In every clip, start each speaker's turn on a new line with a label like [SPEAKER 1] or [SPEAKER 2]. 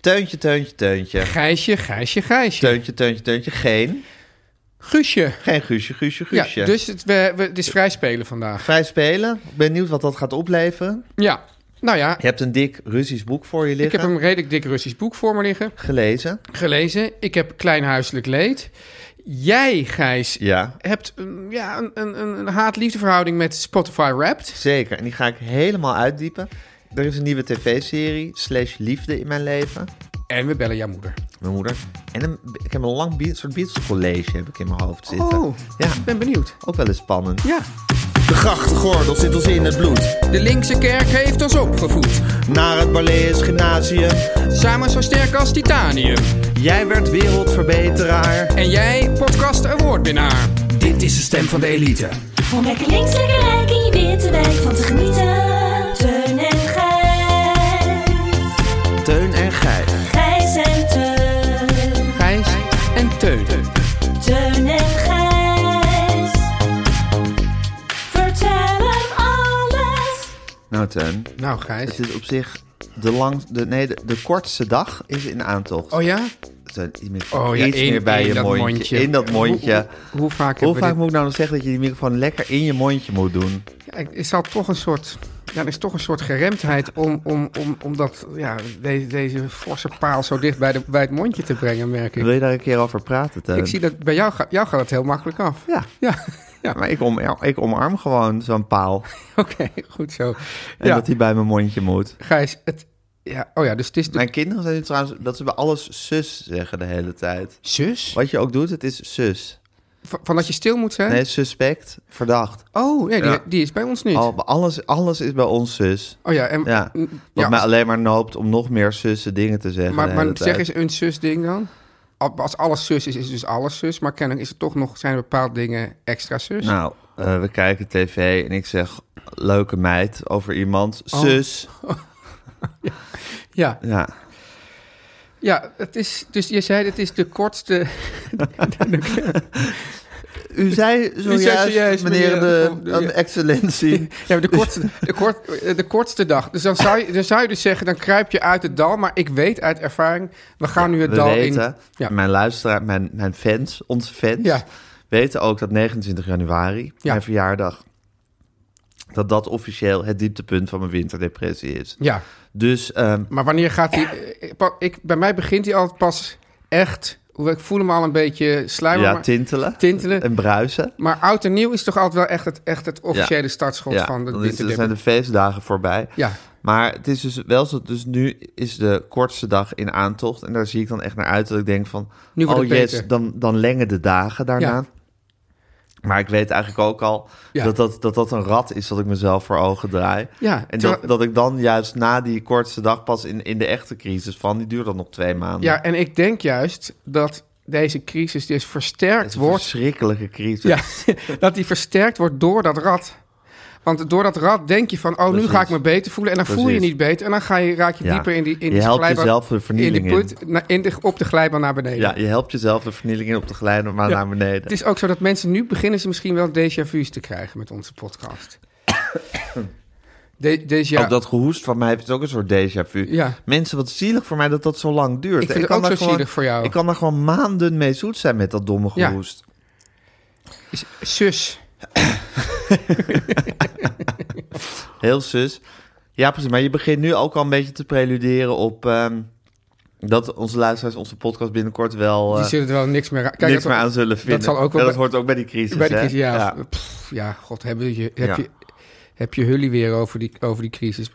[SPEAKER 1] Teuntje, teuntje, teuntje.
[SPEAKER 2] Gijsje, Gijsje, Gijsje.
[SPEAKER 1] Teuntje, teuntje, teuntje. Geen.
[SPEAKER 2] Guusje.
[SPEAKER 1] Geen guusje, guusje,
[SPEAKER 2] Ja,
[SPEAKER 1] guusje.
[SPEAKER 2] dus het, we, we, het is vrij spelen vandaag.
[SPEAKER 1] Vrij spelen. Ik ben benieuwd wat dat gaat opleveren.
[SPEAKER 2] Ja, nou ja,
[SPEAKER 1] Je hebt een dik Russisch boek voor je
[SPEAKER 2] ik
[SPEAKER 1] liggen.
[SPEAKER 2] heb een redelijk dik Russisch boek voor me liggen.
[SPEAKER 1] gelezen.
[SPEAKER 2] Gelezen. Ik heb Klein Huiselijk Leed. Jij, Gijs,
[SPEAKER 1] Ja,
[SPEAKER 2] hebt een- ja, een, een, een haat-liefde verhouding met Spotify Wrapped.
[SPEAKER 1] zeker. En die ga ik helemaal uitdiepen. Er is een nieuwe tv-serie, slash liefde in mijn leven.
[SPEAKER 2] En we bellen jouw moeder.
[SPEAKER 1] Mijn moeder. En een, ik heb een lang Be- soort Beatles-college heb ik in mijn hoofd zitten.
[SPEAKER 2] Oh.
[SPEAKER 1] Ja,
[SPEAKER 2] Ik ben benieuwd.
[SPEAKER 1] ook wel eens spannend.
[SPEAKER 2] Ja.
[SPEAKER 1] De grachtengordel zit ons in het bloed.
[SPEAKER 2] De linkse kerk heeft ons opgevoed.
[SPEAKER 1] Naar het Barlees Gymnasium.
[SPEAKER 2] Samen zo sterk als titanium.
[SPEAKER 1] Jij werd wereldverbeteraar.
[SPEAKER 2] En jij, podcast awardwinnaar.
[SPEAKER 3] Dit is de stem van de elite.
[SPEAKER 4] Om lekker links, lekker rijk in je witte wijk van te genieten. Teun en Gijs.
[SPEAKER 1] Teun en Gijs.
[SPEAKER 4] Gijs en Teun.
[SPEAKER 2] Gijs en Teun.
[SPEAKER 4] Teun en Gijs. Vertel hem alles.
[SPEAKER 1] Nou Teun,
[SPEAKER 2] Nou, Gijs.
[SPEAKER 1] het is op zich de, lang, de, nee, de, de kortste dag is in aantocht.
[SPEAKER 2] Oh ja?
[SPEAKER 1] Teun, je microfoon
[SPEAKER 2] Oh ja,
[SPEAKER 1] iets
[SPEAKER 2] in-
[SPEAKER 1] meer bij
[SPEAKER 2] in
[SPEAKER 1] je
[SPEAKER 2] dat
[SPEAKER 1] mondje.
[SPEAKER 2] mondje.
[SPEAKER 1] In dat mondje.
[SPEAKER 2] Hoe, hoe- hoe vaak
[SPEAKER 1] Hoe
[SPEAKER 2] hebben we
[SPEAKER 1] vaak
[SPEAKER 2] dit?
[SPEAKER 1] moet ik nou nog zeggen dat je die microfoon lekker in je mondje moet doen?
[SPEAKER 2] Ja, ik- is dat toch een soort. Ja, er is toch een soort geremdheid om, om, om, om dat, ja, de- deze forse paal zo dicht bij, de, bij het mondje te brengen, merk ik.
[SPEAKER 1] Wil je daar een keer over praten, Teun?
[SPEAKER 2] Ik zie dat bij jou, ga- jou gaat het heel makkelijk af.
[SPEAKER 1] Ja.
[SPEAKER 2] Ja, ja.
[SPEAKER 1] Ja, maar ik, om, ik omarm gewoon zo'n paal.
[SPEAKER 2] oké, goed zo.
[SPEAKER 1] En
[SPEAKER 2] Ja,
[SPEAKER 1] dat die bij mijn mondje moet.
[SPEAKER 2] Gijs, het, ja, oh ja, dus het is de
[SPEAKER 1] Mijn kinderen zijn nu trouwens dat ze bij alles zus zeggen de hele tijd.
[SPEAKER 2] zus?
[SPEAKER 1] Wat je ook doet, het is zus.
[SPEAKER 2] Van, van dat je stil moet zijn?
[SPEAKER 1] Nee, suspect, verdacht.
[SPEAKER 2] Oh, nee, die,
[SPEAKER 1] Ja.
[SPEAKER 2] die is bij ons niet.
[SPEAKER 1] Al, alles, alles is bij ons zus.
[SPEAKER 2] Oh ja, en,
[SPEAKER 1] Ja. Wat
[SPEAKER 2] n-
[SPEAKER 1] mij alleen maar noopt om nog meer zussen dingen te zeggen.
[SPEAKER 2] maar,
[SPEAKER 1] de
[SPEAKER 2] maar
[SPEAKER 1] hele
[SPEAKER 2] zeg
[SPEAKER 1] tijd.
[SPEAKER 2] eens een zus-ding dan. Al- Als alles zus is, is dus alles zus. Maar kennelijk is er toch nog, zijn er bepaalde dingen extra zus.
[SPEAKER 1] Nou, eh, we kijken tv en ik zeg leuke meid over iemand.
[SPEAKER 2] Oh.
[SPEAKER 1] Zus.
[SPEAKER 2] Ja,
[SPEAKER 1] Ja.
[SPEAKER 2] Ja, het is, dus je zei het is de kortste...
[SPEAKER 1] U zei zojuist,
[SPEAKER 2] zojuist,
[SPEAKER 1] meneer, de,
[SPEAKER 2] meneer, de-
[SPEAKER 1] een excellentie.
[SPEAKER 2] Ja, de kortste, de, kort, de kortste dag. Dus dan zou, je, dan zou je dus zeggen, dan kruip je uit het dal. Maar ik weet uit ervaring, we gaan nu het
[SPEAKER 1] We
[SPEAKER 2] dal
[SPEAKER 1] weten,
[SPEAKER 2] in. Ja.
[SPEAKER 1] mijn luisteraar, mijn, mijn fans, onze fans,
[SPEAKER 2] Ja.
[SPEAKER 1] weten ook dat 29 januari,
[SPEAKER 2] Ja.
[SPEAKER 1] mijn verjaardag, dat dat officieel het dieptepunt van mijn winterdepressie is.
[SPEAKER 2] Ja,
[SPEAKER 1] Dus ehm,
[SPEAKER 2] maar wanneer gaat die... eh, pa- Ik, bij mij begint die altijd pas echt... hoewel Ik voel hem al een beetje sluimeren.
[SPEAKER 1] ja,
[SPEAKER 2] maar-
[SPEAKER 1] tintelen,
[SPEAKER 2] Tintelen.
[SPEAKER 1] en bruisen.
[SPEAKER 2] Maar oud en nieuw is toch altijd wel echt het, echt het officiële startschot
[SPEAKER 1] Ja,
[SPEAKER 2] van
[SPEAKER 1] dan
[SPEAKER 2] de
[SPEAKER 1] is- dan
[SPEAKER 2] winterdepressie.
[SPEAKER 1] zijn de feestdagen voorbij.
[SPEAKER 2] Ja.
[SPEAKER 1] Maar het is dus wel zo, dus nu is de kortste dag in aantocht. En daar zie ik dan echt naar uit dat ik denk van,
[SPEAKER 2] Nu wordt
[SPEAKER 1] oh
[SPEAKER 2] het
[SPEAKER 1] yes,
[SPEAKER 2] beter.
[SPEAKER 1] dan, dan lengen de dagen daarna.
[SPEAKER 2] Ja.
[SPEAKER 1] Maar ik weet eigenlijk ook al
[SPEAKER 2] Ja.
[SPEAKER 1] dat, dat, dat dat een rat is dat ik mezelf voor ogen draai.
[SPEAKER 2] Ja,
[SPEAKER 1] en dat,
[SPEAKER 2] terwijl-
[SPEAKER 1] dat ik dan juist na die kortste dag pas in, in de echte crisis van, die duurt dan nog twee maanden.
[SPEAKER 2] Ja, en ik denk juist dat deze crisis dus versterkt
[SPEAKER 1] het is een
[SPEAKER 2] wordt...
[SPEAKER 1] verschrikkelijke crisis.
[SPEAKER 2] Ja, dat die versterkt wordt door dat rad. Want door dat rad denk je van, oh, nu
[SPEAKER 1] Precies.
[SPEAKER 2] ga ik me beter voelen. En dan voel je je
[SPEAKER 1] Precies.
[SPEAKER 2] niet beter. En dan ga je, raak je
[SPEAKER 1] Ja.
[SPEAKER 2] dieper in die, in
[SPEAKER 1] Je
[SPEAKER 2] die
[SPEAKER 1] helpt
[SPEAKER 2] glijbaan-
[SPEAKER 1] jezelf de vernieling
[SPEAKER 2] in. Die put, na- in de, op de glijbaan naar beneden.
[SPEAKER 1] Ja, je helpt jezelf de vernieling in op de glijden, maar
[SPEAKER 2] Ja.
[SPEAKER 1] naar beneden.
[SPEAKER 2] Het is ook zo dat mensen nu beginnen ze misschien wel déjà vu's te krijgen met onze podcast. De, déjà,
[SPEAKER 1] Ook dat gehoest van mij heeft ook een soort déjà vu.
[SPEAKER 2] Ja.
[SPEAKER 1] Mensen, wat zielig voor mij dat dat zo lang duurt.
[SPEAKER 2] Ik vind het ook
[SPEAKER 1] daar
[SPEAKER 2] zo
[SPEAKER 1] gewoon-
[SPEAKER 2] zielig voor jou.
[SPEAKER 1] Ik kan daar gewoon maanden mee zoet zijn met dat domme
[SPEAKER 2] Ja.
[SPEAKER 1] gehoest.
[SPEAKER 2] is- zus.
[SPEAKER 1] Heel zus. Ja, precies. Maar je begint nu ook al een beetje te preluderen op ehm, dat onze luisteraars onze podcast binnenkort wel
[SPEAKER 2] Die
[SPEAKER 1] eh,
[SPEAKER 2] zullen er wel niks meer, aan- Kijk,
[SPEAKER 1] niks
[SPEAKER 2] dat-
[SPEAKER 1] meer aan zullen vinden.
[SPEAKER 2] zal ook wel
[SPEAKER 1] Ja, dat
[SPEAKER 2] bij-
[SPEAKER 1] hoort ook bij die crisis.
[SPEAKER 2] Bij de
[SPEAKER 1] hè?
[SPEAKER 2] crisis, ja.
[SPEAKER 1] Ja.
[SPEAKER 2] Ja, pff, ja, god, hebben je, heb,
[SPEAKER 1] Ja.
[SPEAKER 2] je, heb je hullie weer over die, over die crisis.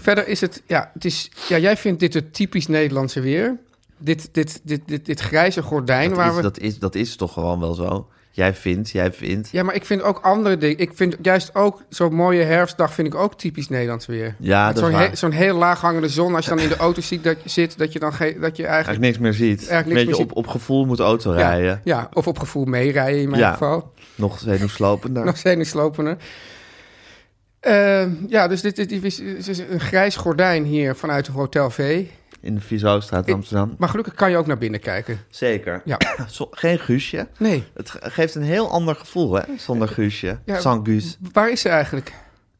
[SPEAKER 2] Verder is het, ja, het is, ja jij vindt dit het typisch Nederlandse weer. Dit, dit, dit, dit, dit grijze gordijn
[SPEAKER 1] Dat,
[SPEAKER 2] waar
[SPEAKER 1] is,
[SPEAKER 2] we...
[SPEAKER 1] dat, is, dat is toch gewoon wel zo. Jij vindt, jij vindt.
[SPEAKER 2] Ja, maar ik vind ook andere dingen. Ik vind juist ook zo'n mooie herfstdag vind ik ook typisch Nederlands weer.
[SPEAKER 1] Ja,
[SPEAKER 2] Met
[SPEAKER 1] dat is
[SPEAKER 2] zo'n,
[SPEAKER 1] waar.
[SPEAKER 2] he- zo'n heel laag hangende zon. Als je dan in de auto ziet dat, zit, dat je dan ge- dat je eigenlijk...
[SPEAKER 1] Eigenlijk niks meer ziet.
[SPEAKER 2] Eigenlijk niks
[SPEAKER 1] een
[SPEAKER 2] meer
[SPEAKER 1] beetje
[SPEAKER 2] ziet.
[SPEAKER 1] op, op gevoel moet autorijden.
[SPEAKER 2] Ja, ja, of op gevoel meerijden in mijn
[SPEAKER 1] Ja.
[SPEAKER 2] geval.
[SPEAKER 1] Nog zenuwslopender.
[SPEAKER 2] Nog zenuwslopender. Eh, ja, dus dit, dit, dit is, is- is een grijs gordijn hier vanuit Hotel V.
[SPEAKER 1] In de Vizostraat in Amsterdam.
[SPEAKER 2] Maar gelukkig kan je ook naar binnen kijken.
[SPEAKER 1] Zeker.
[SPEAKER 2] Ja.
[SPEAKER 1] Zo- Geen guusje.
[SPEAKER 2] Nee,
[SPEAKER 1] Het ge- geeft een heel ander gevoel, hè? Zonder guusje.
[SPEAKER 2] Ja.
[SPEAKER 1] Sans guus.
[SPEAKER 2] waar is ze eigenlijk?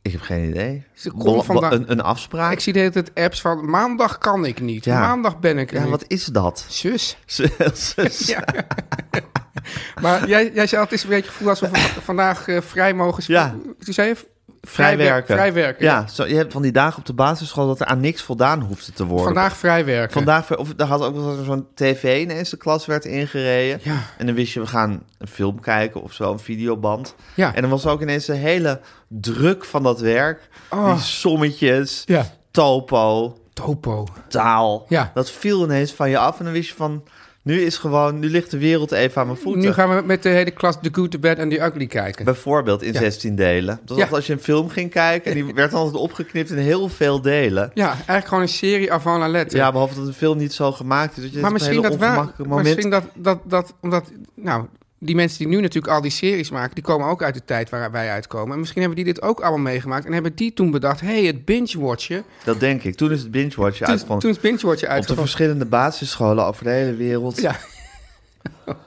[SPEAKER 1] Ik heb geen idee.
[SPEAKER 2] Ze komen
[SPEAKER 1] Bel- bel-
[SPEAKER 2] vandaag-
[SPEAKER 1] een, een afspraak?
[SPEAKER 2] Ik zie de hele tijd apps van maandag kan ik niet.
[SPEAKER 1] Ah. Ja.
[SPEAKER 2] Maandag ben ik er
[SPEAKER 1] Ja,
[SPEAKER 2] niet.
[SPEAKER 1] wat is dat?
[SPEAKER 2] Zus.
[SPEAKER 1] Zus.
[SPEAKER 2] Ja. maar jij, jij zei, het is een beetje het gevoel alsof we v- vandaag eh, vrij mogen sp-
[SPEAKER 1] Ja.
[SPEAKER 2] Toen zei je v-
[SPEAKER 1] Vrij werken.
[SPEAKER 2] Vrij werken.
[SPEAKER 1] Ja, zo, je hebt van die dagen op de basisschool dat er aan niks voldaan hoefde te worden.
[SPEAKER 2] Vandaag vrij werken.
[SPEAKER 1] Vandaag, of er had ook wel eens dat er zo'n tv ineens de klas werd ingereden.
[SPEAKER 2] Ja.
[SPEAKER 1] En dan wist je, we gaan een film kijken of zo, een videoband.
[SPEAKER 2] Ja.
[SPEAKER 1] En dan was er ook ineens de hele druk van dat werk. Die sommetjes,
[SPEAKER 2] Oh. Ja.
[SPEAKER 1] topo,
[SPEAKER 2] Topo.
[SPEAKER 1] taal.
[SPEAKER 2] Ja.
[SPEAKER 1] Dat viel ineens van je af. En dan wist je van, nu is gewoon, nu ligt de wereld even aan mijn voeten.
[SPEAKER 2] Nu gaan we met de hele klas The Good, The Bad en The Ugly kijken.
[SPEAKER 1] Bijvoorbeeld in
[SPEAKER 2] Ja.
[SPEAKER 1] 16 delen. Dat was
[SPEAKER 2] Ja.
[SPEAKER 1] altijd als je een film ging kijken. En die werd altijd opgeknipt in heel veel delen.
[SPEAKER 2] Ja, eigenlijk gewoon een serie avant la lettre.
[SPEAKER 1] Ja, behalve dat de film niet zo gemaakt is. Dat je
[SPEAKER 2] maar
[SPEAKER 1] het op
[SPEAKER 2] misschien
[SPEAKER 1] een
[SPEAKER 2] dat
[SPEAKER 1] hele
[SPEAKER 2] waar.
[SPEAKER 1] ongemakkelijk moment...
[SPEAKER 2] Misschien dat, dat, dat, omdat, nou, die mensen die nu natuurlijk al die series maken, die komen ook uit de tijd waar wij uitkomen. En misschien hebben die dit ook allemaal meegemaakt en hebben die toen bedacht, hey, het binge-watchen.
[SPEAKER 1] Dat denk ik. Toen is het binge-watchen
[SPEAKER 2] Toen,
[SPEAKER 1] uitgevallen.
[SPEAKER 2] toen is binge-watchen
[SPEAKER 1] Op de
[SPEAKER 2] uitgevallen.
[SPEAKER 1] verschillende basisscholen over de hele wereld.
[SPEAKER 2] Ja.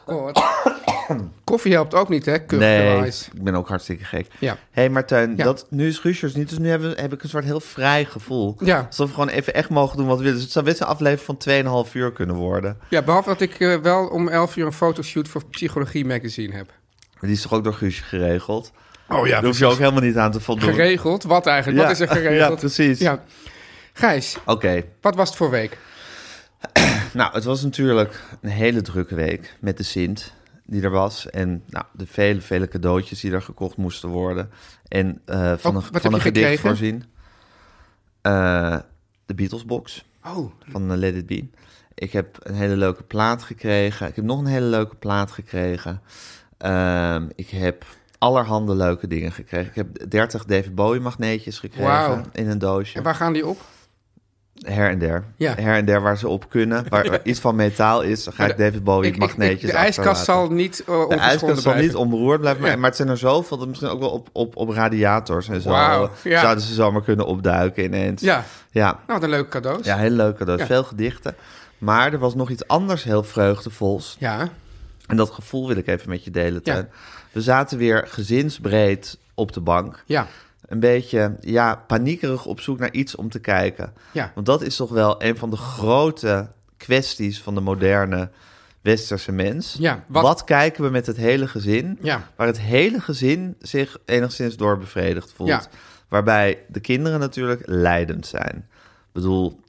[SPEAKER 2] Oh, wat- Koffie helpt ook niet, hè? Cup
[SPEAKER 1] Nee,
[SPEAKER 2] Rice.
[SPEAKER 1] ik ben ook hartstikke gek.
[SPEAKER 2] Ja.
[SPEAKER 1] Hé, hey, Martijn,
[SPEAKER 2] Ja.
[SPEAKER 1] dat, nu is Guusjers niet, dus nu heb, heb ik een soort heel vrij gevoel.
[SPEAKER 2] Ja.
[SPEAKER 1] Alsof we gewoon even echt mogen doen wat we willen. Dus het zou best een aflevering van 2,5 uur kunnen worden.
[SPEAKER 2] Ja, behalve dat ik eh, wel om 11 uur een fotoshoot voor Psychologie Magazine heb.
[SPEAKER 1] Maar Die is toch ook door Guusje geregeld?
[SPEAKER 2] Oh ja,
[SPEAKER 1] Daar hoef je ook helemaal niet aan te voldoen.
[SPEAKER 2] Geregeld? Wat eigenlijk?
[SPEAKER 1] Ja,
[SPEAKER 2] Wat is er geregeld?
[SPEAKER 1] ja, precies.
[SPEAKER 2] Ja. Gijs,
[SPEAKER 1] Oké,
[SPEAKER 2] wat was het voor week?
[SPEAKER 1] nou, het was natuurlijk een hele drukke week met de Sint die er was. En nou, de vele, vele cadeautjes die er gekocht moesten worden. En eh, van
[SPEAKER 2] Oh,
[SPEAKER 1] een,
[SPEAKER 2] wat heb
[SPEAKER 1] van
[SPEAKER 2] je
[SPEAKER 1] een gedicht
[SPEAKER 2] gekregen?
[SPEAKER 1] voorzien. Eh, de Beatles box.
[SPEAKER 2] Oh,
[SPEAKER 1] van eh, Let It Be. Ik heb een hele leuke plaat gekregen. Ik heb nog een hele leuke plaat gekregen. Ehm, ik heb allerhande leuke dingen gekregen. Ik heb 30 David Bowie magneetjes gekregen
[SPEAKER 2] Wauw.
[SPEAKER 1] in een doosje.
[SPEAKER 2] en waar gaan die op?
[SPEAKER 1] Her en der.
[SPEAKER 2] Ja.
[SPEAKER 1] Her en der waar ze op kunnen. Waar waar iets van metaal is, dan ga ik David Bowie
[SPEAKER 2] Ik- ik- ik-
[SPEAKER 1] magneetjes
[SPEAKER 2] de ijskast zal
[SPEAKER 1] achterlaten.
[SPEAKER 2] niet eh
[SPEAKER 1] De
[SPEAKER 2] ongeschonden
[SPEAKER 1] ijskast zal
[SPEAKER 2] blijven.
[SPEAKER 1] niet onberoerd blijven, maar,
[SPEAKER 2] Ja.
[SPEAKER 1] maar het zijn er zoveel dat misschien ook wel op, op, op radiators en zo
[SPEAKER 2] Wauw, ja.
[SPEAKER 1] zouden ze zomaar kunnen opduiken ineens.
[SPEAKER 2] Ja,
[SPEAKER 1] ja.
[SPEAKER 2] nou wat een leuke cadeaus.
[SPEAKER 1] Ja, heel leuk cadeaus.
[SPEAKER 2] Ja.
[SPEAKER 1] Veel gedichten. Maar er was nog iets anders heel vreugdevols.
[SPEAKER 2] Ja,
[SPEAKER 1] En dat gevoel wil ik even met je delen,
[SPEAKER 2] Ja.
[SPEAKER 1] Teun. We zaten weer gezinsbreed op de bank.
[SPEAKER 2] ja.
[SPEAKER 1] Een beetje, ja, paniekerig op zoek naar iets om te kijken.
[SPEAKER 2] Ja.
[SPEAKER 1] Want dat is toch wel een van de grote kwesties van de moderne westerse mens.
[SPEAKER 2] Ja, wat-
[SPEAKER 1] wat... kijken we met het hele gezin?
[SPEAKER 2] Ja.
[SPEAKER 1] Waar het hele gezin zich enigszins door bevredigd voelt.
[SPEAKER 2] Ja.
[SPEAKER 1] Waarbij de kinderen natuurlijk leidend zijn. Ik bedoel,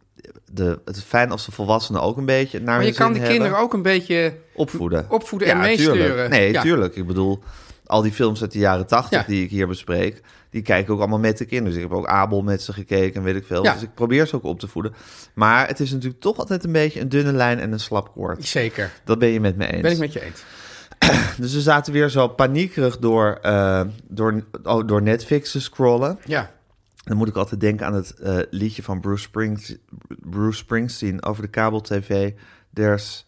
[SPEAKER 1] de, het is fijn als de volwassenen ook een beetje naar
[SPEAKER 2] Maar
[SPEAKER 1] hun
[SPEAKER 2] je kan
[SPEAKER 1] zin
[SPEAKER 2] de
[SPEAKER 1] hebben.
[SPEAKER 2] kinderen ook een beetje...
[SPEAKER 1] Opvoeden.
[SPEAKER 2] Opvoeden en meesturen.
[SPEAKER 1] tuurlijk. Nee,
[SPEAKER 2] Ja.
[SPEAKER 1] tuurlijk. Ik bedoel, al die films uit de jaren tachtig
[SPEAKER 2] Ja.
[SPEAKER 1] die ik hier bespreek... die kijk ik ook allemaal met de kinderen. Dus ik heb ook Abel met ze gekeken en weet ik veel.
[SPEAKER 2] Ja.
[SPEAKER 1] Dus ik probeer ze ook op te voeden. Maar het is natuurlijk toch altijd een beetje een dunne lijn en een slap koord.
[SPEAKER 2] Zeker,
[SPEAKER 1] Dat ben je met me eens.
[SPEAKER 2] ben ik met je eens.
[SPEAKER 1] Dus we zaten weer zo paniekerig door, eh, door, oh, door Netflix te scrollen.
[SPEAKER 2] Ja,
[SPEAKER 1] Dan moet ik altijd denken aan het eh, liedje van Bruce Springsteen, Bruce Springsteen over de kabel-tv. There's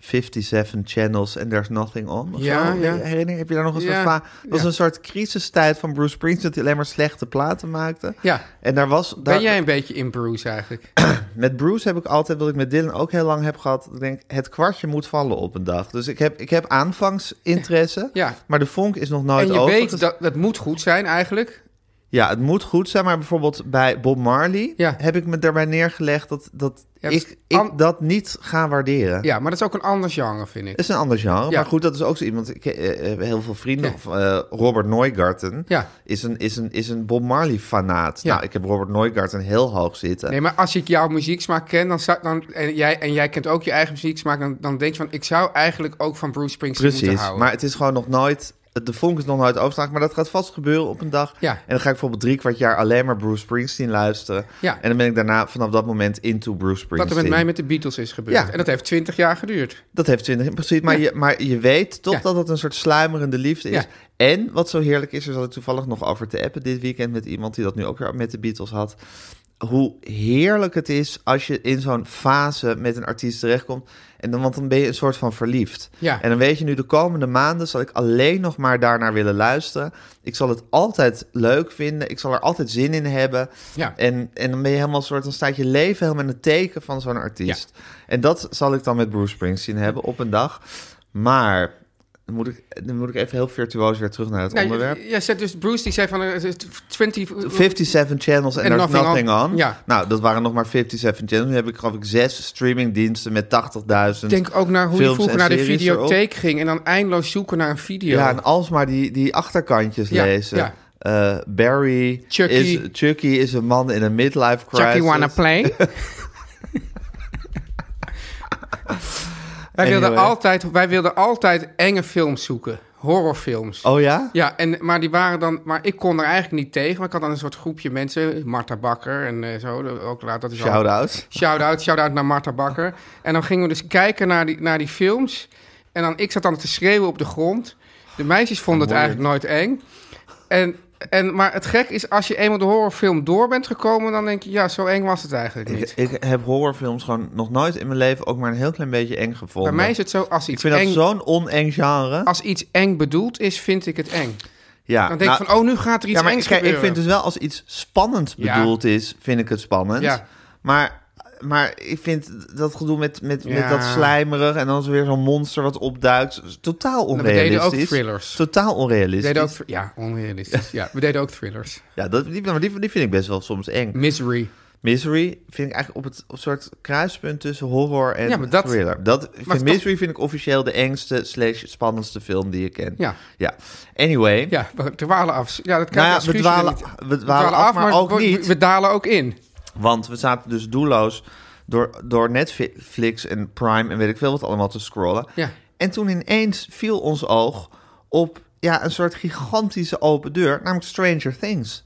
[SPEAKER 1] 57 channels and there's nothing on. of
[SPEAKER 2] Ja,
[SPEAKER 1] zo.
[SPEAKER 2] ja.
[SPEAKER 1] Herinner, heb je daar nog een soort
[SPEAKER 2] Ja,
[SPEAKER 1] va- Dat was
[SPEAKER 2] ja.
[SPEAKER 1] een soort crisistijd van Bruce Springsteen... dat hij alleen maar slechte platen maakte.
[SPEAKER 2] Ja.
[SPEAKER 1] En daar was...
[SPEAKER 2] ben
[SPEAKER 1] daar-
[SPEAKER 2] jij een beetje in Bruce eigenlijk?
[SPEAKER 1] Met Bruce heb ik altijd, wat ik met Dylan ook heel lang heb gehad... dat ik denk, het kwartje moet vallen op een dag. Dus ik heb, ik heb aanvangsinteresse,
[SPEAKER 2] Ja.
[SPEAKER 1] maar de vonk is nog
[SPEAKER 2] En
[SPEAKER 1] nooit
[SPEAKER 2] je
[SPEAKER 1] over.
[SPEAKER 2] weet, dat, dat moet goed zijn eigenlijk.
[SPEAKER 1] Ja, het moet goed zijn, maar bijvoorbeeld bij Bob Marley
[SPEAKER 2] Ja.
[SPEAKER 1] heb ik me daarbij neergelegd dat, dat
[SPEAKER 2] Ja, dat
[SPEAKER 1] ik,
[SPEAKER 2] is
[SPEAKER 1] ik
[SPEAKER 2] an-
[SPEAKER 1] dat niet ga waarderen.
[SPEAKER 2] Ja, maar dat is ook een ander genre, vind ik.
[SPEAKER 1] Dat is een ander genre,
[SPEAKER 2] Ja.
[SPEAKER 1] maar goed, dat is ook zo iemand. Ik eh, eh, heel veel vrienden,
[SPEAKER 2] Ja.
[SPEAKER 1] of, eh, Robert Neugarten
[SPEAKER 2] Ja.
[SPEAKER 1] is, een, is, een, is een Bob Marley fanaat.
[SPEAKER 2] Ja.
[SPEAKER 1] Nou, ik heb Robert Neugarten heel hoog zitten.
[SPEAKER 2] Nee, maar als ik jouw muzieksmaak ken dan zou, dan, en, jij, en jij kent ook je eigen muzieksmaak, dan, dan denk je van, ik zou eigenlijk ook van Bruce Springsteen moeten
[SPEAKER 1] Precies,
[SPEAKER 2] houden.
[SPEAKER 1] maar het is gewoon nog nooit... De vonk is nog nooit overgeslagen, maar dat gaat vast gebeuren op een dag.
[SPEAKER 2] Ja.
[SPEAKER 1] En dan ga ik bijvoorbeeld drie kwart jaar alleen maar Bruce Springsteen luisteren.
[SPEAKER 2] Ja.
[SPEAKER 1] En dan ben ik daarna vanaf dat moment into Bruce Springsteen.
[SPEAKER 2] Wat er met mij met de Beatles is gebeurd.
[SPEAKER 1] Ja.
[SPEAKER 2] En dat heeft twintig jaar geduurd.
[SPEAKER 1] Dat heeft 20 precies. Maar, je, maar je weet toch
[SPEAKER 2] Ja.
[SPEAKER 1] dat het een soort sluimerende liefde is.
[SPEAKER 2] Ja.
[SPEAKER 1] En wat zo heerlijk is, er zat ik toevallig nog over te appen dit weekend met iemand die dat nu ook weer met de Beatles had. Hoe heerlijk het is als je in zo'n fase met een artiest terechtkomt. En dan, want dan ben je een soort van verliefd.
[SPEAKER 2] Ja.
[SPEAKER 1] En dan weet je nu, de komende maanden zal ik alleen nog maar daarnaar willen luisteren. Ik zal het altijd leuk vinden. Ik zal er altijd zin in hebben.
[SPEAKER 2] Ja.
[SPEAKER 1] En, en dan ben je helemaal een soort, dan staat je leven helemaal in het teken van zo'n artiest. En dat zal ik dan met Bruce Springsteen hebben op een dag. Maar dan moet ik, dan moet ik even heel virtuoos weer terug naar het
[SPEAKER 2] Nou,
[SPEAKER 1] onderwerp.
[SPEAKER 2] je, je zegt dus, Bruce die zei van, eh, het is 20...
[SPEAKER 1] 57 channels en
[SPEAKER 2] En
[SPEAKER 1] there's nothing,
[SPEAKER 2] nothing on.
[SPEAKER 1] on.
[SPEAKER 2] Ja.
[SPEAKER 1] Nou, dat waren nog maar 57 channels. Nu heb ik geloof ik zes streamingdiensten met 80.000
[SPEAKER 2] Ik denk ook naar hoe je
[SPEAKER 1] films
[SPEAKER 2] vroeger
[SPEAKER 1] en
[SPEAKER 2] naar de
[SPEAKER 1] series erop.
[SPEAKER 2] videotheek ging en dan eindeloos zoeken naar een video.
[SPEAKER 1] Ja, en alsmaar die, die achterkantjes
[SPEAKER 2] Ja,
[SPEAKER 1] lezen.
[SPEAKER 2] ja.
[SPEAKER 1] Eh, Barry,
[SPEAKER 2] Chucky.
[SPEAKER 1] Is, Chucky is een man in een midlife crisis.
[SPEAKER 2] Chucky wanna play? wij, wilden
[SPEAKER 1] Anyway.
[SPEAKER 2] altijd, wij wilden altijd enge films zoeken. Horrorfilms.
[SPEAKER 1] Oh ja?
[SPEAKER 2] Ja, en, maar, die waren dan, maar ik kon er eigenlijk niet tegen. Maar ik had dan een soort groepje mensen. Marta Bakker en eh, zo. de- Ook laat dat is al-
[SPEAKER 1] Shout-out.
[SPEAKER 2] Shout-out, shout-out naar Marta Bakker. En dan gingen we dus kijken naar die, naar die films. En dan, ik zat dan te schreeuwen op de grond. De meisjes vonden het eigenlijk nooit eng. En, en, maar het gek is, als je eenmaal de horrorfilm door bent gekomen... dan denk je, ja, zo eng was het eigenlijk
[SPEAKER 1] Ik,
[SPEAKER 2] niet.
[SPEAKER 1] ik heb horrorfilms gewoon nog nooit in mijn leven ook maar een heel klein beetje eng
[SPEAKER 2] Bij
[SPEAKER 1] gevonden.
[SPEAKER 2] mij is het zo, als
[SPEAKER 1] Ik
[SPEAKER 2] iets,
[SPEAKER 1] vind dat
[SPEAKER 2] eng,
[SPEAKER 1] zo'n oneng genre.
[SPEAKER 2] als iets eng bedoeld is, vind ik het eng.
[SPEAKER 1] ja,
[SPEAKER 2] Dan denk ik
[SPEAKER 1] nou,
[SPEAKER 2] van, oh, nu gaat er iets
[SPEAKER 1] ja, maar
[SPEAKER 2] engs
[SPEAKER 1] kijk, ik
[SPEAKER 2] gebeuren.
[SPEAKER 1] vind dus wel als iets spannend
[SPEAKER 2] Ja.
[SPEAKER 1] bedoeld is, vind ik het spannend.
[SPEAKER 2] Ja.
[SPEAKER 1] Maar, maar ik vind dat gedoe met, met,
[SPEAKER 2] Ja.
[SPEAKER 1] met dat slijmerig en dan is er weer zo'n monster wat opduikt, totaal
[SPEAKER 2] we deden ook
[SPEAKER 1] onrealistisch.
[SPEAKER 2] thrillers.
[SPEAKER 1] Totaal
[SPEAKER 2] We
[SPEAKER 1] onrealistisch.
[SPEAKER 2] deden ook, ja, onrealistisch. ja, we deden ook thrillers.
[SPEAKER 1] Ja, dat, die, maar die, die vind ik best wel soms eng.
[SPEAKER 2] Misery.
[SPEAKER 1] Misery vind ik eigenlijk op het op een soort kruispunt tussen horror en
[SPEAKER 2] Ja, maar dat-
[SPEAKER 1] thriller. Dat, ik
[SPEAKER 2] Maar
[SPEAKER 1] vind
[SPEAKER 2] toch-
[SPEAKER 1] Misery vind ik officieel de engste slash spannendste film die je kent.
[SPEAKER 2] Ja.
[SPEAKER 1] ja. Anyway.
[SPEAKER 2] Ja, we dwalen af. Ja, dat kan
[SPEAKER 1] Nou ja,
[SPEAKER 2] dat
[SPEAKER 1] we
[SPEAKER 2] schuurt je
[SPEAKER 1] dwalen-
[SPEAKER 2] niet.
[SPEAKER 1] we dwalen af, maar ook
[SPEAKER 2] we,
[SPEAKER 1] niet.
[SPEAKER 2] We dalen ook in.
[SPEAKER 1] Want we zaten dus doelloos door, door Netflix en Prime en weet ik veel wat allemaal te scrollen.
[SPEAKER 2] Ja.
[SPEAKER 1] En toen ineens viel ons oog op ja, een soort gigantische open deur, namelijk Stranger Things.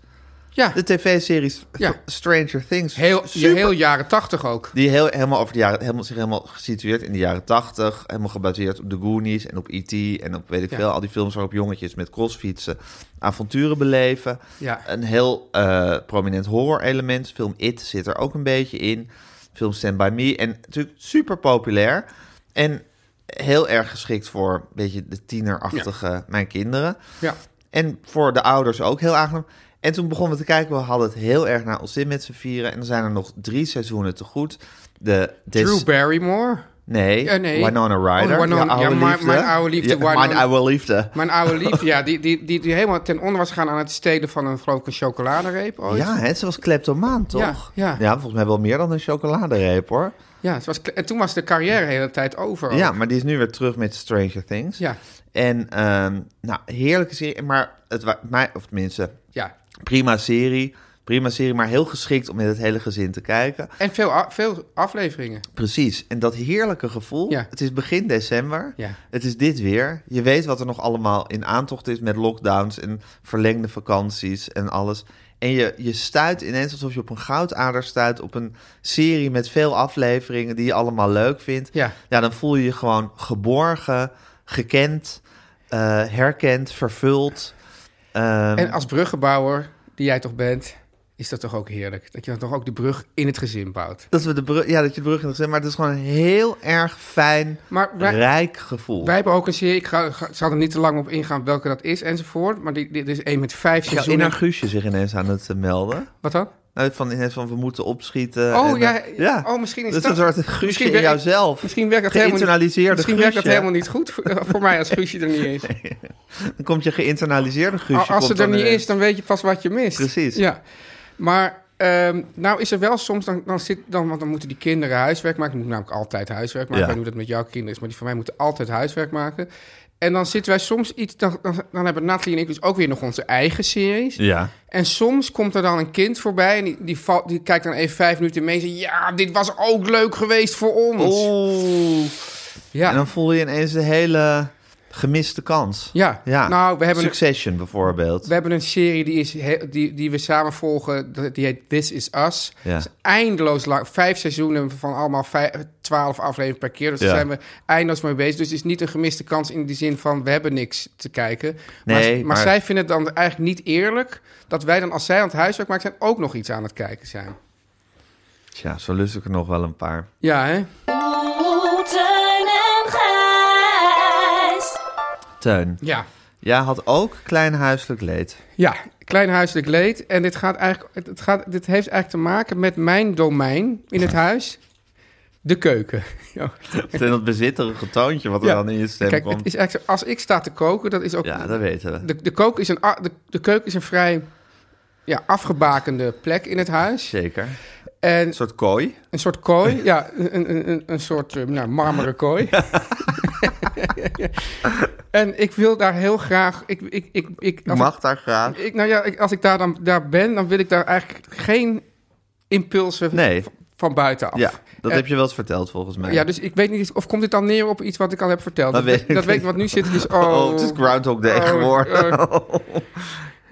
[SPEAKER 2] Ja,
[SPEAKER 1] De tv-series
[SPEAKER 2] Ja.
[SPEAKER 1] Stranger Things.
[SPEAKER 2] heel, je
[SPEAKER 1] Super
[SPEAKER 2] heel jaren tachtig ook.
[SPEAKER 1] Die heel, helemaal over de jaren, helemaal, zich helemaal gesitueerd in de jaren 80. Helemaal gebaseerd op de Goonies en op E.T. en op weet ik
[SPEAKER 2] Ja.
[SPEAKER 1] veel. Al die films waarop jongetjes met crossfietsen avonturen beleven.
[SPEAKER 2] Ja.
[SPEAKER 1] Een heel eh, prominent horror element. Film It zit er ook een beetje in. Film Stand By Me. En natuurlijk super populair. En heel erg geschikt voor een beetje de tienerachtige mijn kinderen.
[SPEAKER 2] Ja.
[SPEAKER 1] En voor de ouders ook heel aangenaam. En toen begonnen we te kijken, we hadden het heel erg naar ons zin met z'n vieren. En er zijn er nog drie seizoenen te goed. De des-
[SPEAKER 2] Drew Barrymore.
[SPEAKER 1] nee,
[SPEAKER 2] Ja, Eh, nee.
[SPEAKER 1] Winona Ryder.
[SPEAKER 2] Oh, Winona-
[SPEAKER 1] je oude
[SPEAKER 2] ja, mijn-
[SPEAKER 1] liefde.
[SPEAKER 2] mijn oude liefde,
[SPEAKER 1] Ja,
[SPEAKER 2] Winona-
[SPEAKER 1] mijn oude liefde.
[SPEAKER 2] Mijn oude lief, ja, die, die, die, die helemaal ten onder was gegaan aan het stelen van een, geloof ik, een chocoladereep ooit.
[SPEAKER 1] Ja, hè, ze was kleptomaan,
[SPEAKER 2] Ja,
[SPEAKER 1] toch?
[SPEAKER 2] ja.
[SPEAKER 1] volgens mij wel meer dan een chocoladereep, hoor.
[SPEAKER 2] Ja, het was, kle- en toen was de carrière de hele tijd over. ook.
[SPEAKER 1] Ja, maar die is nu weer terug met Stranger Things.
[SPEAKER 2] Ja.
[SPEAKER 1] En, ehm, nou, heerlijke serie. Maar het wa- mij, of tenminste,
[SPEAKER 2] ja.
[SPEAKER 1] prima serie. Prima serie, maar heel geschikt om met het hele gezin te kijken.
[SPEAKER 2] En veel, a- veel afleveringen.
[SPEAKER 1] Precies. En dat heerlijke gevoel.
[SPEAKER 2] Ja.
[SPEAKER 1] Het is begin december.
[SPEAKER 2] Ja.
[SPEAKER 1] Het is dit weer. Je weet wat er nog allemaal in aantocht is met lockdowns en verlengde vakanties en alles. En je, je stuit ineens alsof je op een goudader stuit op een serie met veel afleveringen die je allemaal leuk vindt.
[SPEAKER 2] Ja.
[SPEAKER 1] ja dan voel je je gewoon geborgen, gekend, eh, herkend, vervuld. Ehm,
[SPEAKER 2] En als bruggenbouwer, die jij toch bent, is dat toch ook heerlijk? Dat je dan toch ook de brug in het gezin bouwt.
[SPEAKER 1] dat, we de brug, ja, dat je de brug in het gezin, maar het is gewoon een heel erg fijn,
[SPEAKER 2] Maar wij-
[SPEAKER 1] rijk gevoel.
[SPEAKER 2] Wij hebben ook een serie, ik ga, ga- zal er niet te lang op ingaan welke dat is enzovoort. Maar die- dit is één met vijf
[SPEAKER 1] Ja, in
[SPEAKER 2] seizoenen.
[SPEAKER 1] haar guusje zich ineens aan het eh, melden.
[SPEAKER 2] Wat dan?
[SPEAKER 1] Nou, van ineens van we moeten opschieten.
[SPEAKER 2] Oh,
[SPEAKER 1] en,
[SPEAKER 2] ja,
[SPEAKER 1] eh,
[SPEAKER 2] oh, misschien is
[SPEAKER 1] dat is
[SPEAKER 2] dat-
[SPEAKER 1] een soort guusje
[SPEAKER 2] misschien
[SPEAKER 1] in
[SPEAKER 2] werkt-
[SPEAKER 1] jouzelf.
[SPEAKER 2] Misschien werkt dat helemaal niet,
[SPEAKER 1] Geïnternaliseerde
[SPEAKER 2] misschien werkt dat
[SPEAKER 1] guusje.
[SPEAKER 2] helemaal niet goed voor, voor mij als Guusje er niet is.
[SPEAKER 1] Dan komt je geïnternaliseerde guusje.
[SPEAKER 2] Als ze
[SPEAKER 1] komt
[SPEAKER 2] er
[SPEAKER 1] dan
[SPEAKER 2] niet
[SPEAKER 1] ineens.
[SPEAKER 2] is, dan weet je pas wat je mist.
[SPEAKER 1] Precies.
[SPEAKER 2] Ja. Maar ehm, nou is er wel soms, dan, dan zit, dan, want dan moeten die kinderen huiswerk maken. Ik moet namelijk altijd huiswerk maken.
[SPEAKER 1] Ja.
[SPEAKER 2] Ik weet niet hoe dat met jouw kinderen is, maar die van mij moeten altijd huiswerk maken. En dan zitten wij soms iets, dan, dan, dan hebben Nathalie en ik dus ook weer nog onze eigen series.
[SPEAKER 1] Ja.
[SPEAKER 2] En soms komt er dan een kind voorbij en die, die, valt, die kijkt dan even vijf minuten mee en zegt... Ja, dit was ook leuk geweest voor ons.
[SPEAKER 1] Oeh.
[SPEAKER 2] ja.
[SPEAKER 1] En dan voel je ineens de hele gemiste kans.
[SPEAKER 2] Ja. Nou, we hebben-
[SPEAKER 1] Succession bijvoorbeeld.
[SPEAKER 2] We hebben een serie die, is he- die, die we samen volgen. dat- Die heet This Is Us.
[SPEAKER 1] Ja.
[SPEAKER 2] Dat is eindeloos lang. Vijf seizoenen van allemaal vij- twaalf afleveringen per keer. Dus
[SPEAKER 1] Ja.
[SPEAKER 2] daar zijn we eindeloos mee bezig. Dus het is niet een gemiste kans in die zin van... we hebben niks te kijken.
[SPEAKER 1] Nee,
[SPEAKER 2] maar, maar,
[SPEAKER 1] maar-
[SPEAKER 2] zij vinden het dan eigenlijk niet eerlijk... dat wij dan als zij aan het huiswerk maken zijn... ook nog iets aan het kijken zijn.
[SPEAKER 1] Ja, zo lust ik er nog wel een paar.
[SPEAKER 2] Ja, hè?
[SPEAKER 4] Oeh, Teun en Gijs.
[SPEAKER 1] Teun,
[SPEAKER 2] Ja.
[SPEAKER 1] jij had ook klein huiselijk leed.
[SPEAKER 2] Ja, klein huiselijk leed. En dit, gaat eigenlijk, het- het gaat, dit heeft eigenlijk te maken met mijn domein in het huis. De keuken. Ja.
[SPEAKER 1] En dat bezitterige toontje wat er
[SPEAKER 2] Ja.
[SPEAKER 1] dan in je stem
[SPEAKER 2] Kijk,
[SPEAKER 1] komt.
[SPEAKER 2] het is eigenlijk, zo- als ik sta te koken, dat is ook...
[SPEAKER 1] Ja, dat weten we.
[SPEAKER 2] de, de, koken is een, a- de, de keuken is een vrij ja, afgebakende plek in het huis.
[SPEAKER 1] Zeker.
[SPEAKER 2] En
[SPEAKER 1] Een soort kooi.
[SPEAKER 2] een soort kooi, ja, een, een, een, een soort eh, nou, marmeren kooi. en ik wil daar heel graag... Ik, ik, ik, ik,
[SPEAKER 1] Je
[SPEAKER 2] als ik-
[SPEAKER 1] mag daar graag.
[SPEAKER 2] Ik, nou ja, ik, als ik daar, dan, daar ben, dan wil ik daar eigenlijk geen impulsen
[SPEAKER 1] Nee.
[SPEAKER 2] v- van buitenaf.
[SPEAKER 1] Ja, dat
[SPEAKER 2] En-
[SPEAKER 1] heb je wel eens verteld volgens mij.
[SPEAKER 2] Eh, Ja, dus ik weet niet of komt dit dan neer op iets wat ik al heb verteld.
[SPEAKER 1] Dat
[SPEAKER 2] Dat,
[SPEAKER 1] weet
[SPEAKER 2] weet,
[SPEAKER 1] ik
[SPEAKER 2] dat weet
[SPEAKER 1] niet.
[SPEAKER 2] ik, want nu zit het dus oh,
[SPEAKER 1] Oh, het is Groundhog Day
[SPEAKER 2] oh,
[SPEAKER 1] geworden.
[SPEAKER 2] eh, nee.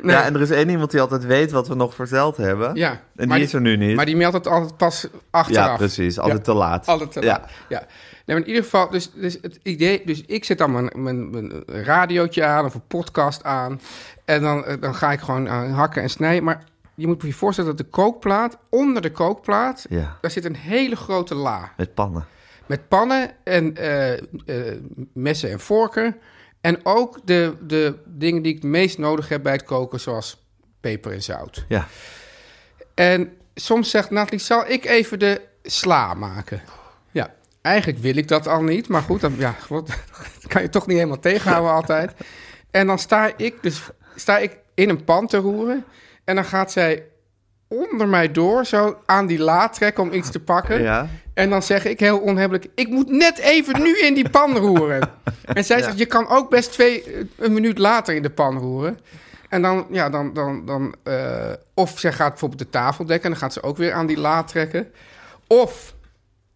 [SPEAKER 1] Ja, en er is één iemand die altijd weet wat we nog verteld hebben.
[SPEAKER 2] Ja,
[SPEAKER 1] En
[SPEAKER 2] maar
[SPEAKER 1] die is er nu niet.
[SPEAKER 2] Maar die meldt het altijd pas achteraf.
[SPEAKER 1] ja, precies. Altijd
[SPEAKER 2] Ja,
[SPEAKER 1] te laat.
[SPEAKER 2] Altijd te
[SPEAKER 1] Ja.
[SPEAKER 2] laat. Ja. Nee, maar in ieder geval, dus, dus het idee, dus ik zet dan mijn, mijn, mijn radiootje aan of een podcast aan. En dan, eh, dan ga ik gewoon aan hakken en snijden. Maar je moet je voorstellen dat de kookplaat, onder de kookplaat,
[SPEAKER 1] Ja.
[SPEAKER 2] daar zit een hele grote la.
[SPEAKER 1] Met pannen.
[SPEAKER 2] Met pannen en eh, eh, messen en vorken. En ook de, de dingen die ik het meest nodig heb bij het koken, zoals peper en zout.
[SPEAKER 1] Ja.
[SPEAKER 2] En soms zegt Nathalie, zal ik even de sla maken? Ja, eigenlijk wil ik dat al niet. Maar goed, dan, ja, wat, dat kan je toch niet helemaal tegenhouden altijd. En dan sta ik, dus, sta ik in een pan te roeren. En dan gaat zij onder mij door, zo aan die la trekken om iets te pakken.
[SPEAKER 1] Ja.
[SPEAKER 2] En dan zeg ik heel onhebbelijk, ik moet net even nu in die pan roeren. En zij zegt, je kan ook best twee, eh, een minuut later in de pan roeren. En dan, ja, dan, dan, dan eh, of zij gaat bijvoorbeeld de tafel dekken en dan gaat ze ook weer aan die la trekken. Of,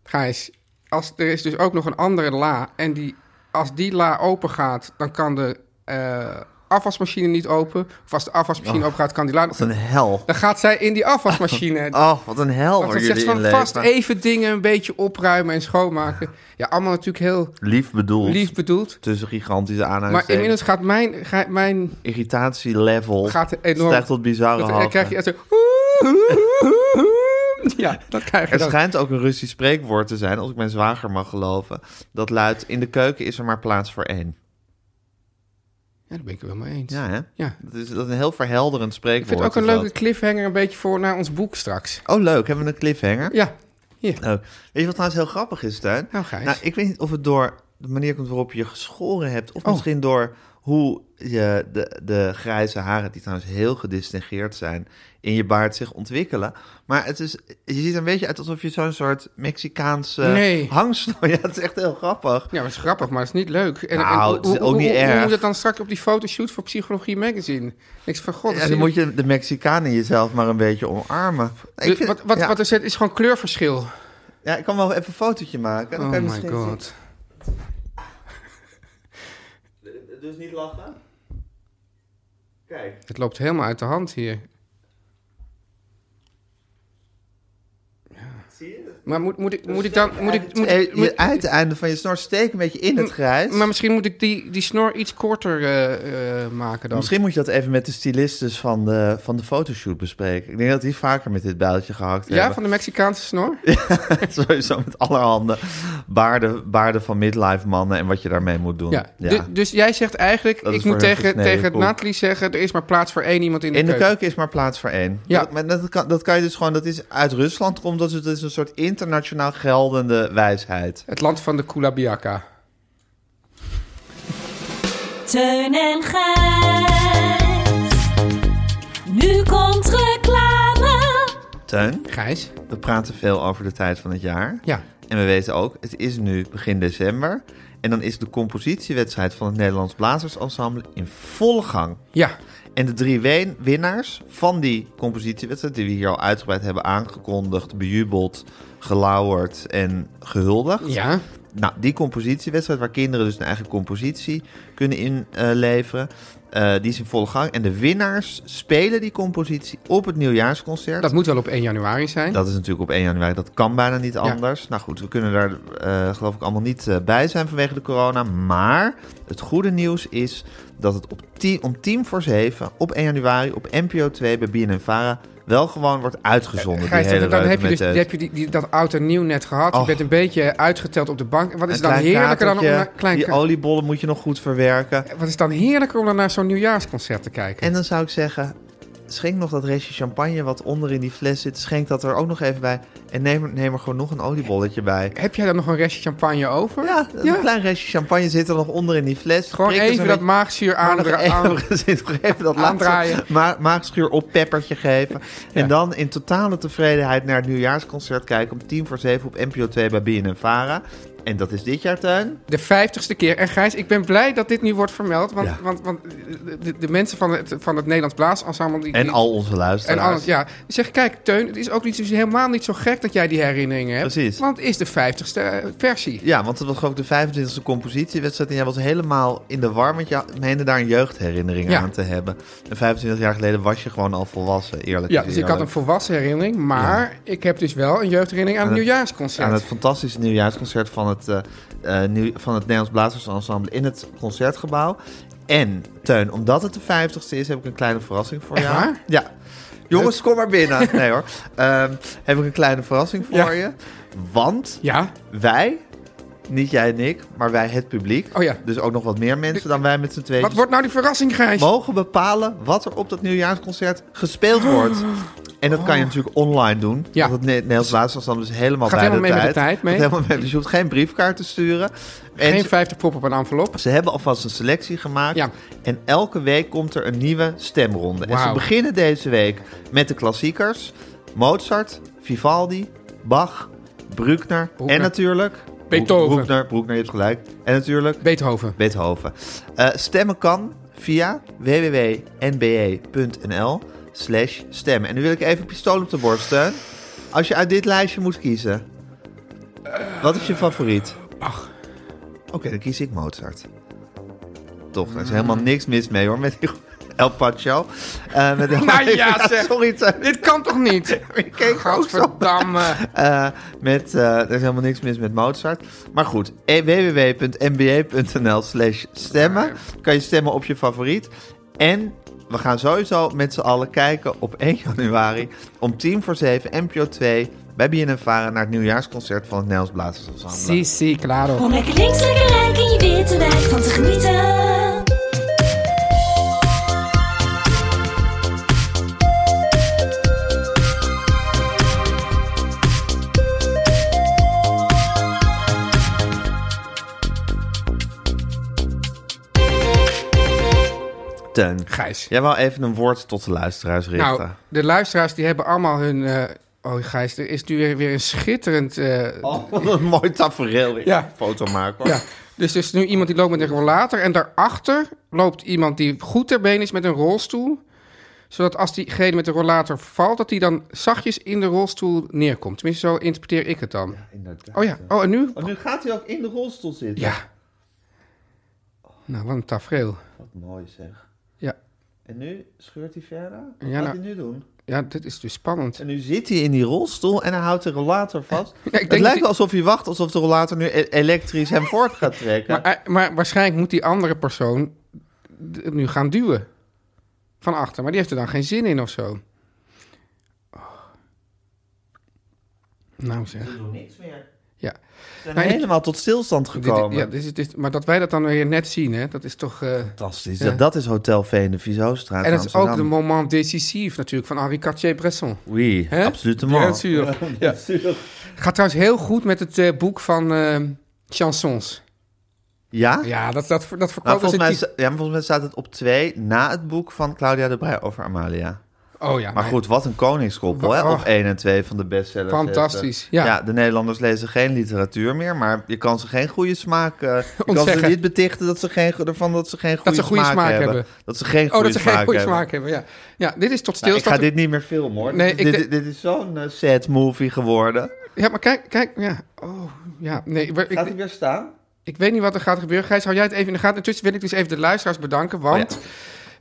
[SPEAKER 2] Gijs, als, er is dus ook nog een andere la en die, als die la open gaat, dan kan de eh, afwasmachine niet open. Of als de afwasmachine open gaat, kan die la...
[SPEAKER 1] Wat Oh. een hel.
[SPEAKER 2] Dan gaat zij in die afwasmachine.
[SPEAKER 1] Oh, wat een hel
[SPEAKER 2] Want
[SPEAKER 1] waar
[SPEAKER 2] dan zegt
[SPEAKER 1] jullie
[SPEAKER 2] ze
[SPEAKER 1] in
[SPEAKER 2] van
[SPEAKER 1] leven.
[SPEAKER 2] vast even dingen een beetje opruimen en schoonmaken. Ja, allemaal natuurlijk heel
[SPEAKER 1] Lief bedoeld.
[SPEAKER 2] lief bedoeld.
[SPEAKER 1] Tussen gigantische
[SPEAKER 2] Maar
[SPEAKER 1] aanhalingstekens.
[SPEAKER 2] inmiddels gaat mijn, ga- mijn
[SPEAKER 1] Irritatielevel
[SPEAKER 2] gaat enorm...
[SPEAKER 1] stijgt tot bizarre
[SPEAKER 2] dat,
[SPEAKER 1] hoogte.
[SPEAKER 2] dan krijg je echt zo... Ja, dat krijg je
[SPEAKER 1] Het
[SPEAKER 2] dan.
[SPEAKER 1] schijnt ook een Russisch spreekwoord te zijn, als ik mijn zwager mag geloven. Dat luidt, in de keuken is er maar plaats voor één.
[SPEAKER 2] Ja, daar ben ik het wel mee eens.
[SPEAKER 1] Ja, hè?
[SPEAKER 2] Ja.
[SPEAKER 1] Dat is, dat is een heel verhelderend
[SPEAKER 2] Ik
[SPEAKER 1] spreekwoord.
[SPEAKER 2] vind het ook een
[SPEAKER 1] is dat.
[SPEAKER 2] leuke cliffhanger een beetje voor naar ons boek straks.
[SPEAKER 1] Oh, leuk. Hebben we een cliffhanger?
[SPEAKER 2] Ja,
[SPEAKER 1] Leuk. Weet je wat trouwens heel grappig is, Tuin?
[SPEAKER 2] Nou, Gijs.
[SPEAKER 1] ik weet niet of het door de manier komt waarop je geschoren hebt... of
[SPEAKER 2] Oh.
[SPEAKER 1] misschien door hoe je de, de grijze haren... die trouwens heel gedistingeerd zijn... in je baard zich ontwikkelen. Maar het is, je ziet er een beetje uit alsof je zo'n soort Mexicaanse
[SPEAKER 2] Nee.
[SPEAKER 1] hangsnoer... Ja, het is echt heel grappig.
[SPEAKER 2] ja, dat is grappig, maar dat is niet leuk. En,
[SPEAKER 1] Nou,
[SPEAKER 2] en hoe-
[SPEAKER 1] het is
[SPEAKER 2] hoe-
[SPEAKER 1] ook
[SPEAKER 2] hoe-
[SPEAKER 1] niet
[SPEAKER 2] hoe-
[SPEAKER 1] erg.
[SPEAKER 2] Hoe moet dat dan straks op die fotoshoot voor Psychologie Magazine? Niks van god. dat
[SPEAKER 1] Ja,
[SPEAKER 2] zie
[SPEAKER 1] dan
[SPEAKER 2] je-
[SPEAKER 1] moet je de Mexicanen jezelf maar een beetje omarmen. Ik
[SPEAKER 2] Dus
[SPEAKER 1] vind-
[SPEAKER 2] wat, wat,
[SPEAKER 1] ja,
[SPEAKER 2] wat er zit is gewoon kleurverschil.
[SPEAKER 1] ja, ik kan wel even een fotootje maken. Dan
[SPEAKER 2] Oh
[SPEAKER 1] kan je
[SPEAKER 2] my
[SPEAKER 1] misschien
[SPEAKER 2] god.
[SPEAKER 1] zien. Dus niet lachen? Kijk.
[SPEAKER 2] Het loopt helemaal uit de hand hier. Maar moet, moet, ik, moet ik dan... Moet ik, moet,
[SPEAKER 1] Hey,
[SPEAKER 2] ik-
[SPEAKER 1] Dus je
[SPEAKER 2] moet-
[SPEAKER 1] uiteinde van je snor steekt een beetje in het grijs.
[SPEAKER 2] maar misschien moet ik die, die snor iets korter eh, eh, maken dan.
[SPEAKER 1] Misschien moet je dat even met de stylistes van de, van de fotoshoot bespreken. Ik denk dat die vaker met dit builtje gehakt
[SPEAKER 2] ja,
[SPEAKER 1] hebben.
[SPEAKER 2] van de Mexicaanse snor?
[SPEAKER 1] Sowieso met allerhande baarden, baarden van midlife mannen en wat je daarmee moet doen.
[SPEAKER 2] Ja. Du- dus jij zegt eigenlijk...
[SPEAKER 1] Dat is
[SPEAKER 2] Ik
[SPEAKER 1] voor
[SPEAKER 2] moet
[SPEAKER 1] hun
[SPEAKER 2] tegen,
[SPEAKER 1] gesneden
[SPEAKER 2] tegen
[SPEAKER 1] koek.
[SPEAKER 2] Nathalie zeggen... Er is maar plaats voor één iemand in de
[SPEAKER 1] In de
[SPEAKER 2] keuken.
[SPEAKER 1] keuken is maar plaats voor één.
[SPEAKER 2] Ja.
[SPEAKER 1] Dat, maar dat, kan, dat kan je dus gewoon, dat is uit Rusland komt, dat is, dat is een soort internationaal geldende wijsheid.
[SPEAKER 2] Het land van de Kulabiaka.
[SPEAKER 4] Teun Teun en Gijs. Nu komt reclame.
[SPEAKER 1] Teun,
[SPEAKER 2] Gijs?
[SPEAKER 1] we praten veel over de tijd van het jaar.
[SPEAKER 2] Ja.
[SPEAKER 1] En we weten ook, het is nu begin december. En dan is de compositiewedstrijd van het Nederlands Blazersensemble in volle gang.
[SPEAKER 2] Ja.
[SPEAKER 1] En de drie wen- winnaars van die compositiewedstrijd, die we hier al uitgebreid hebben aangekondigd, bejubeld, gelauwerd en gehuldigd.
[SPEAKER 2] Ja.
[SPEAKER 1] Nou, die compositiewedstrijd, waar kinderen dus een eigen compositie kunnen inleveren, eh, die is in volle gang. En de winnaars spelen die compositie op het nieuwjaarsconcert.
[SPEAKER 2] Dat moet wel op 1 januari zijn.
[SPEAKER 1] Dat is natuurlijk op 1 januari, dat kan bijna niet
[SPEAKER 2] Ja.
[SPEAKER 1] anders. Nou goed, we kunnen daar eh, geloof ik allemaal niet eh, bij zijn vanwege de corona. Maar het goede nieuws is dat het op ti- om tien voor zeven op 1 januari op NPO 2 bij BNNVARA wel gewoon wordt uitgezonden.
[SPEAKER 2] Gijs,
[SPEAKER 1] die hele
[SPEAKER 2] dan, dan
[SPEAKER 1] reuze
[SPEAKER 2] heb je, dus,
[SPEAKER 1] met
[SPEAKER 2] dan
[SPEAKER 1] het-
[SPEAKER 2] heb je die, die- dat oud en nieuw net gehad. Je
[SPEAKER 1] Och.
[SPEAKER 2] bent een beetje uitgeteld op de bank. En Wat is
[SPEAKER 1] een
[SPEAKER 2] dus dan
[SPEAKER 1] klein
[SPEAKER 2] heerlijker dan om
[SPEAKER 1] katertje.
[SPEAKER 2] naar, klein,
[SPEAKER 1] Die oliebollen moet je nog goed verwerken.
[SPEAKER 2] wat is dan heerlijker om dan naar zo'n nieuwjaarsconcert te kijken?
[SPEAKER 1] En dan zou ik zeggen, schenk nog dat restje champagne wat onder in die fles zit. Schenk dat er ook nog even bij. En neem er, neem er gewoon nog een oliebolletje bij.
[SPEAKER 2] heb jij dan nog een restje champagne over?
[SPEAKER 1] Ja, een klein restje champagne zit er nog onder in die fles.
[SPEAKER 2] Gewoon
[SPEAKER 1] Prik er
[SPEAKER 2] even
[SPEAKER 1] zo'n
[SPEAKER 2] dat
[SPEAKER 1] beetje-
[SPEAKER 2] maagzuur
[SPEAKER 1] maar nog
[SPEAKER 2] aandra- aan-
[SPEAKER 1] even- zit nog even dat laatste
[SPEAKER 2] Aandraaien.
[SPEAKER 1] ma maagschuur op peppertje geven. En dan in totale tevredenheid naar het nieuwjaarsconcert kijken... om tien voor zeven op NPO 2 bij BNNVARA. En dat is dit jaar, Tuin.
[SPEAKER 2] De vijftigste keer. En Gijs, ik ben blij dat dit nu wordt vermeld. Want,
[SPEAKER 1] Ja.
[SPEAKER 2] want, want de- de, de mensen van het, van het Nederlands Blaasensemble... die-
[SPEAKER 1] En
[SPEAKER 2] die-
[SPEAKER 1] al onze
[SPEAKER 2] En
[SPEAKER 1] luisteraars.
[SPEAKER 2] alles, ja. Die zeggen, kijk Teun, het is ook niet, het is helemaal niet zo gek dat jij die herinneringen hebt.
[SPEAKER 1] Precies.
[SPEAKER 2] Want het is de vijftigste eh, versie.
[SPEAKER 1] Ja, want het was geloof ik de 25e compositiewedstrijd. En jij was helemaal in de war, want je meende daar een jeugdherinnering
[SPEAKER 2] Ja.
[SPEAKER 1] aan te hebben. En 25 jaar geleden was je gewoon al volwassen, eerlijk
[SPEAKER 2] Ja,
[SPEAKER 1] is
[SPEAKER 2] dus ik had een
[SPEAKER 1] eerlijk.
[SPEAKER 2] volwassen herinnering, maar ik heb dus wel een jeugdherinnering aan het nieuwjaarsconcert.
[SPEAKER 1] Aan het fantastische nieuwjaarsconcert van het, eh, eh, nieuw, van het Nederlands Blazersensemble in het Concertgebouw. En, Teun, omdat het de 50ste is, heb ik een kleine verrassing voor jou.
[SPEAKER 2] waar?
[SPEAKER 1] Ja. Jongens, kom maar binnen. Nee hoor. Ehm, heb ik een kleine verrassing voor
[SPEAKER 2] Ja.
[SPEAKER 1] je. Want
[SPEAKER 2] Ja,
[SPEAKER 1] Wij, niet jij en ik, maar wij het publiek.
[SPEAKER 2] Oh ja.
[SPEAKER 1] Dus ook nog wat meer mensen dan wij met z'n tweeën.
[SPEAKER 2] wat wordt nou die verrassing, Gijs?
[SPEAKER 1] Mogen bepalen wat er op dat nieuwjaarsconcert gespeeld wordt. En dat kan je natuurlijk online doen.
[SPEAKER 2] Oh. Ja.
[SPEAKER 1] Want het Ne- Nederlands Blaasensemble is helemaal
[SPEAKER 2] Gaat
[SPEAKER 1] bij
[SPEAKER 2] helemaal
[SPEAKER 1] de
[SPEAKER 2] mee met
[SPEAKER 1] tijd.
[SPEAKER 2] de tijd mee.
[SPEAKER 1] Gaat helemaal mee. Dus je hoeft geen briefkaart te sturen. En
[SPEAKER 2] Geen
[SPEAKER 1] ze-
[SPEAKER 2] 50 prop op een envelop.
[SPEAKER 1] ze hebben alvast een selectie gemaakt.
[SPEAKER 2] Ja.
[SPEAKER 1] En elke week komt er een nieuwe stemronde. En ze
[SPEAKER 2] Wauw.
[SPEAKER 1] beginnen deze week met de klassiekers. Mozart, Vivaldi, Bach, Bruckner.
[SPEAKER 2] Bruckner.
[SPEAKER 1] En natuurlijk...
[SPEAKER 2] Beethoven.
[SPEAKER 1] Bruckner, Bruckner, je hebt gelijk. En natuurlijk...
[SPEAKER 2] Beethoven.
[SPEAKER 1] Beethoven. Eh, stemmen kan via www.nbe.nl slash stemmen. En nu wil ik even pistool op de borst, Steun. Als je uit dit lijstje moet kiezen, wat is je favoriet? Oké, dan kies ik Mozart. Toch, er is helemaal niks mis mee hoor, met die El Pacho. Eh, met El
[SPEAKER 2] Nou ja, zeg.
[SPEAKER 1] Sorry, Teun.
[SPEAKER 2] Dit kan toch niet?
[SPEAKER 1] Ik keek ook zo
[SPEAKER 2] Godverdamme.
[SPEAKER 1] eh, met, eh, er is helemaal niks mis met Mozart. Maar goed, eh, www.nba.nl slash stemmen. Kan je stemmen op je favoriet. En we gaan sowieso met z'n allen kijken op 1 januari... om 10 voor 7, NPO 2, bij BNNVARA... naar het nieuwjaarsconcert van het Nederlands Blazersensemble.
[SPEAKER 2] Si, si, claro.
[SPEAKER 4] Om lekker links, lekker rijk in je witte wijk van te genieten.
[SPEAKER 1] Teun,
[SPEAKER 2] Gijs.
[SPEAKER 1] jij wou even een woord tot de luisteraars richten.
[SPEAKER 2] Nou, de luisteraars die hebben allemaal hun... eh, oh, Gijs, er is nu weer, weer een schitterend... eh,
[SPEAKER 1] Oh, wat een mooi tafereel. weer.
[SPEAKER 2] Ja.
[SPEAKER 1] Foto maken. hoor.
[SPEAKER 2] Ja, dus er is nu iemand die loopt met een rollator. En daarachter loopt iemand die goed ter been is met een rolstoel. Zodat als diegene met de rollator valt, dat die dan zachtjes in de rolstoel neerkomt. Tenminste, zo interpreteer ik het dan.
[SPEAKER 1] Inderdaad.
[SPEAKER 2] Oh ja, oh en nu?
[SPEAKER 1] Oh, nu gaat hij ook in de rolstoel zitten.
[SPEAKER 2] Ja. Nou, wat een tafereel.
[SPEAKER 1] Wat mooi zeg.
[SPEAKER 2] Ja,
[SPEAKER 1] En nu scheurt hij verder? Wat
[SPEAKER 2] Ja,
[SPEAKER 1] gaat
[SPEAKER 2] nou-
[SPEAKER 1] hij nu doen?
[SPEAKER 2] ja dit is dus spannend.
[SPEAKER 1] En nu zit hij in die rolstoel en hij houdt de rollator vast.
[SPEAKER 2] denk
[SPEAKER 1] het
[SPEAKER 2] dat
[SPEAKER 1] lijkt
[SPEAKER 2] hij-
[SPEAKER 1] wel alsof hij wacht alsof de rollator nu e- elektrisch hem voort gaat trekken.
[SPEAKER 2] Maar, eh, maar waarschijnlijk moet die andere persoon d- nu gaan duwen. Van achter, maar die heeft er dan geen zin in of zo. Oh. Nou zeg.
[SPEAKER 1] Doe niks meer.
[SPEAKER 2] Ja.
[SPEAKER 1] Ze zijn
[SPEAKER 2] Nou, ik-
[SPEAKER 1] helemaal tot stilstand
[SPEAKER 2] Dit-
[SPEAKER 1] gekomen.
[SPEAKER 2] ja, dit is, dit, maar dat wij dat dan weer net zien, hè, dat is toch... eh,
[SPEAKER 1] Fantastisch.
[SPEAKER 2] Ja.
[SPEAKER 1] Dat, dat is Hotel V in de Vizostraat
[SPEAKER 2] en
[SPEAKER 1] in
[SPEAKER 2] dat is ook
[SPEAKER 1] Amsterdam.
[SPEAKER 2] de moment décisif natuurlijk van Henri Cartier-Bresson.
[SPEAKER 1] Oui,
[SPEAKER 2] Hè?
[SPEAKER 1] absoluut de
[SPEAKER 2] Ja,
[SPEAKER 1] man.
[SPEAKER 2] natuurlijk. Ja. Gaat trouwens heel goed met het eh, boek van eh, chansons.
[SPEAKER 1] Ja?
[SPEAKER 2] Ja, dat, dat, dat
[SPEAKER 1] Nou,
[SPEAKER 2] verkoopt
[SPEAKER 1] volgens
[SPEAKER 2] als een
[SPEAKER 1] mij,
[SPEAKER 2] tiet-
[SPEAKER 1] sta- ja, maar volgens mij staat het op twee na het boek van Claudia de Brij over Amalia.
[SPEAKER 2] Oh ja,
[SPEAKER 1] Maar
[SPEAKER 2] nee.
[SPEAKER 1] goed, wat een koningskoppel, hè?
[SPEAKER 2] Oh.
[SPEAKER 1] Op 1 en 2 van de bestsellers.
[SPEAKER 2] Fantastisch, ja.
[SPEAKER 1] De Nederlanders lezen geen literatuur meer, maar je kan ze geen goede smaak... eh, je kan ze
[SPEAKER 2] Ontzeggen.
[SPEAKER 1] niet betichten dat ze geen, go- ervan dat ze geen goede,
[SPEAKER 2] ze goede smaak hebben.
[SPEAKER 1] Dat ze geen
[SPEAKER 2] Oh,
[SPEAKER 1] goede
[SPEAKER 2] dat ze
[SPEAKER 1] smaak
[SPEAKER 2] geen goede
[SPEAKER 1] hebben.
[SPEAKER 2] smaak hebben. Ja. ja, dit is tot
[SPEAKER 1] Nou, ik
[SPEAKER 2] stilstand.
[SPEAKER 1] ga dit niet meer filmen, hoor.
[SPEAKER 2] Nee,
[SPEAKER 1] dit,
[SPEAKER 2] ik
[SPEAKER 1] dit,
[SPEAKER 2] de-
[SPEAKER 1] dit is zo'n eh, sad movie geworden.
[SPEAKER 2] Ja, maar kijk, kijk, ja. Oh, ja. Nee, maar
[SPEAKER 1] Gaat
[SPEAKER 2] ik,
[SPEAKER 1] hij weer staan?
[SPEAKER 2] ik weet niet wat er gaat gebeuren. Gijs, hou jij het even in de gaten. Intussen wil ik dus even de luisteraars bedanken, want...
[SPEAKER 1] Oh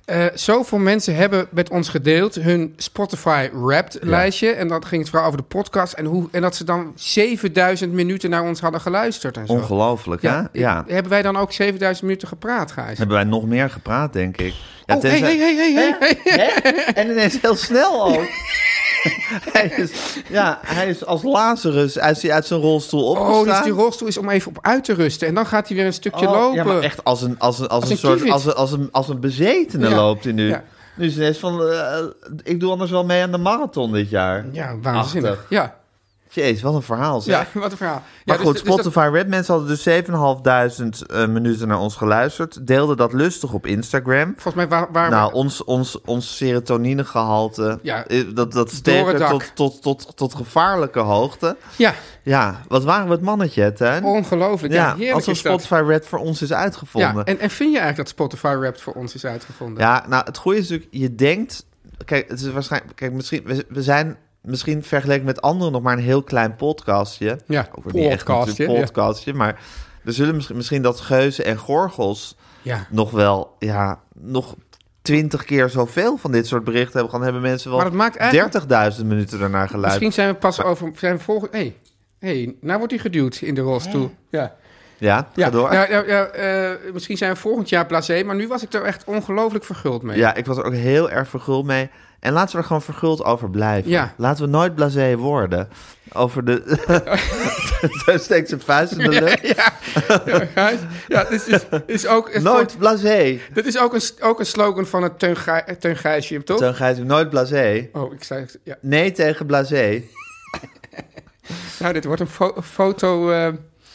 [SPEAKER 2] eh, zoveel mensen hebben met ons gedeeld hun Spotify Wrapped lijstje. En dat ging het vooral over de podcast. En, hoe, en dat ze dan 7000 minuten naar ons hadden geluisterd en zo.
[SPEAKER 1] Ongelooflijk, hè?
[SPEAKER 2] Ja,
[SPEAKER 1] Ja.
[SPEAKER 2] Hebben wij dan ook 7000 minuten gepraat, Gijs?
[SPEAKER 1] Hebben wij nog meer gepraat, denk ik. Ja,
[SPEAKER 2] Oh, hey, hey, hey, hey, hey, hey.
[SPEAKER 1] Hè? En ineens heel snel ook. hij is, ja, hij is als Lazarus hij is hij uit zijn rolstoel opgestaan.
[SPEAKER 2] Oh, dus die rolstoel is om even op uit te rusten. En dan gaat hij weer een stukje
[SPEAKER 1] Oh,
[SPEAKER 2] lopen.
[SPEAKER 1] Ja, maar echt als een, als een, als een,
[SPEAKER 2] een
[SPEAKER 1] soort,
[SPEAKER 2] kievit.
[SPEAKER 1] als een, als een, als een bezetene
[SPEAKER 2] Ja,
[SPEAKER 1] loopt hij nu.
[SPEAKER 2] ja.
[SPEAKER 1] Nu is ineens van, eh, ik doe anders wel mee aan de marathon dit jaar.
[SPEAKER 2] Ja, waanzinnig.
[SPEAKER 1] Achtig.
[SPEAKER 2] Ja,
[SPEAKER 1] Jeez, wat een verhaal zeg.
[SPEAKER 2] ja, wat een verhaal.
[SPEAKER 1] Maar
[SPEAKER 2] ja,
[SPEAKER 1] goed,
[SPEAKER 2] dus- dus dat-
[SPEAKER 1] Spotify Red mensen hadden dus 7.500 eh, minuten naar ons geluisterd. Deelden dat lustig op Instagram.
[SPEAKER 2] volgens mij waar, waar
[SPEAKER 1] Nou, ons, ons, ons serotoninegehalte,
[SPEAKER 2] Ja,
[SPEAKER 1] eh, dat, dat
[SPEAKER 2] het
[SPEAKER 1] steekt
[SPEAKER 2] dak.
[SPEAKER 1] tot, tot, tot, tot gevaarlijke hoogte.
[SPEAKER 2] Ja,
[SPEAKER 1] Ja, wat waren we het mannetje, hè, Tuin?
[SPEAKER 2] ongelooflijk. Oh, Ja,
[SPEAKER 1] ja,
[SPEAKER 2] heerlijk
[SPEAKER 1] alsof
[SPEAKER 2] is dat.
[SPEAKER 1] Spotify Red voor ons is
[SPEAKER 2] Ja,
[SPEAKER 1] uitgevonden. Ja,
[SPEAKER 2] en, en vind je eigenlijk dat Spotify Wrapped voor ons is uitgevonden?
[SPEAKER 1] nou, het goede is natuurlijk, je denkt... Kijk, het is waarschijnlijk, kijk misschien, we, we zijn misschien vergeleken met anderen nog maar een heel klein podcastje.
[SPEAKER 2] Ja,
[SPEAKER 1] Ook weer niet echt
[SPEAKER 2] podcastje,
[SPEAKER 1] natuurlijk podcastje, maar... Er zullen misschien, misschien dat geuzen en gorgels
[SPEAKER 2] Ja.
[SPEAKER 1] nog wel, ja, nog twintig keer zoveel van dit soort berichten hebben. Gaan hebben mensen wel
[SPEAKER 2] Maar dat maakt eigenlijk-
[SPEAKER 1] 30.000 minuten daarnaar geluisterd.
[SPEAKER 2] Misschien zijn we pas over... Zijn we volgende... hey, hey, nou wordt hij geduwd in de rolstoel. Ja.
[SPEAKER 1] Ja,
[SPEAKER 2] Ja,
[SPEAKER 1] ga door.
[SPEAKER 2] ja, ja, ja, eh, misschien zijn we volgend jaar blasé, maar nu was ik er echt ongelooflijk verguld mee.
[SPEAKER 1] Ja, ik was er ook heel erg verguld mee. En laten we er gewoon verguld over blijven.
[SPEAKER 2] Ja.
[SPEAKER 1] Laten we nooit blasé worden. Over de... Daar steekt zijn vuist in de lucht.
[SPEAKER 2] Ja, Gijs. ja dit is, is ook, het
[SPEAKER 1] Nooit blasé.
[SPEAKER 2] wordt- dit is ook, een, ook een slogan van het Teun, Gij, Teun Gijsje, toch?
[SPEAKER 1] Dan ga je nooit blasé.
[SPEAKER 2] Oh, ik zei... het- Ja.
[SPEAKER 1] Nee tegen blasé.
[SPEAKER 2] Nou, dit wordt een fo- foto... eh,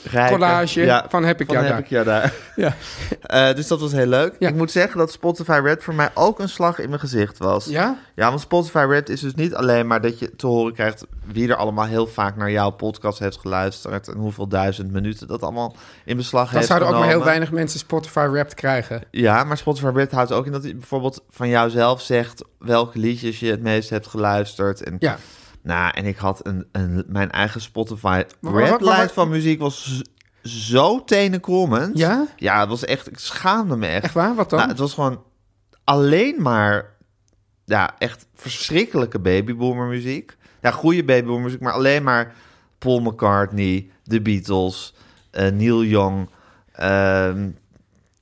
[SPEAKER 1] Rijken.
[SPEAKER 2] Collage van heb ik jou
[SPEAKER 1] heb
[SPEAKER 2] daar.
[SPEAKER 1] ik jou daar.
[SPEAKER 2] ja.
[SPEAKER 1] Eh, dus dat was heel leuk.
[SPEAKER 2] Ja.
[SPEAKER 1] Ik moet zeggen dat Spotify Red voor mij ook een slag in mijn gezicht was.
[SPEAKER 2] Ja?
[SPEAKER 1] Ja, want Spotify Red is dus niet alleen maar dat je te horen krijgt wie er allemaal heel vaak naar jouw podcast heeft geluisterd en hoeveel duizend minuten dat allemaal in beslag
[SPEAKER 2] Dan
[SPEAKER 1] heeft
[SPEAKER 2] zouden ook maar heel
[SPEAKER 1] genomen.
[SPEAKER 2] weinig mensen Spotify Wrapped krijgen.
[SPEAKER 1] Ja, maar Spotify Red houdt ook in dat hij bijvoorbeeld van jouzelf zegt welke liedjes je het meest hebt geluisterd. En,
[SPEAKER 2] Ja.
[SPEAKER 1] Nou, en ik had een, een, mijn eigen Spotify
[SPEAKER 2] maar- maar-
[SPEAKER 1] Red
[SPEAKER 2] maar-
[SPEAKER 1] lijst van muziek was z- zo tenenkrommend.
[SPEAKER 2] Ja?
[SPEAKER 1] Ja, het was echt, ik schaamde me echt.
[SPEAKER 2] Echt waar? Wat dan?
[SPEAKER 1] Nou, het was gewoon alleen maar, ja, echt verschrikkelijke babyboomer muziek. Ja, goede babyboomer muziek, maar alleen maar Paul McCartney, The Beatles, eh, Neil Young, ehm,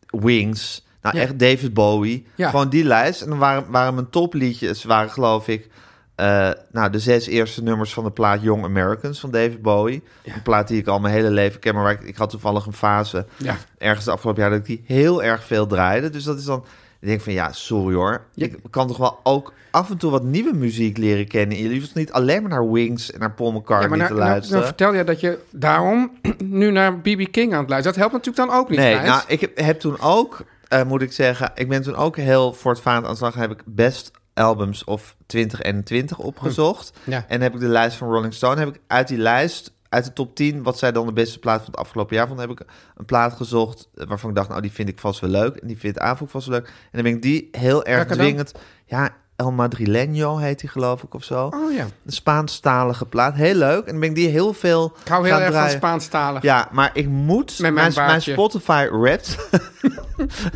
[SPEAKER 1] Wings. Nou,
[SPEAKER 2] Ja.
[SPEAKER 1] echt David Bowie.
[SPEAKER 2] Ja.
[SPEAKER 1] Gewoon die lijst. En dan waren, waren mijn topliedjes, waren geloof ik... eh, nou, de zes eerste nummers van de plaat Young Americans van David Bowie. Een plaat die ik al mijn hele leven ken, maar waar ik, ik had toevallig een fase
[SPEAKER 2] Ja.
[SPEAKER 1] ergens de afgelopen jaar dat ik die heel erg veel draaide. Dus dat is dan. Ik denk van ja, sorry hoor. Ik kan toch wel ook af en toe wat nieuwe muziek leren kennen. Jullie hoeven niet alleen maar naar Wings en naar Paul McCartney
[SPEAKER 2] ja, maar nou,
[SPEAKER 1] te
[SPEAKER 2] nou,
[SPEAKER 1] luisteren.
[SPEAKER 2] nou vertel je dat je daarom nu naar BB King aan het luisteren. Dat helpt natuurlijk dan ook niet,
[SPEAKER 1] nee,
[SPEAKER 2] Gijs.
[SPEAKER 1] nou, ik heb, heb toen ook, eh, moet ik zeggen, ik ben toen ook heel voortvarend aan de slag. Heb ik best albums of 2021 opgezocht.
[SPEAKER 2] Hm. Ja.
[SPEAKER 1] En heb ik de lijst van Rolling Stone. Heb ik uit die lijst, uit de top 10, wat zij dan de beste plaat van het afgelopen jaar vonden, heb ik een plaat gezocht eh, waarvan ik dacht, nou die vind ik vast wel leuk. En die vindt Avok vast wel leuk. En dan ben ik die heel erg
[SPEAKER 2] Welke dan?
[SPEAKER 1] dwingend. Ja, El Madrileño heet die geloof ik of zo.
[SPEAKER 2] Oh ja.
[SPEAKER 1] Een Spaanstalige plaat. Heel leuk. En dan ben ik die heel veel
[SPEAKER 2] Ik hou heel
[SPEAKER 1] gaan
[SPEAKER 2] erg van
[SPEAKER 1] draaien.
[SPEAKER 2] Spaanstalig.
[SPEAKER 1] Ja, maar ik moet
[SPEAKER 2] Met mijn
[SPEAKER 1] mijn, mijn
[SPEAKER 2] baardje.
[SPEAKER 1] Spotify Wrapped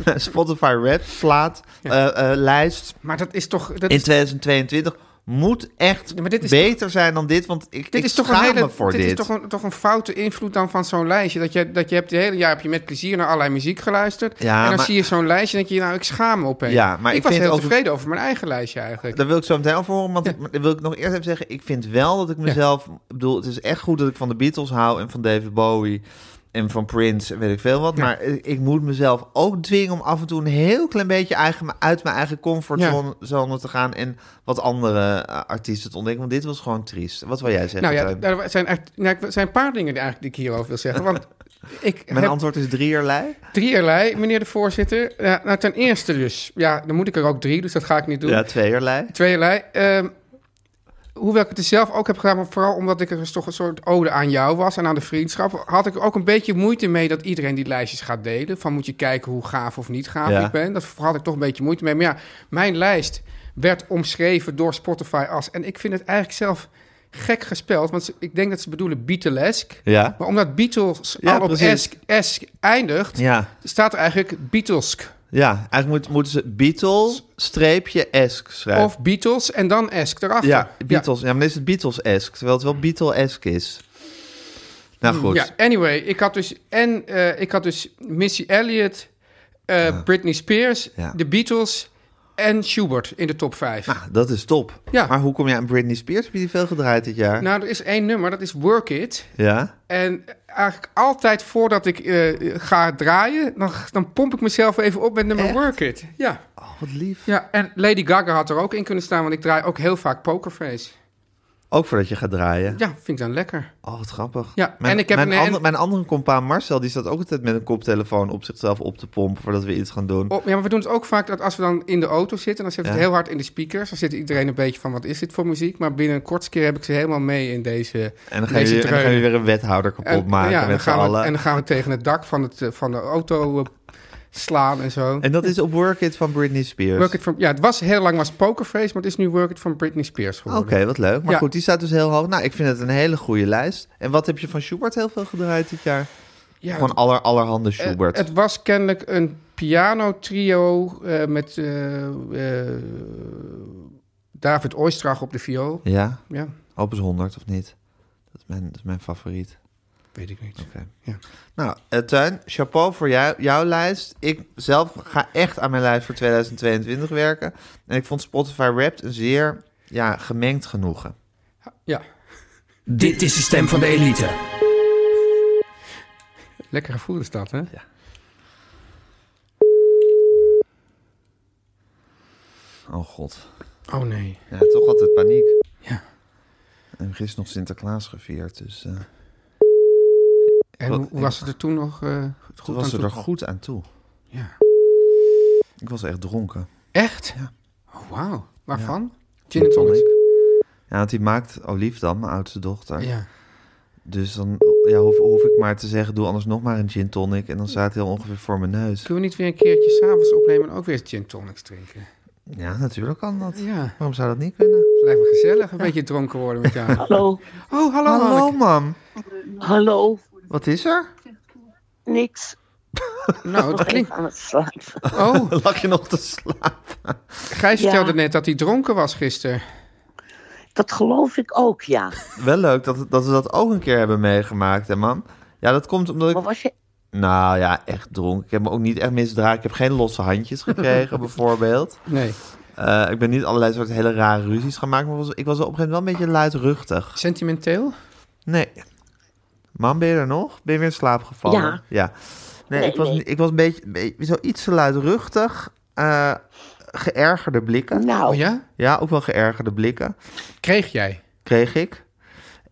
[SPEAKER 1] mijn Spotify Wrapped plaat eh, eh, lijst
[SPEAKER 2] Maar dat is toch... Dat
[SPEAKER 1] in
[SPEAKER 2] is,
[SPEAKER 1] 2022 moet echt
[SPEAKER 2] Ja, maar dit is
[SPEAKER 1] beter zijn dan dit, want ik,
[SPEAKER 2] dit
[SPEAKER 1] ik
[SPEAKER 2] is toch een
[SPEAKER 1] schaam
[SPEAKER 2] hele...
[SPEAKER 1] me voor dit.
[SPEAKER 2] dit is toch een, toch een foute invloed dan van zo'n lijstje. Dat je, dat je hebt het hele jaar heb je met plezier naar allerlei muziek geluisterd.
[SPEAKER 1] Ja,
[SPEAKER 2] en dan
[SPEAKER 1] maar-
[SPEAKER 2] zie je zo'n lijstje en denk je, nou, ik schaam me opeens.
[SPEAKER 1] Ja, maar
[SPEAKER 2] ik,
[SPEAKER 1] ik
[SPEAKER 2] was
[SPEAKER 1] vind
[SPEAKER 2] heel
[SPEAKER 1] ook-
[SPEAKER 2] tevreden over mijn eigen lijstje eigenlijk.
[SPEAKER 1] Daar wil ik zo meteen over horen, want ik- wil ik nog eerst even zeggen... ik vind wel dat ik mezelf... Ik bedoel, het is echt goed dat ik van de Beatles hou en van David Bowie... en van Prince en weet ik veel wat. Maar eh, ik moet mezelf ook dwingen om af en toe een heel klein beetje eigen, uit mijn eigen comfortzone zone te gaan. En wat andere eh, artiesten te ontdekken. Want dit was gewoon triest. Wat wil jij zeggen?
[SPEAKER 2] Nou ja,
[SPEAKER 1] Teun?
[SPEAKER 2] daar zijn, echt- nou, er zijn een paar dingen die, eigenlijk die ik hierover wil zeggen. Want ik
[SPEAKER 1] mijn
[SPEAKER 2] heb
[SPEAKER 1] antwoord is drieërlei.
[SPEAKER 2] drieërlei, meneer de voorzitter. Ja, nou, ten eerste dus. Ja, dan moet ik er ook drie, dus dat ga ik niet doen.
[SPEAKER 1] Ja, tweeërlei.
[SPEAKER 2] Tweeërlei. ehm, hoewel ik het er zelf ook heb gedaan, maar vooral omdat ik er dus toch een soort ode aan jou was en aan de vriendschap, had ik er ook een beetje moeite mee dat iedereen die lijstjes gaat delen. Van moet je kijken hoe gaaf of niet gaaf
[SPEAKER 1] Ja.
[SPEAKER 2] ik ben. Dat had ik toch een beetje moeite mee. Maar ja, mijn lijst werd omschreven door Spotify als. En ik vind het eigenlijk zelf gek gespeld, want ze- ik denk dat ze bedoelen Beatlesk.
[SPEAKER 1] Ja.
[SPEAKER 2] Maar omdat Beatles
[SPEAKER 1] Ja,
[SPEAKER 2] al op
[SPEAKER 1] precies.
[SPEAKER 2] esk, esk eindigt,
[SPEAKER 1] Ja.
[SPEAKER 2] staat er eigenlijk Beatlesk.
[SPEAKER 1] Ja, eigenlijk moet, moeten ze Beatles-esk schrijven.
[SPEAKER 2] Of Beatles en dan esk erachter.
[SPEAKER 1] ja, Beatles. Ja. maar dan is het Beatles-esk, terwijl het wel Beatles-esk is. Nou goed.
[SPEAKER 2] Ja, anyway, ik had dus, en, eh, ik had dus Missy Elliott, eh, Britney Spears,
[SPEAKER 1] Ja.
[SPEAKER 2] de Beatles en Schubert in de top 5. Nou,
[SPEAKER 1] Ah, Dat is top.
[SPEAKER 2] Ja. Nou.
[SPEAKER 1] Maar hoe kom je aan Britney Spears? Heb je die veel gedraaid dit jaar?
[SPEAKER 2] er is één nummer, dat is Work It.
[SPEAKER 1] ja.
[SPEAKER 2] En eigenlijk altijd voordat ik eh, ga draaien, dan, dan pomp ik mezelf even op met nummer Work It. Ja.
[SPEAKER 1] Oh, wat lief.
[SPEAKER 2] ja, en Lady Gaga had er ook in kunnen staan, want ik draai ook heel vaak Pokerface.
[SPEAKER 1] Ook voordat je gaat draaien.
[SPEAKER 2] Ja, vind ik dan lekker.
[SPEAKER 1] Oh, wat grappig.
[SPEAKER 2] Ja,
[SPEAKER 1] mijn,
[SPEAKER 2] en ik heb
[SPEAKER 1] mijn,
[SPEAKER 2] een-
[SPEAKER 1] ander- mijn andere compaan Marcel, die staat ook altijd met een koptelefoon op zichzelf op te pompen voordat we iets gaan doen.
[SPEAKER 2] Oh, ja, maar we doen het ook vaak dat als we dan in de auto zitten, dan zit het
[SPEAKER 1] Ja.
[SPEAKER 2] heel hard in de speakers. Dan zit iedereen een beetje van, wat is dit voor muziek? Maar binnen een kortste keer heb ik ze helemaal mee in deze
[SPEAKER 1] en dan ga, je
[SPEAKER 2] deze
[SPEAKER 1] weer, en dan ga je
[SPEAKER 2] treunen.
[SPEAKER 1] weer een wethouder kapot
[SPEAKER 2] En-
[SPEAKER 1] maken
[SPEAKER 2] ja, dan
[SPEAKER 1] met z'n
[SPEAKER 2] gaan we-
[SPEAKER 1] allen.
[SPEAKER 2] En dan gaan we tegen het dak van, het, eh, van de auto eh, slaan en zo.
[SPEAKER 1] En dat is op Work It van Britney Spears.
[SPEAKER 2] Work it from, ja, het was heel lang was Pokerface, maar het is nu Work It van Britney Spears
[SPEAKER 1] Oké,
[SPEAKER 2] geworden.
[SPEAKER 1] wat leuk. Maar
[SPEAKER 2] Ja.
[SPEAKER 1] goed, die staat dus heel hoog. Nou, ik vind het een hele goede lijst. En wat heb je van Schubert heel veel gedraaid dit jaar?
[SPEAKER 2] Ja, Eh,
[SPEAKER 1] Gewoon aller, allerhande Schubert.
[SPEAKER 2] het, het was kennelijk een piano trio eh, met eh, eh, David Oistrach op de viool.
[SPEAKER 1] Ja,
[SPEAKER 2] Ja,
[SPEAKER 1] Opus 100 of niet? Dat is mijn, dat is mijn favoriet.
[SPEAKER 2] weet ik niet.
[SPEAKER 1] Oké.
[SPEAKER 2] Ja.
[SPEAKER 1] Nou, eh, Teun, chapeau voor jou, jouw lijst. Ik zelf ga echt aan mijn lijst voor 2022 werken. En ik vond Spotify Wrapped een zeer ja, gemengd genoegen.
[SPEAKER 2] Ja,
[SPEAKER 3] Dit is de stem van de elite.
[SPEAKER 2] lekker gevoel is dat, hè?
[SPEAKER 1] Oh god.
[SPEAKER 2] Oh nee.
[SPEAKER 1] Ja, toch altijd paniek.
[SPEAKER 2] Ja.
[SPEAKER 1] En gisteren nog Sinterklaas gevierd, dus eh,
[SPEAKER 2] En
[SPEAKER 1] Wat-
[SPEAKER 2] hoe hoe was het er toen nog? eh, goed
[SPEAKER 1] toen
[SPEAKER 2] aan
[SPEAKER 1] was ze
[SPEAKER 2] toe?
[SPEAKER 1] er goed aan toe.
[SPEAKER 2] Ja.
[SPEAKER 1] Ik was echt dronken.
[SPEAKER 2] Echt?
[SPEAKER 1] Ja.
[SPEAKER 2] Oh, wauw. Waarvan? Gin and tonic.
[SPEAKER 1] Ja, want die maakt Olief dan, mijn oudste dochter.
[SPEAKER 2] Ja.
[SPEAKER 1] Dus dan ja, hoef, hoef ik maar te zeggen, doe anders nog maar een gin tonic. En dan staat hij al ongeveer voor mijn neus.
[SPEAKER 2] Kunnen we niet weer een keertje s'avonds opnemen en ook weer gin tonics drinken?
[SPEAKER 1] Ja, natuurlijk kan dat.
[SPEAKER 2] Ja,
[SPEAKER 1] Waarom zou dat niet kunnen?
[SPEAKER 2] het lijkt me gezellig. Een beetje dronken worden met jou.
[SPEAKER 5] Hallo,
[SPEAKER 2] Oh, hallo,
[SPEAKER 1] Hallo,
[SPEAKER 2] Hanneke.
[SPEAKER 1] mam.
[SPEAKER 5] hallo,
[SPEAKER 1] Wat is er?
[SPEAKER 5] niks.
[SPEAKER 2] Nou, dat
[SPEAKER 5] Nog
[SPEAKER 2] klinkt...
[SPEAKER 5] even aan het slapen.
[SPEAKER 2] Oh,
[SPEAKER 1] Lag je nog te slapen?
[SPEAKER 2] Gijs
[SPEAKER 5] Ja.
[SPEAKER 2] vertelde net dat hij dronken was gisteren.
[SPEAKER 5] Dat geloof ik ook, ja.
[SPEAKER 1] Wel leuk dat, dat we dat ook een keer hebben meegemaakt, hè, mam? Ja, dat komt omdat ik...
[SPEAKER 5] Maar was je...
[SPEAKER 1] Nou ja, echt dronken. Ik heb me ook niet echt misdraaid. Ik heb geen losse handjes gekregen, bijvoorbeeld.
[SPEAKER 2] Nee.
[SPEAKER 1] Eh, ik ben niet allerlei soort hele rare ruzies gaan maken. Maar was- ik was op een gegeven moment wel een beetje luidruchtig.
[SPEAKER 2] Sentimenteel?
[SPEAKER 1] Nee. Mam, ben je er nog? Ben je weer in slaap gevallen?
[SPEAKER 5] Ja.
[SPEAKER 1] Nee,
[SPEAKER 5] Nee,
[SPEAKER 1] ik, was,
[SPEAKER 5] nee.
[SPEAKER 1] niet- ik was een beetje, be- zo iets te luidruchtig. eh, geërgerde blikken.
[SPEAKER 5] Nou,
[SPEAKER 2] Oh ja?
[SPEAKER 1] Ja, ook wel geërgerde blikken
[SPEAKER 2] Kreeg jij?
[SPEAKER 1] kreeg ik.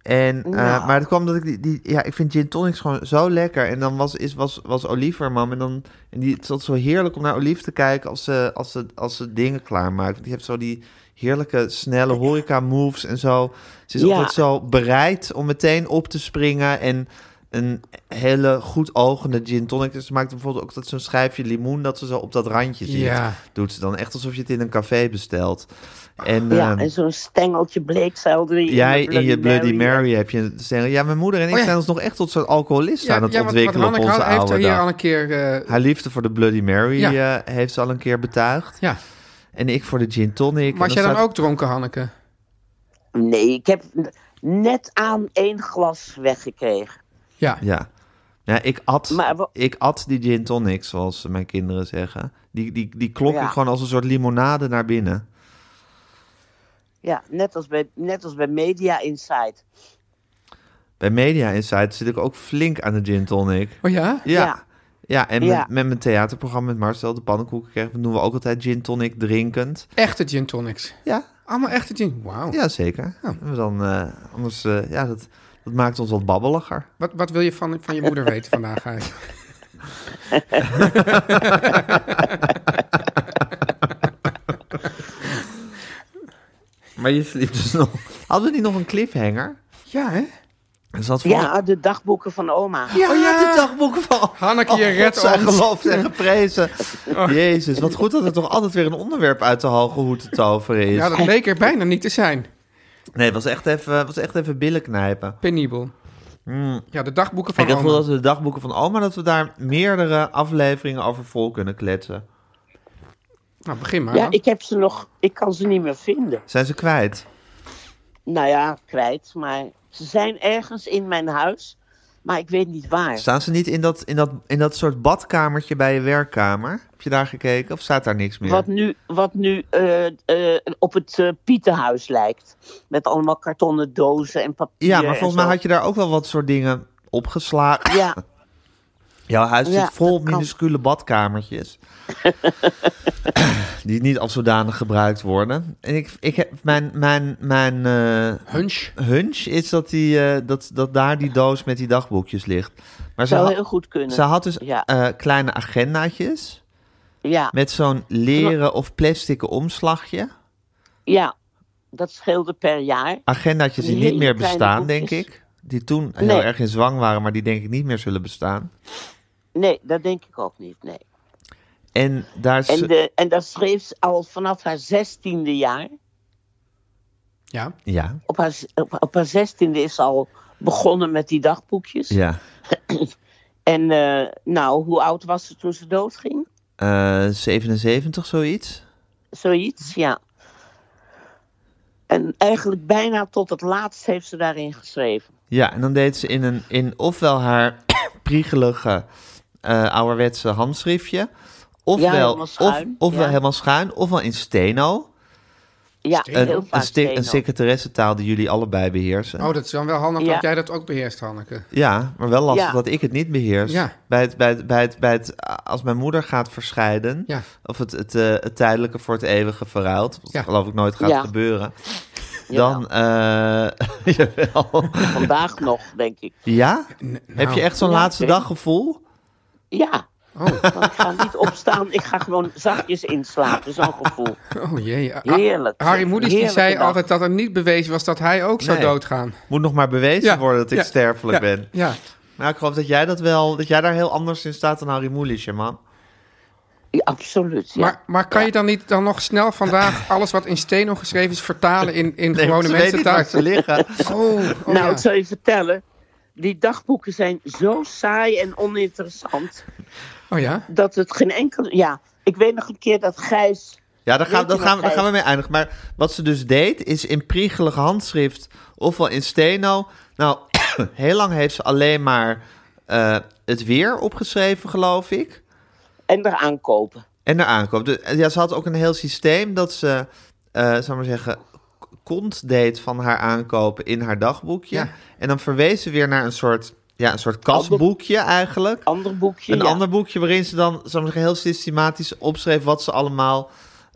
[SPEAKER 1] En, eh,
[SPEAKER 5] Nou.
[SPEAKER 1] Maar het kwam dat ik die, die... Ja, ik vind gin tonics gewoon zo lekker. En dan was, is, was, was Olive er, mam. En, dan, en die, het was zo heerlijk om naar Olive te kijken als ze, als ze, als ze dingen klaarmaakt. Die heeft zo die heerlijke, snelle horeca-moves en zo. Ze is
[SPEAKER 5] Ja.
[SPEAKER 1] altijd zo bereid om meteen op te springen. En een hele goed ogende gin tonic. Dus ze maakt bijvoorbeeld ook dat zo'n schijfje limoen... dat ze zo op dat randje zit.
[SPEAKER 2] Ja.
[SPEAKER 1] Doet ze dan echt alsof je het in een café bestelt. En,
[SPEAKER 5] ja,
[SPEAKER 1] ehm,
[SPEAKER 5] en zo'n stengeltje bleekselder in
[SPEAKER 1] Jij
[SPEAKER 5] je
[SPEAKER 1] in je Bloody Mary, heb je een stelling. Ja, mijn moeder en ik
[SPEAKER 2] Oh ja.
[SPEAKER 1] zijn ons nog echt tot soort alcoholisten aan het
[SPEAKER 2] want- want
[SPEAKER 1] ontwikkelen op
[SPEAKER 2] Hanneke
[SPEAKER 1] onze
[SPEAKER 2] had- heeft er
[SPEAKER 1] oude
[SPEAKER 2] hier
[SPEAKER 1] dag.
[SPEAKER 2] al een keer... eh,
[SPEAKER 1] Haar liefde voor de Bloody Mary
[SPEAKER 2] Ja.
[SPEAKER 1] eh, heeft ze al een keer betuigd.
[SPEAKER 2] ja.
[SPEAKER 1] En ik voor de gin tonic.
[SPEAKER 2] Was
[SPEAKER 1] En
[SPEAKER 2] jij dan
[SPEAKER 1] staat-
[SPEAKER 2] ook dronken, Hanneke?
[SPEAKER 5] Nee, ik heb net aan één glas weggekregen.
[SPEAKER 2] Ja.
[SPEAKER 1] Ja. Ja, ik at,
[SPEAKER 5] Maar wa-
[SPEAKER 1] ik at die gin tonic, zoals mijn kinderen zeggen. Die, die, die klonk
[SPEAKER 5] Ja.
[SPEAKER 1] ik gewoon als een soort limonade naar binnen.
[SPEAKER 5] Ja, net als bij, net als bij Media Insight.
[SPEAKER 1] bij Media Insight zit ik ook flink aan de gin tonic.
[SPEAKER 2] Oh ja?
[SPEAKER 1] Ja.
[SPEAKER 5] Ja.
[SPEAKER 1] Ja, en
[SPEAKER 5] Ja.
[SPEAKER 1] Met, met mijn theaterprogramma met Marcel de Pannenkoeken kregen, doen we ook altijd gin tonic drinkend.
[SPEAKER 2] Echte gin tonics.
[SPEAKER 1] Ja,
[SPEAKER 2] Allemaal echte gin. Wauw.
[SPEAKER 1] ja zeker. En we Dan, eh, anders, eh, ja, dat, dat maakt ons wat babbeliger.
[SPEAKER 2] Wat, wat wil je van, van je moeder weten vandaag eigenlijk?
[SPEAKER 1] Maar je sliep dus nog. Hadden we niet nog een cliffhanger?
[SPEAKER 2] Ja, hè?
[SPEAKER 1] Er zat voor...
[SPEAKER 5] Ja, de dagboeken van oma.
[SPEAKER 1] Oh ja, de dagboeken van...
[SPEAKER 2] Hanneke,
[SPEAKER 1] Oh,
[SPEAKER 2] je
[SPEAKER 1] God,
[SPEAKER 2] redt
[SPEAKER 1] zij
[SPEAKER 2] ons. Oh.
[SPEAKER 1] geloofd en geprezen. Jezus, wat goed dat er toch altijd weer een onderwerp uit de hoge hoed te toveren is.
[SPEAKER 2] Ja, dat leek er bijna niet te zijn.
[SPEAKER 1] Nee, het was echt even, was echt even billen
[SPEAKER 2] Oh,
[SPEAKER 1] knijpen.
[SPEAKER 2] Penibel. Ja, de dagboeken van
[SPEAKER 1] ik had
[SPEAKER 2] oma.
[SPEAKER 1] gevoel Mm. dat we de dagboeken van oma, dat we daar meerdere afleveringen over vol kunnen kletsen.
[SPEAKER 2] Nou, begin maar.
[SPEAKER 5] Ja, ik heb ze nog, ik kan ze niet meer vinden.
[SPEAKER 1] Zijn ze kwijt?
[SPEAKER 5] Nou ja, kwijt, maar ze zijn ergens in mijn huis, maar ik weet niet waar.
[SPEAKER 1] Staan ze niet in dat, in, dat, in dat soort badkamertje bij je werkkamer? Heb je daar gekeken of staat daar niks meer?
[SPEAKER 5] Wat nu, wat nu eh, eh, op het eh, Pietenhuis lijkt. Met allemaal kartonnen dozen en papier.
[SPEAKER 1] ja, maar volgens mij had
[SPEAKER 5] je.
[SPEAKER 1] je daar ook wel wat soort dingen opgeslagen.
[SPEAKER 5] Ja,
[SPEAKER 1] Jouw huis
[SPEAKER 5] Ja,
[SPEAKER 1] zit vol
[SPEAKER 5] dat kan.
[SPEAKER 1] minuscule badkamertjes. die niet als zodanig gebruikt worden. En ik, ik heb mijn, mijn, mijn eh,
[SPEAKER 2] Hunch.
[SPEAKER 1] hunch is dat, die, eh, dat, dat daar die doos met die dagboekjes ligt. Maar ze,
[SPEAKER 5] zou
[SPEAKER 1] had-
[SPEAKER 5] heel goed kunnen.
[SPEAKER 1] ze had dus
[SPEAKER 5] Ja.
[SPEAKER 1] eh, kleine agendaatjes
[SPEAKER 5] ja,
[SPEAKER 1] met zo'n leren of plastic omslagje.
[SPEAKER 5] ja, dat scheelde per jaar.
[SPEAKER 1] Agendaatjes die
[SPEAKER 5] Die
[SPEAKER 1] niet meer
[SPEAKER 5] hele kleine
[SPEAKER 1] bestaan, denk
[SPEAKER 5] boekjes.
[SPEAKER 1] ik. Die toen heel
[SPEAKER 5] Nee.
[SPEAKER 1] erg in zwang waren, maar die denk ik niet meer zullen bestaan.
[SPEAKER 5] Nee, dat denk ik ook niet, nee.
[SPEAKER 1] En daar is...
[SPEAKER 5] En, de, en dat schreef ze al vanaf haar zestiende jaar.
[SPEAKER 2] Ja.
[SPEAKER 1] Ja,
[SPEAKER 5] Op haar, z- op, op haar zestiende is ze al begonnen met die dagboekjes.
[SPEAKER 1] ja.
[SPEAKER 5] En eh, nou, hoe oud was ze toen ze doodging?
[SPEAKER 1] Eh, 77, zoiets.
[SPEAKER 2] Mhm.
[SPEAKER 5] Zoiets, ja. En eigenlijk bijna tot het laatst heeft ze daarin geschreven.
[SPEAKER 1] Ja, en dan deed ze in, een, in ofwel haar priegelige eh, ouderwetse handschriftje. Ofwel,
[SPEAKER 5] helemaal
[SPEAKER 1] of,
[SPEAKER 5] schuin,
[SPEAKER 1] ofwel
[SPEAKER 5] ja.
[SPEAKER 1] helemaal schuin, ofwel in steno.
[SPEAKER 5] Ja,
[SPEAKER 1] Een,
[SPEAKER 5] heel
[SPEAKER 1] een,
[SPEAKER 5] vaak
[SPEAKER 1] sti- een
[SPEAKER 5] steno.
[SPEAKER 1] secretaressentaal die jullie allebei beheersen.
[SPEAKER 2] Oh, dat is dan wel handig
[SPEAKER 5] Ja.
[SPEAKER 2] dat jij dat ook beheerst, Hanneke.
[SPEAKER 1] Ja, maar wel lastig
[SPEAKER 5] Ja.
[SPEAKER 1] dat ik het niet beheers.
[SPEAKER 2] Ja.
[SPEAKER 1] Bij het, bij het, bij het, bij het, als mijn moeder gaat verscheiden,
[SPEAKER 2] Ja.
[SPEAKER 1] of het, het, eh, het tijdelijke voor het eeuwige verruilt, wat
[SPEAKER 2] Ja.
[SPEAKER 1] geloof ik nooit gaat
[SPEAKER 5] Ja.
[SPEAKER 1] gebeuren,
[SPEAKER 5] Jawel.
[SPEAKER 1] dan... eh jawel.
[SPEAKER 5] Vandaag nog, denk ik.
[SPEAKER 1] Ja?
[SPEAKER 2] Nou.
[SPEAKER 1] Heb je echt zo'n
[SPEAKER 5] Ja,
[SPEAKER 1] laatste
[SPEAKER 5] ik weet
[SPEAKER 1] dag gevoel?
[SPEAKER 5] Ja.
[SPEAKER 1] Oh.
[SPEAKER 5] Want ik ga niet opstaan, ik ga gewoon zachtjes inslapen, zo'n gevoel.
[SPEAKER 2] Oh jee. Ah,
[SPEAKER 5] Heerlijk.
[SPEAKER 2] Harry Moeders die
[SPEAKER 5] Heerlijke
[SPEAKER 2] zei
[SPEAKER 5] dag.
[SPEAKER 2] altijd dat er niet bewezen was dat hij ook zou
[SPEAKER 1] Nee.
[SPEAKER 2] doodgaan.
[SPEAKER 1] Moet nog maar bewezen
[SPEAKER 2] Ja,
[SPEAKER 1] worden dat ik
[SPEAKER 2] ja,
[SPEAKER 1] sterfelijk
[SPEAKER 2] ja,
[SPEAKER 1] ben.
[SPEAKER 2] Ja.
[SPEAKER 1] Nou, ik geloof dat jij dat wel, dat jij daar heel anders in staat dan Harry Moelisje, man.
[SPEAKER 5] Ja, absoluut, ja.
[SPEAKER 2] Maar, maar kan je dan niet dan nog snel vandaag alles wat in steno geschreven is vertalen in,
[SPEAKER 1] Nee,
[SPEAKER 2] in
[SPEAKER 1] want
[SPEAKER 2] gewone
[SPEAKER 1] ze weet niet waar
[SPEAKER 2] mensentaal?
[SPEAKER 1] ze liggen.
[SPEAKER 2] Oh, oh
[SPEAKER 5] nou,
[SPEAKER 2] ja.
[SPEAKER 5] ik zal je vertellen. Die dagboeken zijn zo saai en oninteressant.
[SPEAKER 2] Oh ja?
[SPEAKER 5] dat het geen enkel. Ja, ik weet nog een keer dat Gijs.
[SPEAKER 1] Ja, daar gaan,
[SPEAKER 5] Weet je
[SPEAKER 1] dat gaan, we-
[SPEAKER 5] wat
[SPEAKER 1] daar gaan we
[SPEAKER 5] hij-
[SPEAKER 1] mee eindigen. Maar wat ze dus deed, is in priegelige handschrift, ofwel in steno. Nou, heel lang heeft ze alleen maar eh, het weer opgeschreven, geloof ik.
[SPEAKER 5] en eraan kopen.
[SPEAKER 1] En de aankoop. Dus, eh, ja, ze had ook een heel systeem dat ze, eh zal ik maar zeggen, k- kont deed van haar aankopen in haar dagboekje.
[SPEAKER 2] Ja.
[SPEAKER 1] En dan verwees ze weer naar een soort, ja, een soort kastboekje eigenlijk.
[SPEAKER 5] Ander boekje.
[SPEAKER 1] Een
[SPEAKER 5] ja.
[SPEAKER 1] ander boekje waarin ze dan, zal ik maar zeggen, heel systematisch opschreef wat ze allemaal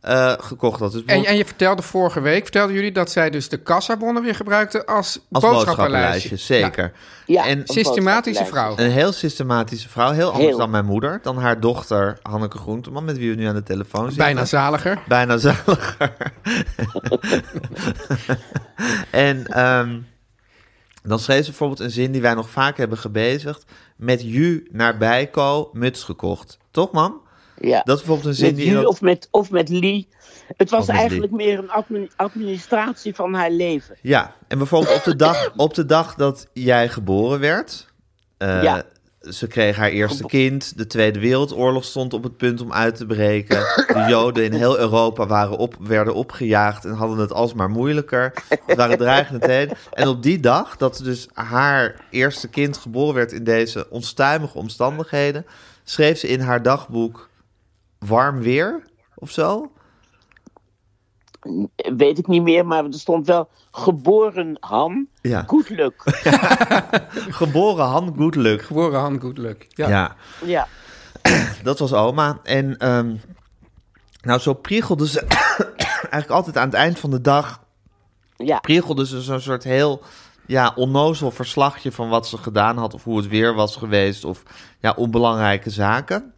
[SPEAKER 1] eh, gekocht had. Dus
[SPEAKER 2] En,
[SPEAKER 1] bijvoorbeeld-
[SPEAKER 2] en je vertelde vorige week, vertelden jullie dat zij dus de kassabonnen weer gebruikte als,
[SPEAKER 1] Als boodschappenlijstje,
[SPEAKER 2] Ja.
[SPEAKER 1] zeker.
[SPEAKER 5] Ja,
[SPEAKER 1] en
[SPEAKER 5] een
[SPEAKER 2] Systematische
[SPEAKER 5] boodschappenlijstje.
[SPEAKER 2] vrouw.
[SPEAKER 1] Een heel systematische vrouw, heel anders
[SPEAKER 5] Heel.
[SPEAKER 1] dan mijn moeder. Dan haar dochter Hanneke Groenteman, met wie we nu aan de telefoon zitten.
[SPEAKER 2] Bijna zaliger.
[SPEAKER 1] Bijna zaliger. en ehm, dan schreef ze bijvoorbeeld een zin die wij nog vaak hebben gebezigd. Met ju naar Bijko muts gekocht. Toch, mam?
[SPEAKER 5] Ja.
[SPEAKER 1] Dat is bijvoorbeeld een zin
[SPEAKER 5] met
[SPEAKER 1] die... in
[SPEAKER 5] Ju
[SPEAKER 1] dat-
[SPEAKER 5] of, met, of met Lee. Het was
[SPEAKER 1] Of met
[SPEAKER 5] eigenlijk meer een admi- administratie van haar leven.
[SPEAKER 1] Ja, en bijvoorbeeld op de dag, op de dag dat jij geboren werd. eh,
[SPEAKER 5] Ja.
[SPEAKER 1] Ze kreeg haar eerste kind. De Tweede Wereldoorlog stond op het punt om uit te breken. De Joden in heel Europa waren op, werden opgejaagd en hadden het alsmaar moeilijker. Het waren dreigende tijden. En op die dag, dat dus haar eerste kind geboren werd in deze onstuimige omstandigheden, schreef ze in haar dagboek warm weer of zo.
[SPEAKER 5] weet ik niet meer, maar er stond wel geboren Han.
[SPEAKER 1] Ja.
[SPEAKER 5] Goed luck.
[SPEAKER 1] Geboren Han Goodluck.
[SPEAKER 2] Geboren hand, good luck. Ja.
[SPEAKER 1] Ja.
[SPEAKER 5] ja.
[SPEAKER 1] dat was oma. En ehm, nou, zo priegelde ze eigenlijk altijd aan het eind van de dag...
[SPEAKER 5] Ja.
[SPEAKER 1] priegelde ze zo'n soort heel ja, onnozel verslagje van wat ze gedaan had... of hoe het weer was geweest of ja, onbelangrijke zaken.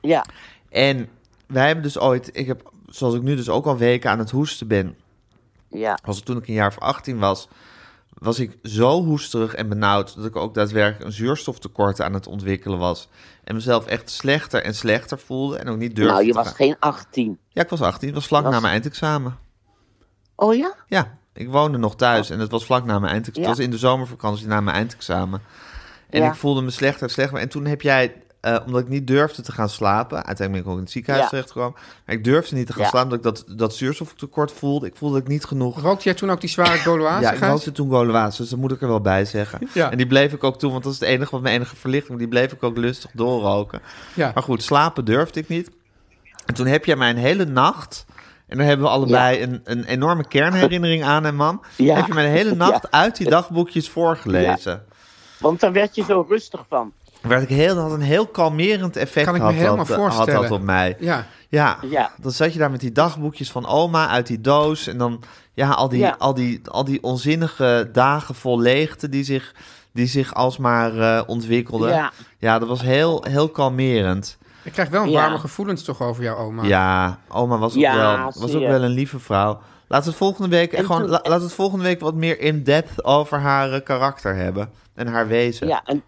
[SPEAKER 5] ja.
[SPEAKER 1] En wij hebben dus ooit... Ik heb, zoals ik nu dus ook al weken aan het hoesten ben...
[SPEAKER 5] Ja.
[SPEAKER 1] was ik toen ik een jaar of 18 was, was ik zo hoesterig en benauwd dat ik ook daadwerkelijk een zuurstoftekort aan het ontwikkelen was. En mezelf echt slechter en slechter voelde en ook niet durfde.
[SPEAKER 5] Nou, je
[SPEAKER 1] te
[SPEAKER 5] was
[SPEAKER 1] gaan.
[SPEAKER 5] geen 18.
[SPEAKER 1] Ja, ik was 18, het was vlak
[SPEAKER 5] Was-
[SPEAKER 1] na mijn eindexamen.
[SPEAKER 5] Oh ja?
[SPEAKER 1] Ja, ik woonde nog thuis en het was vlak na mijn eindexamen.
[SPEAKER 5] Oh. Ja.
[SPEAKER 1] Het was in de zomervakantie na mijn eindexamen. En
[SPEAKER 5] Ja.
[SPEAKER 1] ik voelde me slechter en slechter. En toen heb jij, eh, omdat ik niet durfde te gaan slapen... uiteindelijk ben ik ook in het ziekenhuis
[SPEAKER 5] Ja.
[SPEAKER 1] terechtgekomen... maar ik durfde niet te gaan
[SPEAKER 5] Ja.
[SPEAKER 1] slapen omdat ik dat, dat zuurstoftekort voelde. Ik voelde dat ik niet genoeg
[SPEAKER 2] Rookte jij toen ook die zware Gauloise?
[SPEAKER 1] Ja, ik
[SPEAKER 2] Gijs?
[SPEAKER 1] rookte toen Gauloise, dus dat moet ik er wel bij zeggen.
[SPEAKER 2] Ja.
[SPEAKER 1] En die bleef ik ook toen, want dat is het enige wat mijn enige verlichting. Die bleef ik ook lustig doorroken.
[SPEAKER 2] Ja.
[SPEAKER 1] Maar goed, slapen durfde ik niet. En toen heb jij mij een hele nacht... En daar hebben we allebei een, een enorme kernherinnering aan, hè, mam?
[SPEAKER 5] Ja.
[SPEAKER 1] Heb je mij de hele nacht
[SPEAKER 5] Ja.
[SPEAKER 1] uit die dagboekjes voorgelezen.
[SPEAKER 5] Want daar werd je zo rustig van.
[SPEAKER 1] Werd ik heel, had een heel kalmerend effect
[SPEAKER 2] Kan ik me
[SPEAKER 1] had,
[SPEAKER 2] helemaal
[SPEAKER 1] dat, eh, had
[SPEAKER 2] voorstellen.
[SPEAKER 1] dat op mij.
[SPEAKER 2] Ja.
[SPEAKER 1] Ja,
[SPEAKER 5] Ja.
[SPEAKER 1] dan zat je daar met die dagboekjes van oma uit die doos. En dan ja, al, die,
[SPEAKER 5] Ja.
[SPEAKER 1] Al, die, al die onzinnige dagen vol leegte die zich, die zich alsmaar eh ontwikkelden.
[SPEAKER 5] Ja.
[SPEAKER 1] ja, dat was heel, heel kalmerend.
[SPEAKER 2] Ik krijg wel een
[SPEAKER 5] Ja.
[SPEAKER 2] warme gevoelens toch over jouw oma.
[SPEAKER 1] Ja, oma was ook,
[SPEAKER 5] Ja,
[SPEAKER 1] wel, was
[SPEAKER 5] zie
[SPEAKER 1] ook
[SPEAKER 5] je.
[SPEAKER 1] wel een lieve vrouw. Laten we het volgende week,
[SPEAKER 5] En
[SPEAKER 1] gewoon,
[SPEAKER 5] toen-
[SPEAKER 1] la- laten we het volgende week wat meer in-depth over haar eh, karakter hebben. En haar wezen.
[SPEAKER 5] Ja, en,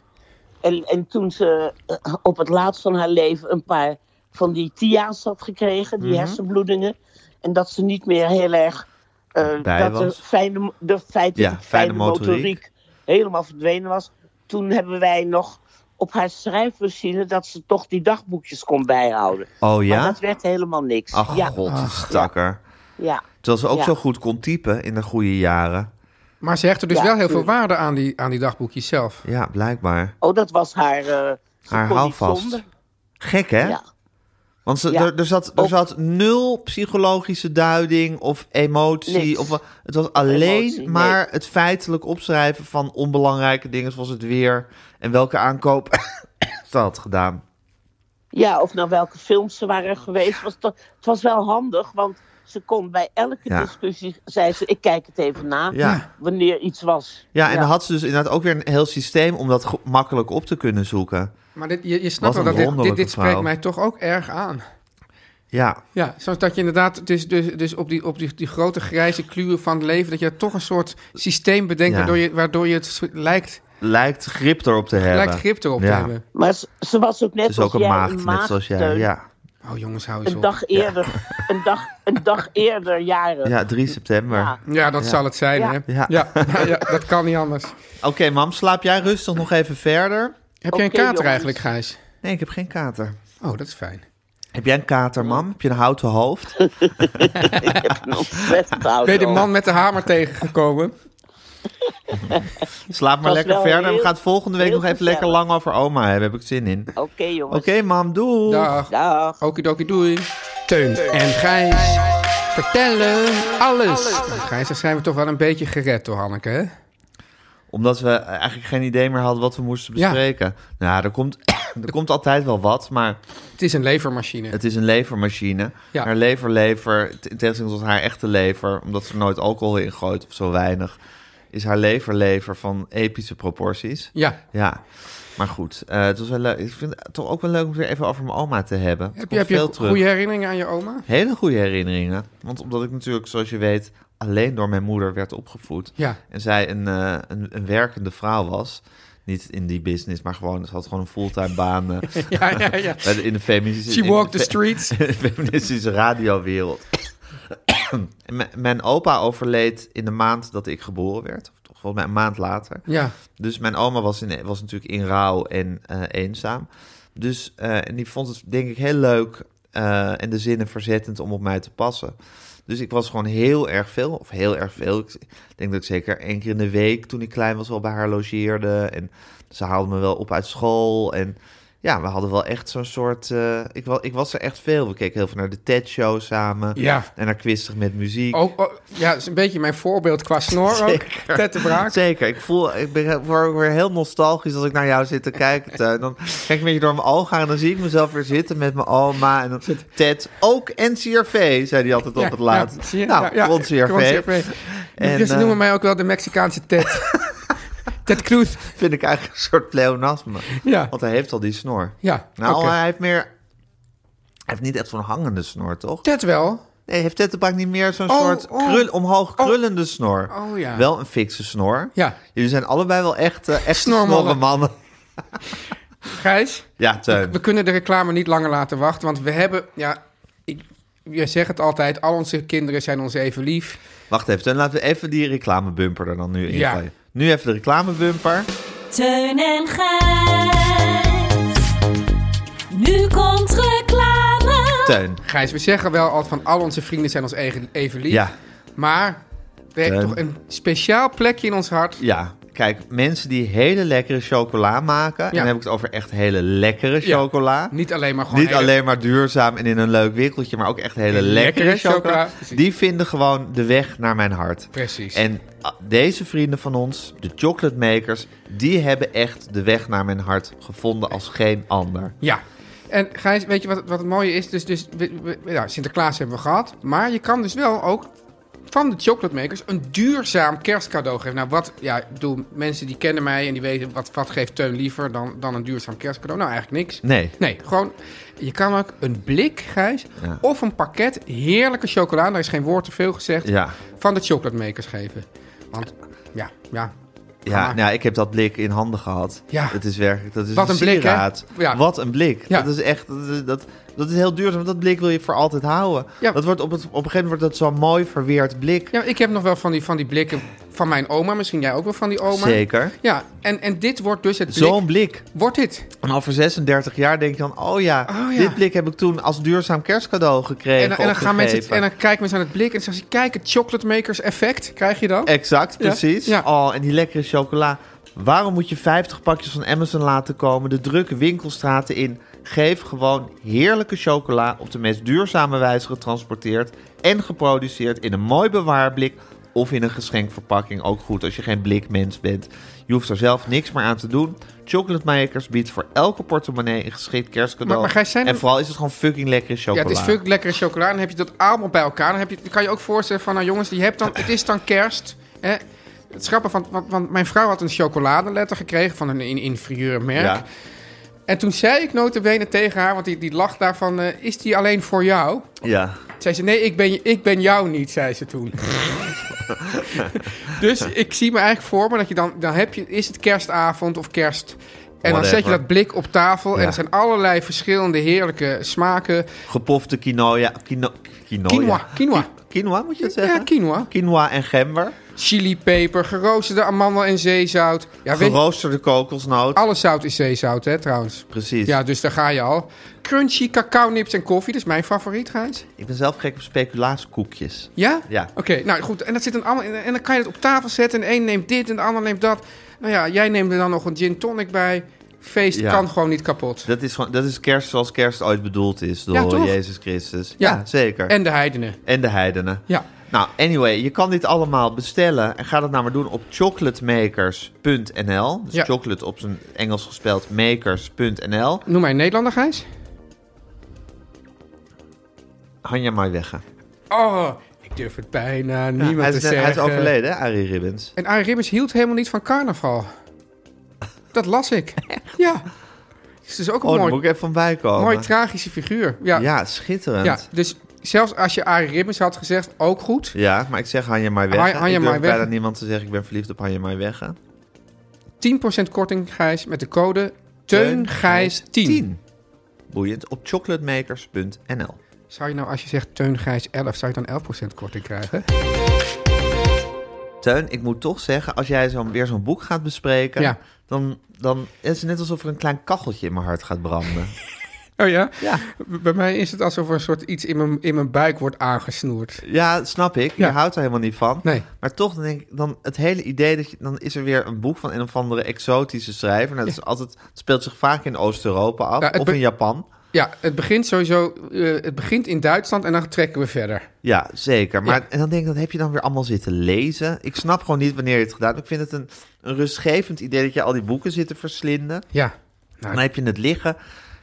[SPEAKER 5] en, en toen ze eh, op het laatst van haar leven een paar van die tia's had gekregen,
[SPEAKER 1] Mhm.
[SPEAKER 5] die hersenbloedingen. En dat ze niet meer heel erg. eh,
[SPEAKER 1] Bij
[SPEAKER 5] dat
[SPEAKER 1] was.
[SPEAKER 5] de, fijne, de feit,
[SPEAKER 1] Ja,
[SPEAKER 5] fijne,
[SPEAKER 1] fijne
[SPEAKER 5] motoriek.
[SPEAKER 1] motoriek
[SPEAKER 5] helemaal verdwenen was. Toen hebben wij nog op haar schrijfmachine dat ze toch die dagboekjes kon bijhouden.
[SPEAKER 1] Oh
[SPEAKER 5] Maar
[SPEAKER 1] ja?
[SPEAKER 5] dat werd helemaal niks.
[SPEAKER 1] Ach
[SPEAKER 5] ja,
[SPEAKER 1] god, stakker.
[SPEAKER 5] ja.
[SPEAKER 1] Terwijl ze ook
[SPEAKER 5] Ja.
[SPEAKER 1] zo goed kon typen in de goede jaren.
[SPEAKER 2] Maar ze hecht er dus
[SPEAKER 5] Ja,
[SPEAKER 2] wel heel veel
[SPEAKER 5] tuurlijk.
[SPEAKER 2] waarde aan die, aan die dagboekjes zelf.
[SPEAKER 1] Ja, blijkbaar.
[SPEAKER 5] Oh, dat was haar. eh, ze
[SPEAKER 1] Haar
[SPEAKER 5] kon niet
[SPEAKER 1] houvast.
[SPEAKER 5] zonder.
[SPEAKER 1] Gek, hè?
[SPEAKER 5] Ja.
[SPEAKER 1] Want ze,
[SPEAKER 5] Ja.
[SPEAKER 1] er, er, zat, er
[SPEAKER 5] Ook-
[SPEAKER 1] zat nul psychologische duiding of emotie.
[SPEAKER 5] Niks.
[SPEAKER 1] Of, eh, het was alleen
[SPEAKER 5] Emotie,
[SPEAKER 1] maar
[SPEAKER 5] nee.
[SPEAKER 1] het feitelijk opschrijven van onbelangrijke dingen zoals het weer en welke aankoop ze had gedaan.
[SPEAKER 5] Ja, of naar welke films ze waren geweest. Was toch- het was wel handig, want ze kon bij elke
[SPEAKER 1] Ja.
[SPEAKER 5] discussie, zei ze, ik kijk het even na,
[SPEAKER 1] Ja.
[SPEAKER 5] wanneer iets was.
[SPEAKER 1] Ja, en dan had ze dus inderdaad ook weer een heel systeem om dat go- makkelijk op te kunnen zoeken.
[SPEAKER 2] Maar dit, je, je
[SPEAKER 1] Wat
[SPEAKER 2] snapt wel
[SPEAKER 1] een
[SPEAKER 2] dat dit, dit,
[SPEAKER 1] wonderlijke
[SPEAKER 2] dit spreekt
[SPEAKER 1] vrouw.
[SPEAKER 2] mij toch ook erg aan.
[SPEAKER 1] Ja,
[SPEAKER 2] Ja, zoals dat je inderdaad dus, dus, dus op, die, op die, die grote grijze kluwen van het leven... dat je toch een soort systeem bedenkt
[SPEAKER 1] Ja.
[SPEAKER 2] waardoor, je, waardoor je het soort- lijkt,
[SPEAKER 1] lijkt grip erop te hebben.
[SPEAKER 2] lijkt grip erop te
[SPEAKER 1] Ja.
[SPEAKER 2] hebben.
[SPEAKER 5] Maar ze, ze was ook net
[SPEAKER 1] Het is
[SPEAKER 5] als
[SPEAKER 1] ook een
[SPEAKER 5] jij,
[SPEAKER 1] maagd, net zoals jij.
[SPEAKER 5] maagdteun.
[SPEAKER 1] Ja.
[SPEAKER 2] Oh jongens, hou eens
[SPEAKER 5] Een
[SPEAKER 2] op.
[SPEAKER 5] dag eerder, een, dag, een dag eerder jaren.
[SPEAKER 1] ja, 3 september.
[SPEAKER 5] Ja.
[SPEAKER 2] Ja, dat zal het zijn,
[SPEAKER 5] Ja.
[SPEAKER 2] hè?
[SPEAKER 1] Ja.
[SPEAKER 2] Ja. Ja, ja, dat kan niet anders.
[SPEAKER 1] Oké, mam, slaap jij rustig nog even verder?
[SPEAKER 2] Heb jij een
[SPEAKER 5] Oké,
[SPEAKER 2] kater
[SPEAKER 5] jongens.
[SPEAKER 2] eigenlijk, Gijs?
[SPEAKER 1] Nee, ik heb geen kater.
[SPEAKER 2] Oh, dat is fijn.
[SPEAKER 1] Heb jij een kater, mam? Heb je een houten hoofd?
[SPEAKER 5] Ik heb een ontzettend oud
[SPEAKER 2] Ben je de
[SPEAKER 5] hoofd.
[SPEAKER 2] man met de hamer tegengekomen?
[SPEAKER 1] Slaap maar
[SPEAKER 5] was
[SPEAKER 1] lekker
[SPEAKER 5] wel
[SPEAKER 1] verder. We
[SPEAKER 5] heel-
[SPEAKER 1] gaan het volgende week
[SPEAKER 5] heel
[SPEAKER 1] nog even
[SPEAKER 5] gezellig.
[SPEAKER 1] lekker lang over oma hebben. Heb ik zin in.
[SPEAKER 5] Oké, jongens.
[SPEAKER 1] Oké, mam, doei.
[SPEAKER 2] Dag.
[SPEAKER 5] Dag.
[SPEAKER 2] Okidoki doei. Teun en Gijs vertellen alles. Nou, Gijs, dan zijn we toch wel een beetje gered door Hanneke, hè?
[SPEAKER 1] Omdat we eh, eigenlijk geen idee meer hadden wat we moesten
[SPEAKER 2] Ja.
[SPEAKER 1] bespreken. Nou, er komt, er komt altijd wel wat, maar
[SPEAKER 2] Het is een levermachine.
[SPEAKER 1] het is een levermachine.
[SPEAKER 2] Ja.
[SPEAKER 1] Haar leverlever, t- in tegenstelling tot haar echte lever, omdat ze er nooit alcohol in gooit of zo weinig, is haar leverlever van epische proporties.
[SPEAKER 2] Ja.
[SPEAKER 1] Ja, maar goed, eh, het was wel leuk. Ik vind het toch ook wel leuk om het weer even over mijn oma te hebben. Het
[SPEAKER 2] Heb je,
[SPEAKER 1] komt
[SPEAKER 2] heb je
[SPEAKER 1] veel terug.
[SPEAKER 2] goede herinneringen aan je oma?
[SPEAKER 1] Hele goede herinneringen. Want omdat ik natuurlijk, zoals je weet, alleen door mijn moeder werd opgevoed.
[SPEAKER 2] Ja.
[SPEAKER 1] En zij een, eh, een, een werkende vrouw was. Niet in die business, maar gewoon, ze had gewoon een fulltime baan eh,
[SPEAKER 2] Ja, ja, ja.
[SPEAKER 1] bij de- in de feministische...
[SPEAKER 2] She
[SPEAKER 1] in
[SPEAKER 2] walked
[SPEAKER 1] de
[SPEAKER 2] the
[SPEAKER 1] fe-
[SPEAKER 2] streets.
[SPEAKER 1] in de feministische radiowereld. En mijn- mijn opa overleed in de maand dat ik geboren werd. Of toch volgens mij een maand later.
[SPEAKER 2] Ja.
[SPEAKER 1] Dus mijn oma was, in, was natuurlijk in rouw en eh, eenzaam. Dus, eh, en die vond het denk ik heel leuk eh, en de zinnen verzettend om op mij te passen. Dus ik was gewoon heel erg veel, of heel erg veel. Ik denk dat ik zeker één keer in de week toen ik klein was wel bij haar logeerde. En ze haalde me wel op uit school. En Ja, we hadden wel echt zo'n soort... eh, ik, wa- ik was er echt veel. We keken heel veel naar de TED-show samen.
[SPEAKER 2] Ja.
[SPEAKER 1] En naar Quistig met muziek.
[SPEAKER 2] Ook, ook- ja, is een beetje mijn voorbeeld qua snor ook.
[SPEAKER 1] Zeker.
[SPEAKER 2] Ted de Braak.
[SPEAKER 1] Zeker. Ik, voel, ik ben he- word ook weer heel nostalgisch als ik naar jou zit te kijken. Teun. Dan kijk ik een beetje door mijn ogen aan en dan zie ik mezelf weer zitten met mijn oma. En dan Ted, ook NCRV, zei hij altijd op
[SPEAKER 2] Ja,
[SPEAKER 1] het
[SPEAKER 2] ja,
[SPEAKER 1] laatst.
[SPEAKER 2] zie je?
[SPEAKER 1] nou,
[SPEAKER 2] Ja, ja,
[SPEAKER 1] ons CRV.
[SPEAKER 2] CRV.
[SPEAKER 1] En,
[SPEAKER 2] Ja, dus ze
[SPEAKER 1] eh,
[SPEAKER 2] noemen mij ook wel de Mexicaanse Ted. Ted Cruz.
[SPEAKER 1] Vind ik eigenlijk een soort pleonasme.
[SPEAKER 2] Ja.
[SPEAKER 1] Want hij heeft al die snor.
[SPEAKER 2] Ja,
[SPEAKER 1] Nou,
[SPEAKER 2] oké.
[SPEAKER 1] hij heeft meer... Hij heeft niet echt zo'n hangende snor, toch?
[SPEAKER 2] Ted wel.
[SPEAKER 1] Nee, heeft Ted de Bak niet meer zo'n
[SPEAKER 2] Oh,
[SPEAKER 1] soort
[SPEAKER 2] oh.
[SPEAKER 1] krul, omhoog
[SPEAKER 2] Oh.
[SPEAKER 1] krullende snor?
[SPEAKER 2] Oh, ja.
[SPEAKER 1] Wel een fikse snor.
[SPEAKER 2] Ja.
[SPEAKER 1] Jullie zijn allebei wel echt, eh, echt
[SPEAKER 2] Snormannen.
[SPEAKER 1] snorre mannen.
[SPEAKER 2] Gijs,
[SPEAKER 1] Ja, Teun.
[SPEAKER 2] we kunnen de reclame niet langer laten wachten, want we hebben... Ja, ik, je zegt het altijd, al onze kinderen zijn ons even lief.
[SPEAKER 1] Wacht even, Teun. Laten we even die reclamebumper er dan nu in
[SPEAKER 2] Ja.
[SPEAKER 1] gooien. Nu even de reclamebumper.
[SPEAKER 4] Teun en Gijs. Nu komt reclame.
[SPEAKER 1] Teun.
[SPEAKER 2] Gijs, we zeggen wel altijd van al onze vrienden zijn ons eigen- even lief.
[SPEAKER 1] Ja. Eh.
[SPEAKER 2] Maar we hebben
[SPEAKER 1] Teun.
[SPEAKER 2] toch een speciaal plekje in ons hart.
[SPEAKER 1] Ja, kijk, mensen die hele lekkere chocola maken. En dan heb ik het over echt hele lekkere
[SPEAKER 2] Ja.
[SPEAKER 1] chocola.
[SPEAKER 2] Niet alleen maar gewoon...
[SPEAKER 1] Niet
[SPEAKER 2] hele-
[SPEAKER 1] alleen maar duurzaam en in een leuk winkeltje, maar ook echt hele
[SPEAKER 2] Lekkere
[SPEAKER 1] lekkere, chocola.
[SPEAKER 2] chocola, precies.
[SPEAKER 1] Die vinden gewoon de weg naar mijn hart.
[SPEAKER 2] Precies.
[SPEAKER 1] En ah, deze vrienden van ons, de chocolate makers, die hebben echt de weg naar mijn hart gevonden als geen ander.
[SPEAKER 2] Ja. En Gijs, weet je wat, wat het mooie is? Dus, dus we- we- ja, Sinterklaas hebben we gehad. Maar je kan dus wel ook van de chocolademakers een duurzaam kerstcadeau geven. Nou, wat, ja, ik bedoel, mensen die kennen mij en die weten wat, wat geeft Teun liever dan, dan een duurzaam kerstcadeau. Nou, eigenlijk niks.
[SPEAKER 1] Nee.
[SPEAKER 2] Nee, gewoon, je kan ook een blik, Gijs,
[SPEAKER 1] Ja.
[SPEAKER 2] of een pakket heerlijke chocolade, daar is geen woord te veel gezegd,
[SPEAKER 1] Ja.
[SPEAKER 2] van de chocolademakers geven. Want, ja, ja.
[SPEAKER 1] Ja,
[SPEAKER 2] Maar-
[SPEAKER 1] nou, ik heb dat blik in handen gehad.
[SPEAKER 2] Ja.
[SPEAKER 1] Het is werkelijk, dat is
[SPEAKER 2] Wat een blik, hè?
[SPEAKER 1] sieraad.
[SPEAKER 2] Ja.
[SPEAKER 1] Wat een blik.
[SPEAKER 2] Ja.
[SPEAKER 1] Dat is echt, dat is, dat, dat is heel duurzaam. Dat blik wil je voor altijd houden.
[SPEAKER 2] Ja.
[SPEAKER 1] Dat wordt op, het, op een gegeven moment wordt dat zo'n mooi verweerd blik.
[SPEAKER 2] ja, ik heb nog wel van die, van die blikken van mijn oma, misschien jij ook wel van die oma.
[SPEAKER 1] Zeker.
[SPEAKER 2] Ja, en, en dit wordt dus het blik.
[SPEAKER 1] Zo'n blik.
[SPEAKER 2] Wordt dit.
[SPEAKER 1] En al voor 36 jaar denk je dan, oh ja,
[SPEAKER 2] Oh ja.
[SPEAKER 1] dit blik heb ik toen als duurzaam kerstcadeau gekregen.
[SPEAKER 2] En, dan- en dan
[SPEAKER 1] of
[SPEAKER 2] gaan mensen,
[SPEAKER 1] gegeven.
[SPEAKER 2] en dan kijken mensen aan het blik en zeggen ze, kijk, het chocolate makers effect krijg je dan.
[SPEAKER 1] Exact,
[SPEAKER 2] Ja.
[SPEAKER 1] precies.
[SPEAKER 2] Ja.
[SPEAKER 1] Oh, en die lekkere chocola. Waarom moet je 50 pakjes van Amazon laten komen, de drukke winkelstraten in? Geef gewoon heerlijke chocola op de meest duurzame wijze getransporteerd en geproduceerd in een mooi bewaarblik of in een geschenkverpakking. Ook goed als je geen blikmens bent. Je hoeft er zelf niks meer aan te doen. Chocolate Makers biedt voor elke portemonnee een geschikt kerstcadeau.
[SPEAKER 2] Maar- maar Gijs, zijn
[SPEAKER 1] en
[SPEAKER 2] er-
[SPEAKER 1] vooral is het gewoon fucking lekkere
[SPEAKER 2] Ja,
[SPEAKER 1] chocola.
[SPEAKER 2] het is veel lekkere chocola. Dan heb je dat allemaal bij elkaar. Dan, heb je, dan kan je ook voorstellen van, nou jongens, die hebt dan, het is dan kerst. Hè? Het schrappen van, want, want mijn vrouw had een chocoladeletter gekregen van een in- inferieure merk.
[SPEAKER 1] Ja.
[SPEAKER 2] En toen zei ik notabene tegen haar, want die, die lag daarvan, eh, is die alleen voor jou?
[SPEAKER 1] ja.
[SPEAKER 2] Zei ze, nee, ik ben, ik ben jou niet, zei ze toen. dus ik zie me eigenlijk voor me dat je dan, dan heb je, is het kerstavond of kerst. En dan
[SPEAKER 1] Whatever.
[SPEAKER 2] zet je dat blik op tafel
[SPEAKER 1] Ja. Oh,
[SPEAKER 2] en er zijn allerlei verschillende heerlijke smaken.
[SPEAKER 1] Gepofte quinoa. Quino, quinoa.
[SPEAKER 2] Quinoa, quinoa.
[SPEAKER 1] Quinoa moet je het zeggen?
[SPEAKER 2] Ja, quinoa.
[SPEAKER 1] Quinoa en gember.
[SPEAKER 2] Chilipeper, geroosterde amandel en zeezout. Ja, weet je,
[SPEAKER 1] Geroosterde kokosnoot.
[SPEAKER 2] alle zout is zeezout, hè, trouwens.
[SPEAKER 1] Precies.
[SPEAKER 2] Ja, dus daar ga je al. Crunchy cacao nips en koffie, dat is mijn favoriet, Gijs.
[SPEAKER 1] Ik ben zelf gek op speculaaskoekjes.
[SPEAKER 2] Ja?
[SPEAKER 1] Ja.
[SPEAKER 2] Oké, nou goed. En, dat zit dan allemaal in, en dan kan je het op tafel zetten. En de een neemt dit en de ander neemt dat. Nou ja, jij neemt er dan nog een gin tonic bij. Feest
[SPEAKER 1] Ja.
[SPEAKER 2] kan gewoon niet kapot.
[SPEAKER 1] Dat is, gewoon, dat is kerst zoals kerst ooit bedoeld is door
[SPEAKER 2] Ja, toch?
[SPEAKER 1] Jezus Christus.
[SPEAKER 2] Ja.
[SPEAKER 1] zeker.
[SPEAKER 2] En de heidenen.
[SPEAKER 1] En de heidenen.
[SPEAKER 2] Ja.
[SPEAKER 1] Nou, anyway, je kan dit allemaal bestellen. En ga dat nou maar doen op chocolatemakers.nl. Dus
[SPEAKER 2] Ja.
[SPEAKER 1] chocolate op zijn Engels gespeld makers.nl.
[SPEAKER 2] Noem mij een Nederlander, Gijs.
[SPEAKER 1] Hanja Maiwegge.
[SPEAKER 2] Oh, ik durf het bijna niemand
[SPEAKER 1] Hij
[SPEAKER 2] te
[SPEAKER 1] is, net-
[SPEAKER 2] zeggen.
[SPEAKER 1] hij is overleden, hè, Arie Ribbons.
[SPEAKER 2] En Arie Ribbons hield helemaal niet van carnaval. Dat las ik. Ja. Dus het is ook een
[SPEAKER 1] Oh, daar
[SPEAKER 2] mooi,
[SPEAKER 1] moet ik even van bijkomen.
[SPEAKER 2] mooi tragische figuur. Ja. ja.
[SPEAKER 1] Ja, schitterend.
[SPEAKER 2] Dus zelfs als je Arie Ribbons had gezegd, ook goed.
[SPEAKER 1] Ja, maar ik zeg Hanja Maiwegge.
[SPEAKER 2] Han- Hanja
[SPEAKER 1] ik durf
[SPEAKER 2] Maiwegge.
[SPEAKER 1] bijna niemand te zeggen ik ben verliefd op Hanja Maiwegge.
[SPEAKER 2] 10% korting, Gijs, met de code TEUNGIJS10.
[SPEAKER 1] 10. Boeiend. Op chocolatemakers.nl
[SPEAKER 2] Zou je nou, als je zegt Teun Gijs 11, zou je dan 11% korting krijgen?
[SPEAKER 1] Teun, ik moet toch zeggen, als jij zo weer zo'n boek gaat bespreken...
[SPEAKER 2] Ja.
[SPEAKER 1] Dan, dan is het net alsof er een klein kacheltje in mijn hart gaat branden.
[SPEAKER 2] Oké, Oh ja?
[SPEAKER 6] Ja.
[SPEAKER 2] Bij mij is het alsof er een soort iets in mijn, in mijn buik wordt aangesnoerd.
[SPEAKER 1] Ja, snap ik.
[SPEAKER 2] Ja.
[SPEAKER 1] Je houdt er helemaal niet van.
[SPEAKER 2] Nee.
[SPEAKER 1] Maar toch dan denk ik, dan het hele idee dat je, dan is er weer een boek van een of andere exotische schrijver. Nou, dat is altijd, het speelt zich vaak in Oost-Europa af
[SPEAKER 2] Ja, het
[SPEAKER 1] of
[SPEAKER 2] be-
[SPEAKER 1] in Japan.
[SPEAKER 2] Ja, het begint sowieso... eh, het begint in Duitsland en dan trekken we verder.
[SPEAKER 1] Ja, zeker. Maar
[SPEAKER 2] Ja.
[SPEAKER 1] en dan denk ik, dat heb je dan weer allemaal zitten lezen. Ik snap gewoon niet wanneer je het gedaan hebt. Ik vind het een, een rustgevend idee dat je al die boeken zit te verslinden.
[SPEAKER 2] Ja.
[SPEAKER 1] Dan heb je het liggen.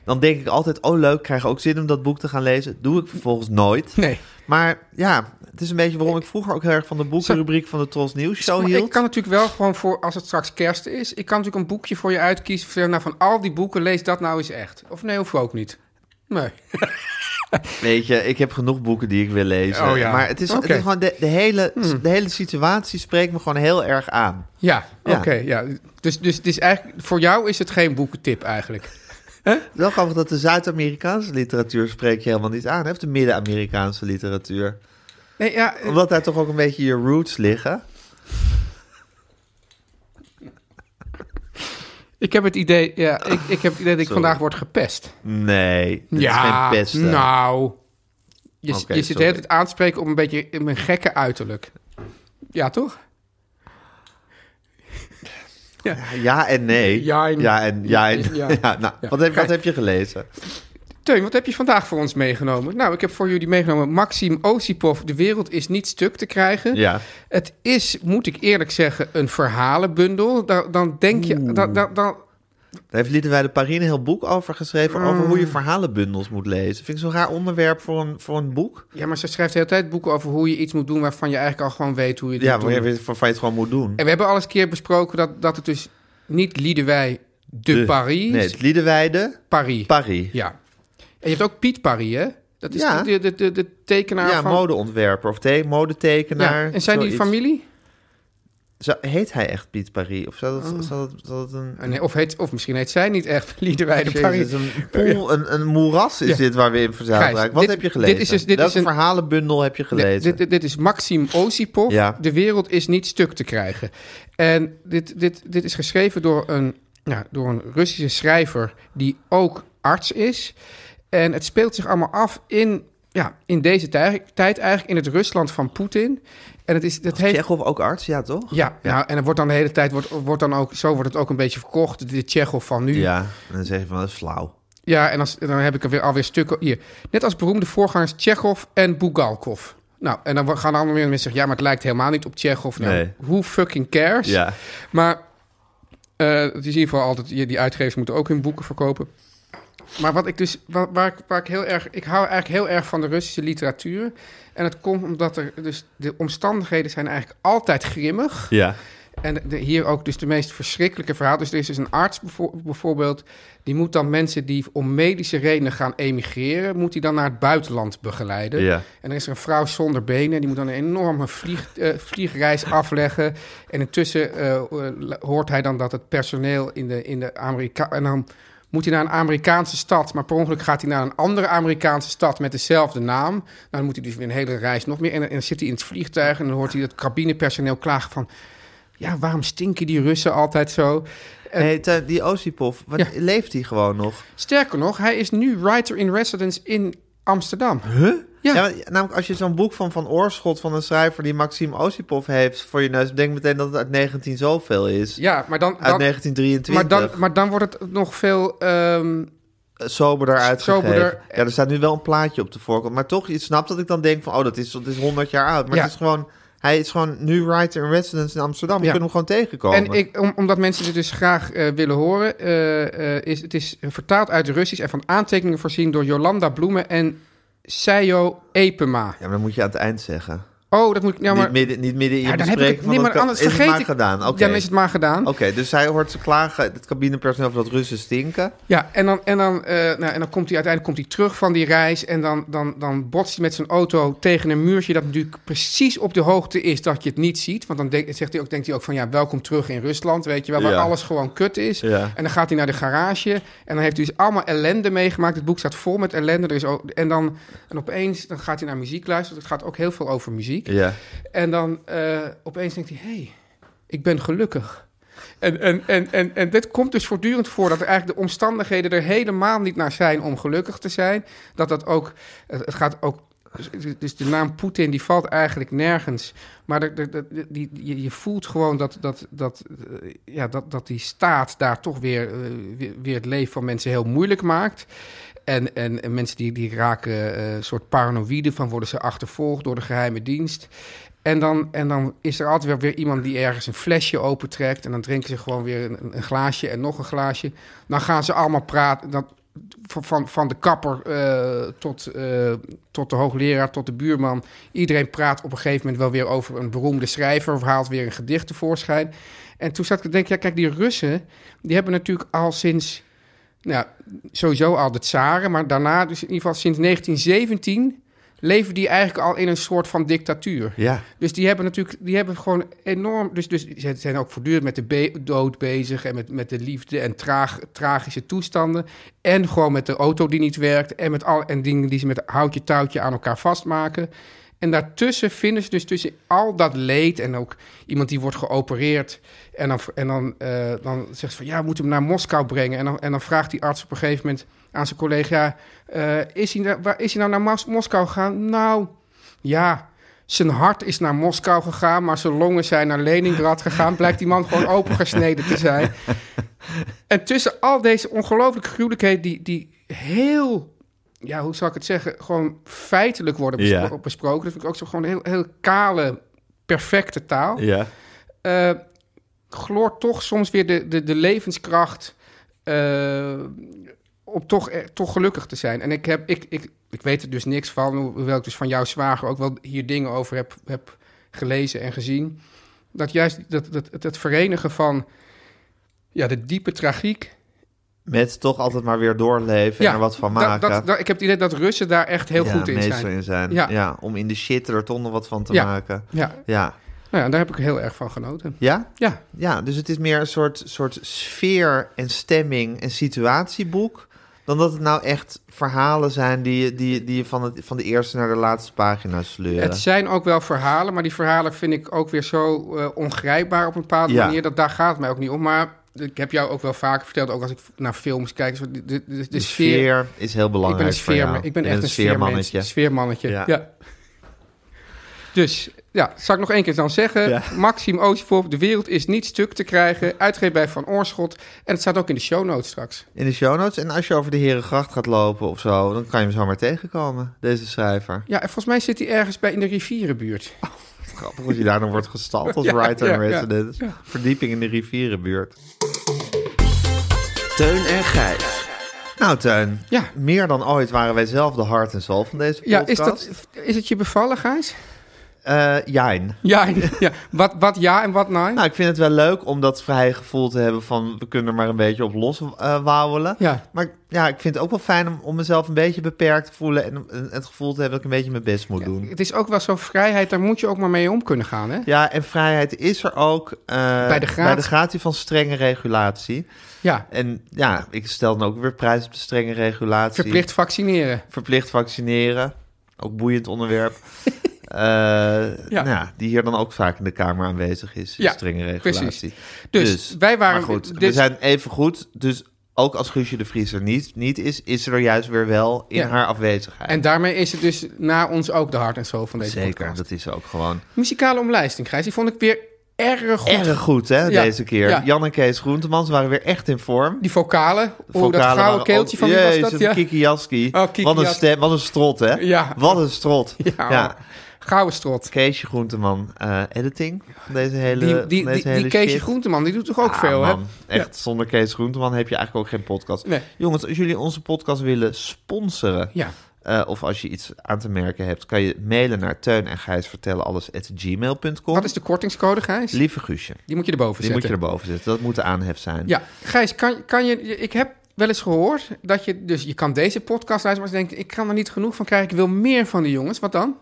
[SPEAKER 1] Dan denk ik altijd, oh leuk, ik krijg ook zin om dat boek te gaan lezen. Doe ik vervolgens nooit.
[SPEAKER 2] Nee.
[SPEAKER 1] Maar ja, het is een beetje waarom ik vroeger ook heel erg van de boekenrubriek van de Tros Nieuws Show
[SPEAKER 2] Maar
[SPEAKER 1] hield.
[SPEAKER 2] ik kan natuurlijk wel gewoon voor, als het straks kerst is... ik kan natuurlijk een boekje voor je uitkiezen. Of zeggen, nou, van al die boeken, lees dat nou eens echt. Of nee, hoeft ook niet. Nee.
[SPEAKER 1] Weet je, ik heb genoeg boeken die ik wil lezen.
[SPEAKER 2] Oh ja.
[SPEAKER 1] Maar het is, het
[SPEAKER 2] Oké. Hmm.
[SPEAKER 1] is gewoon de, de, hele, de hele situatie spreekt me gewoon heel erg aan.
[SPEAKER 2] Ja,
[SPEAKER 1] Ja.
[SPEAKER 2] oké. ja. Dus, dus het is eigenlijk, voor jou is het geen boekentip eigenlijk.
[SPEAKER 1] Het is wel grappig dat de Zuid-Amerikaanse literatuur spreekt je helemaal niet aan. Hè? Of de Midden-Amerikaanse literatuur.
[SPEAKER 2] Nee, ja, eh,
[SPEAKER 1] Omdat daar toch ook een beetje je roots liggen.
[SPEAKER 2] ik heb het idee, ja, ik, ik heb het idee dat ik
[SPEAKER 1] Sorry.
[SPEAKER 2] vandaag word gepest.
[SPEAKER 1] Nee, dit is
[SPEAKER 2] ja,
[SPEAKER 1] geen pesten.
[SPEAKER 2] nou. Je,
[SPEAKER 1] Oké,
[SPEAKER 2] je zit de
[SPEAKER 1] sorry.
[SPEAKER 2] hele tijd aan te spreken op een beetje in mijn gekke uiterlijk. Ja, toch?
[SPEAKER 1] Ja en nee.
[SPEAKER 2] Ja en-
[SPEAKER 1] ja en... Ja en-
[SPEAKER 2] Ja.
[SPEAKER 1] ja, nou,
[SPEAKER 2] Ja.
[SPEAKER 1] Wat, heb, wat
[SPEAKER 2] Kijk.
[SPEAKER 1] heb je gelezen?
[SPEAKER 2] Teun, wat heb je vandaag voor ons meegenomen? Nou, ik heb voor jullie meegenomen Maxim Osipov, De Wereld is niet stuk te krijgen.
[SPEAKER 1] Ja.
[SPEAKER 2] Het is, moet ik eerlijk zeggen, een verhalenbundel. Dan, dan denk je, dan, dan, dan,
[SPEAKER 1] Daar heeft Liederwijde Parine een heel boek over geschreven... over hoe je
[SPEAKER 2] Mm.
[SPEAKER 1] verhalenbundels moet lezen. Vind ik zo'n raar onderwerp voor een, voor een boek.
[SPEAKER 2] Ja, maar ze schrijft de hele tijd boeken over hoe je iets moet doen... waarvan je eigenlijk al gewoon weet hoe je het
[SPEAKER 1] Ja,
[SPEAKER 2] moet
[SPEAKER 1] waar je,
[SPEAKER 2] doen.
[SPEAKER 1] waarvan je het gewoon moet doen.
[SPEAKER 2] En we hebben al eens een keer besproken dat, dat het dus niet Liedewij de,
[SPEAKER 1] De-
[SPEAKER 2] Paris
[SPEAKER 1] Nee,
[SPEAKER 2] is.
[SPEAKER 1] het Liedewijde,
[SPEAKER 2] Paris.
[SPEAKER 1] Paris.
[SPEAKER 2] ja. En je hebt ook Piet Paris, hè? Dat is
[SPEAKER 1] Ja.
[SPEAKER 2] de, de, de, de tekenaar
[SPEAKER 1] Ja,
[SPEAKER 2] van...
[SPEAKER 1] modeontwerper of te- modetekenaar.
[SPEAKER 2] Ja, en zijn die
[SPEAKER 1] zoiets.
[SPEAKER 2] familie?
[SPEAKER 1] Zo- heet hij echt Piet Paris? Of zou
[SPEAKER 2] Oh.
[SPEAKER 1] dat, zou dat, zou dat een...
[SPEAKER 2] Ah, nee, of, heet, of misschien heet zij niet echt Liedewij de
[SPEAKER 1] Jezus,
[SPEAKER 2] Paris.
[SPEAKER 1] een, poel, een, een moeras is
[SPEAKER 2] Ja.
[SPEAKER 1] dit waar we in verzeild
[SPEAKER 2] Gijs,
[SPEAKER 1] raken. Wat
[SPEAKER 2] dit-
[SPEAKER 1] heb je
[SPEAKER 2] dit
[SPEAKER 1] gelezen?
[SPEAKER 2] is dus- dit
[SPEAKER 1] Welke
[SPEAKER 2] is een-
[SPEAKER 1] verhalenbundel heb je gelezen?
[SPEAKER 2] Dit, dit, dit is Maxim Osipov.
[SPEAKER 1] Ja.
[SPEAKER 2] De wereld is niet stuk te krijgen. En dit, dit, dit is geschreven door een, ja, door een Russische schrijver die ook arts is. En het speelt zich allemaal af in, ja, in deze tij- tijd eigenlijk, in het Rusland van Poetin. En het is, dat heeft,
[SPEAKER 1] Tsjechov ook arts, ja toch?
[SPEAKER 2] ja, Nou, en er wordt dan de hele tijd, wordt, wordt dan ook, zo wordt het ook een beetje verkocht, de Tsjechov van nu.
[SPEAKER 1] Ja, en dan zeg je van, dat is flauw.
[SPEAKER 2] Ja, en als- en dan heb ik er weer alweer stukken hier. Net als beroemde voorgangers Tsjechov en Bugalkov. Nou, en dan gaan allemaal weer mensen zeggen... ja, maar het lijkt helemaal niet op Tsjechov. Nou,
[SPEAKER 1] Nee.
[SPEAKER 2] Who fucking cares?
[SPEAKER 1] Ja.
[SPEAKER 2] Maar eh, het is in ieder geval altijd... die die uitgevers moeten ook hun boeken verkopen. Maar wat ik dus... Waar, waar, ik, waar ik heel erg... Ik hou eigenlijk heel erg van de Russische literatuur. En het komt omdat er... Dus de omstandigheden zijn eigenlijk altijd grimmig.
[SPEAKER 1] Ja.
[SPEAKER 2] En de- hier ook dus de meest verschrikkelijke verhaal. Dus er is dus een arts bevo- bijvoorbeeld... die moet dan mensen die om medische redenen gaan emigreren... moet hij dan naar het buitenland begeleiden.
[SPEAKER 1] Ja.
[SPEAKER 2] En er is een vrouw zonder benen... die moet dan een enorme vlieg, eh, vliegreis afleggen. En intussen eh, eh, hoort hij dan dat het personeel in de, in de Amerika... en dan moet hij naar een Amerikaanse stad... maar per ongeluk gaat hij naar een andere Amerikaanse stad... met dezelfde naam. Nou, dan moet hij dus weer een hele reis nog meer... en, en dan zit hij in het vliegtuig... en dan hoort hij het cabinepersoneel klagen van... Ja, waarom stinken die Russen altijd zo?
[SPEAKER 1] Hey, Teun, die Osipov, wat,
[SPEAKER 2] Ja.
[SPEAKER 1] leeft hij gewoon nog?
[SPEAKER 2] Sterker nog, hij is nu writer in residence in Amsterdam. Ja.
[SPEAKER 1] Ja. maar namelijk als je zo'n boek van Van Oorschot van een schrijver die Maxim Osipov heeft voor je neus, denk meteen dat het uit 19 zoveel is.
[SPEAKER 2] Ja, maar dan,
[SPEAKER 1] uit
[SPEAKER 2] dan, maar
[SPEAKER 1] 1923.
[SPEAKER 2] dan, maar dan wordt het nog veel. ehm,
[SPEAKER 1] soberder uitgegeven.
[SPEAKER 2] Soberder.
[SPEAKER 1] Ja, er staat nu wel een plaatje op de voorkant. Maar toch, je snapt dat ik dan denk van... oh, dat is, dat is 100 jaar oud. Maar
[SPEAKER 2] Ja.
[SPEAKER 1] het is gewoon... hij is gewoon nu writer in residence in Amsterdam. We
[SPEAKER 2] Ja.
[SPEAKER 1] kunnen hem gewoon tegenkomen.
[SPEAKER 2] en ik, om, omdat mensen dit dus graag eh, willen horen, eh, eh, is het is vertaald uit Russisch en van aantekeningen voorzien door Jolanda Bloemen en Seyo Epema.
[SPEAKER 1] Ja, maar dan moet je aan het eind zeggen.
[SPEAKER 2] Oh, dat moet ik. Nou, maar,
[SPEAKER 1] niet, midden, niet midden in je
[SPEAKER 2] ja, dan heb ik
[SPEAKER 1] bespreking
[SPEAKER 2] het.
[SPEAKER 1] van
[SPEAKER 2] Nee,
[SPEAKER 1] dat
[SPEAKER 2] maar
[SPEAKER 1] kan-
[SPEAKER 2] anders
[SPEAKER 1] is het
[SPEAKER 2] vergeet
[SPEAKER 1] maar
[SPEAKER 2] ik.
[SPEAKER 1] gedaan. Oké,
[SPEAKER 2] Ja, dan is het maar gedaan.
[SPEAKER 1] Oké, dus hij hoort ze klagen, het cabinepersoneel, van dat Russen stinken.
[SPEAKER 2] Ja, en dan, en dan, eh, nou, en dan komt hij uiteindelijk komt hij terug van die reis. En dan, dan, dan botst hij met zijn auto tegen een muurtje. Dat natuurlijk precies op de hoogte is dat je het niet ziet. Want dan denk, zegt hij ook, denkt hij ook van ja, welkom terug in Rusland. Weet je wel, waar
[SPEAKER 1] Ja.
[SPEAKER 2] alles gewoon kut is.
[SPEAKER 1] Ja.
[SPEAKER 2] En dan gaat hij naar de garage. En dan heeft hij dus allemaal ellende meegemaakt. Het boek staat vol met ellende. Er is ook, en, dan, en opeens dan gaat hij naar muziek luisteren. Het gaat ook heel veel over muziek.
[SPEAKER 1] Ja.
[SPEAKER 2] En dan eh, opeens denkt hij: hé, hey, ik ben gelukkig. En, en, en, en, en dit komt dus voortdurend voor dat er eigenlijk de omstandigheden er helemaal niet naar zijn om gelukkig te zijn. Dat dat ook, het het gaat ook, dus de naam Poetin die valt eigenlijk nergens. Maar er- er- er- die, je, je voelt gewoon dat, dat, dat, eh, ja, dat, dat die staat daar toch weer, eh, weer, weer het leven van mensen heel moeilijk maakt. En, en, en mensen die, die raken eh, een soort paranoïde van worden ze achtervolgd door de geheime dienst. En dan, en dan is er altijd weer, weer iemand die ergens een flesje opentrekt. En dan drinken ze gewoon weer een, een glaasje en nog een glaasje. Dan gaan ze allemaal praten. Dan, van- van, van de kapper eh, tot, eh, tot de hoogleraar, tot de buurman. Iedereen praat op een gegeven moment wel weer over een beroemde schrijver. Of haalt weer een gedicht tevoorschijn. En toen zat ik te denken, ja kijk, die Russen... die hebben natuurlijk al sinds... Nou, sowieso al de tsaren, maar daarna dus in ieder geval sinds 1917... leven die eigenlijk al in een soort van dictatuur.
[SPEAKER 1] Ja.
[SPEAKER 2] Dus die hebben natuurlijk, die hebben gewoon enorm. Dus, dus ze zijn ook voortdurend met de be- dood bezig en met, met de liefde en traag, tragische toestanden. En gewoon met de auto die niet werkt. En met al en dingen die ze met houtje touwtje aan elkaar vastmaken. En daartussen vinden ze dus tussen al dat leed en ook iemand die wordt geopereerd. En dan, en dan, eh, dan zegt ze van ja, we moeten hem naar Moskou brengen. En dan, en dan vraagt die arts op een gegeven moment aan zijn collega: eh, is, hij, na- waar, is hij nou naar Mos- Moskou gegaan? Nou, ja, zijn hart is naar Moskou gegaan, maar zijn longen zijn naar Leningrad gegaan. Blijkt die man gewoon opengesneden te zijn. En tussen al deze ongelooflijke gruwelijkheden, die, die heel, ja, hoe zou ik het zeggen, gewoon feitelijk worden bespro-
[SPEAKER 1] Ja.
[SPEAKER 2] besproken. Dat vind ik ook zo gewoon heel, heel kale, perfecte taal
[SPEAKER 1] Ja.
[SPEAKER 2] eh gloort toch soms weer de, de, de levenskracht eh, om toch, eh, toch gelukkig te zijn. En ik, heb, ik, ik, ik weet er dus niks van, hoewel ik dus van jouw zwager ook wel hier dingen over heb, heb gelezen en gezien. Dat juist dat, dat, het, het verenigen van ja, de diepe tragiek.
[SPEAKER 1] Met toch altijd maar weer doorleven en
[SPEAKER 2] ja,
[SPEAKER 1] er wat van
[SPEAKER 2] dat-
[SPEAKER 1] maken.
[SPEAKER 2] Dat, dat- ik heb het idee dat Russen daar echt heel
[SPEAKER 1] Ja,
[SPEAKER 2] goed in
[SPEAKER 1] meester
[SPEAKER 2] zijn.
[SPEAKER 1] in zijn. Ja.
[SPEAKER 2] Ja.
[SPEAKER 1] om in de shit er toch nog wat van te
[SPEAKER 2] Ja.
[SPEAKER 1] maken.
[SPEAKER 2] Ja,
[SPEAKER 1] Ja.
[SPEAKER 2] nou ja, daar heb ik heel erg van genoten.
[SPEAKER 1] Ja?
[SPEAKER 2] Ja,
[SPEAKER 1] Ja, dus het is meer een soort, soort sfeer en stemming en situatieboek... dan dat het nou echt verhalen zijn die, je- die, je- die je van, het, van de eerste naar de laatste pagina sleuren.
[SPEAKER 2] Het zijn ook wel verhalen, maar die verhalen vind ik ook weer zo eh, ongrijpbaar op een bepaalde
[SPEAKER 1] Ja.
[SPEAKER 2] manier. Dat daar gaat het mij ook niet om. Maar ik heb jou ook wel vaker verteld, ook als ik naar films kijk. zo De, de, de, de
[SPEAKER 1] de sfeer,
[SPEAKER 2] sfeer.
[SPEAKER 1] is heel
[SPEAKER 2] Ik ben,
[SPEAKER 1] belangrijk
[SPEAKER 2] een sfeer,
[SPEAKER 1] voor jou.
[SPEAKER 2] ik ben
[SPEAKER 1] Je
[SPEAKER 2] echt
[SPEAKER 1] bent
[SPEAKER 2] een sfeermannetje. sfeermannetje.
[SPEAKER 1] Ja.
[SPEAKER 2] Ja. Dus, ja, zal ik nog één keer dan zeggen.
[SPEAKER 1] Ja.
[SPEAKER 2] Maxime Oostvoort, de wereld is niet stuk te krijgen. Uitgegeven bij Van Oorschot. En het staat ook in de show notes straks.
[SPEAKER 1] In de show notes. En als je over de Herengracht gaat lopen of zo... dan kan je hem zomaar tegenkomen, deze schrijver.
[SPEAKER 2] Ja, en volgens mij zit hij ergens bij in de rivierenbuurt.
[SPEAKER 1] Ah, Grappig dat je daar dan wordt gestald als
[SPEAKER 2] Ja,
[SPEAKER 1] writer in
[SPEAKER 2] ja, ja,
[SPEAKER 1] residence. Verdieping in de rivierenbuurt.
[SPEAKER 3] Teun en Gijs.
[SPEAKER 1] Nou, Teun.
[SPEAKER 2] Ja.
[SPEAKER 1] Meer dan ooit waren wij zelf de hart en ziel van deze
[SPEAKER 2] Ja,
[SPEAKER 1] podcast.
[SPEAKER 2] is, dat, is het je bevallen, Gijs?
[SPEAKER 1] Eh, jijn.
[SPEAKER 2] Ja, ja. Wat, wat ja en wat nee?
[SPEAKER 1] Nou, ik vind het wel leuk om dat vrije gevoel te hebben van... we kunnen er maar een beetje op los eh, wauwelen.
[SPEAKER 2] Ja.
[SPEAKER 1] Maar ik- ja, ik vind het ook wel fijn om, om mezelf een beetje beperkt te voelen... en en het gevoel te hebben dat ik een beetje mijn best moet doen.
[SPEAKER 2] Het is ook wel zo'n vrijheid, daar moet je ook maar mee om kunnen gaan, hè?
[SPEAKER 1] Ja, en vrijheid is er ook eh,
[SPEAKER 2] de gratie.
[SPEAKER 1] gratie van strenge regulatie.
[SPEAKER 2] Ja,
[SPEAKER 1] En ja, ik stel dan ook weer prijs op de strenge regulatie.
[SPEAKER 2] verplicht vaccineren.
[SPEAKER 1] Verplicht vaccineren. Ook boeiend onderwerp. Eh, nou ja, die hier dan ook vaak in de Kamer aanwezig is. die
[SPEAKER 2] Ja,
[SPEAKER 1] strenge
[SPEAKER 2] precies.
[SPEAKER 1] regulatie.
[SPEAKER 2] Dus wij waren-
[SPEAKER 1] Maar goed, we
[SPEAKER 2] dus-
[SPEAKER 1] zijn even goed. Dus ook als Guusje de Vries er niet, niet is, is ze er juist weer wel in
[SPEAKER 2] Ja.
[SPEAKER 1] haar afwezigheid.
[SPEAKER 2] En daarmee is het dus na ons ook de hart en zo van deze
[SPEAKER 1] Zeker,
[SPEAKER 2] podcast.
[SPEAKER 1] dat is ze ook gewoon.
[SPEAKER 2] Muzikale omlijsting, Gijs, die vond ik weer erg goed.
[SPEAKER 1] Erg goed, hè,
[SPEAKER 2] Ja,
[SPEAKER 1] deze keer.
[SPEAKER 2] ja.
[SPEAKER 1] Jan en Kees Groentemans waren weer echt in vorm.
[SPEAKER 2] Die vocalen, oh, dat
[SPEAKER 1] Vocalen waren
[SPEAKER 2] gouden keeltje
[SPEAKER 1] ook-
[SPEAKER 2] van wie was
[SPEAKER 1] Jezus,
[SPEAKER 2] dat? Ja.
[SPEAKER 1] Kiki Jaski.
[SPEAKER 2] Oh, Kiki
[SPEAKER 1] wat, een
[SPEAKER 2] Jaski.
[SPEAKER 1] stem, wat een strot, hè?
[SPEAKER 2] Ja.
[SPEAKER 1] Wat een strot.
[SPEAKER 2] Ja.
[SPEAKER 1] Ja.
[SPEAKER 2] Gouden strot.
[SPEAKER 1] Keesje Groenteman, eh, editing van deze hele
[SPEAKER 2] Die,
[SPEAKER 1] van
[SPEAKER 2] die,
[SPEAKER 1] deze
[SPEAKER 2] die, die
[SPEAKER 1] hele
[SPEAKER 2] Keesje
[SPEAKER 1] shit.
[SPEAKER 2] Groenteman, die doet toch ook
[SPEAKER 1] Ah,
[SPEAKER 2] veel, hè?
[SPEAKER 1] man, Echt, zonder Kees Groenteman heb je eigenlijk ook geen podcast.
[SPEAKER 2] Nee.
[SPEAKER 1] Jongens, als jullie onze podcast willen sponsoren...
[SPEAKER 2] Ja.
[SPEAKER 1] eh, of als je iets aan te merken hebt... kan je mailen naar teun en gijs vertellen alles at gmail.com.
[SPEAKER 2] Wat is de kortingscode, Gijs?
[SPEAKER 1] Lieve Guusje, die
[SPEAKER 2] Die moet je erboven zetten.
[SPEAKER 1] moet je erboven zetten. Dat moet de aanhef zijn.
[SPEAKER 2] Ja, Gijs, kan, kan je, ik heb wel eens gehoord dat je, dus je kan deze podcast luisteren, maar je denkt, ik kan er niet genoeg van krijgen, ik wil meer van die jongens. Wat dan?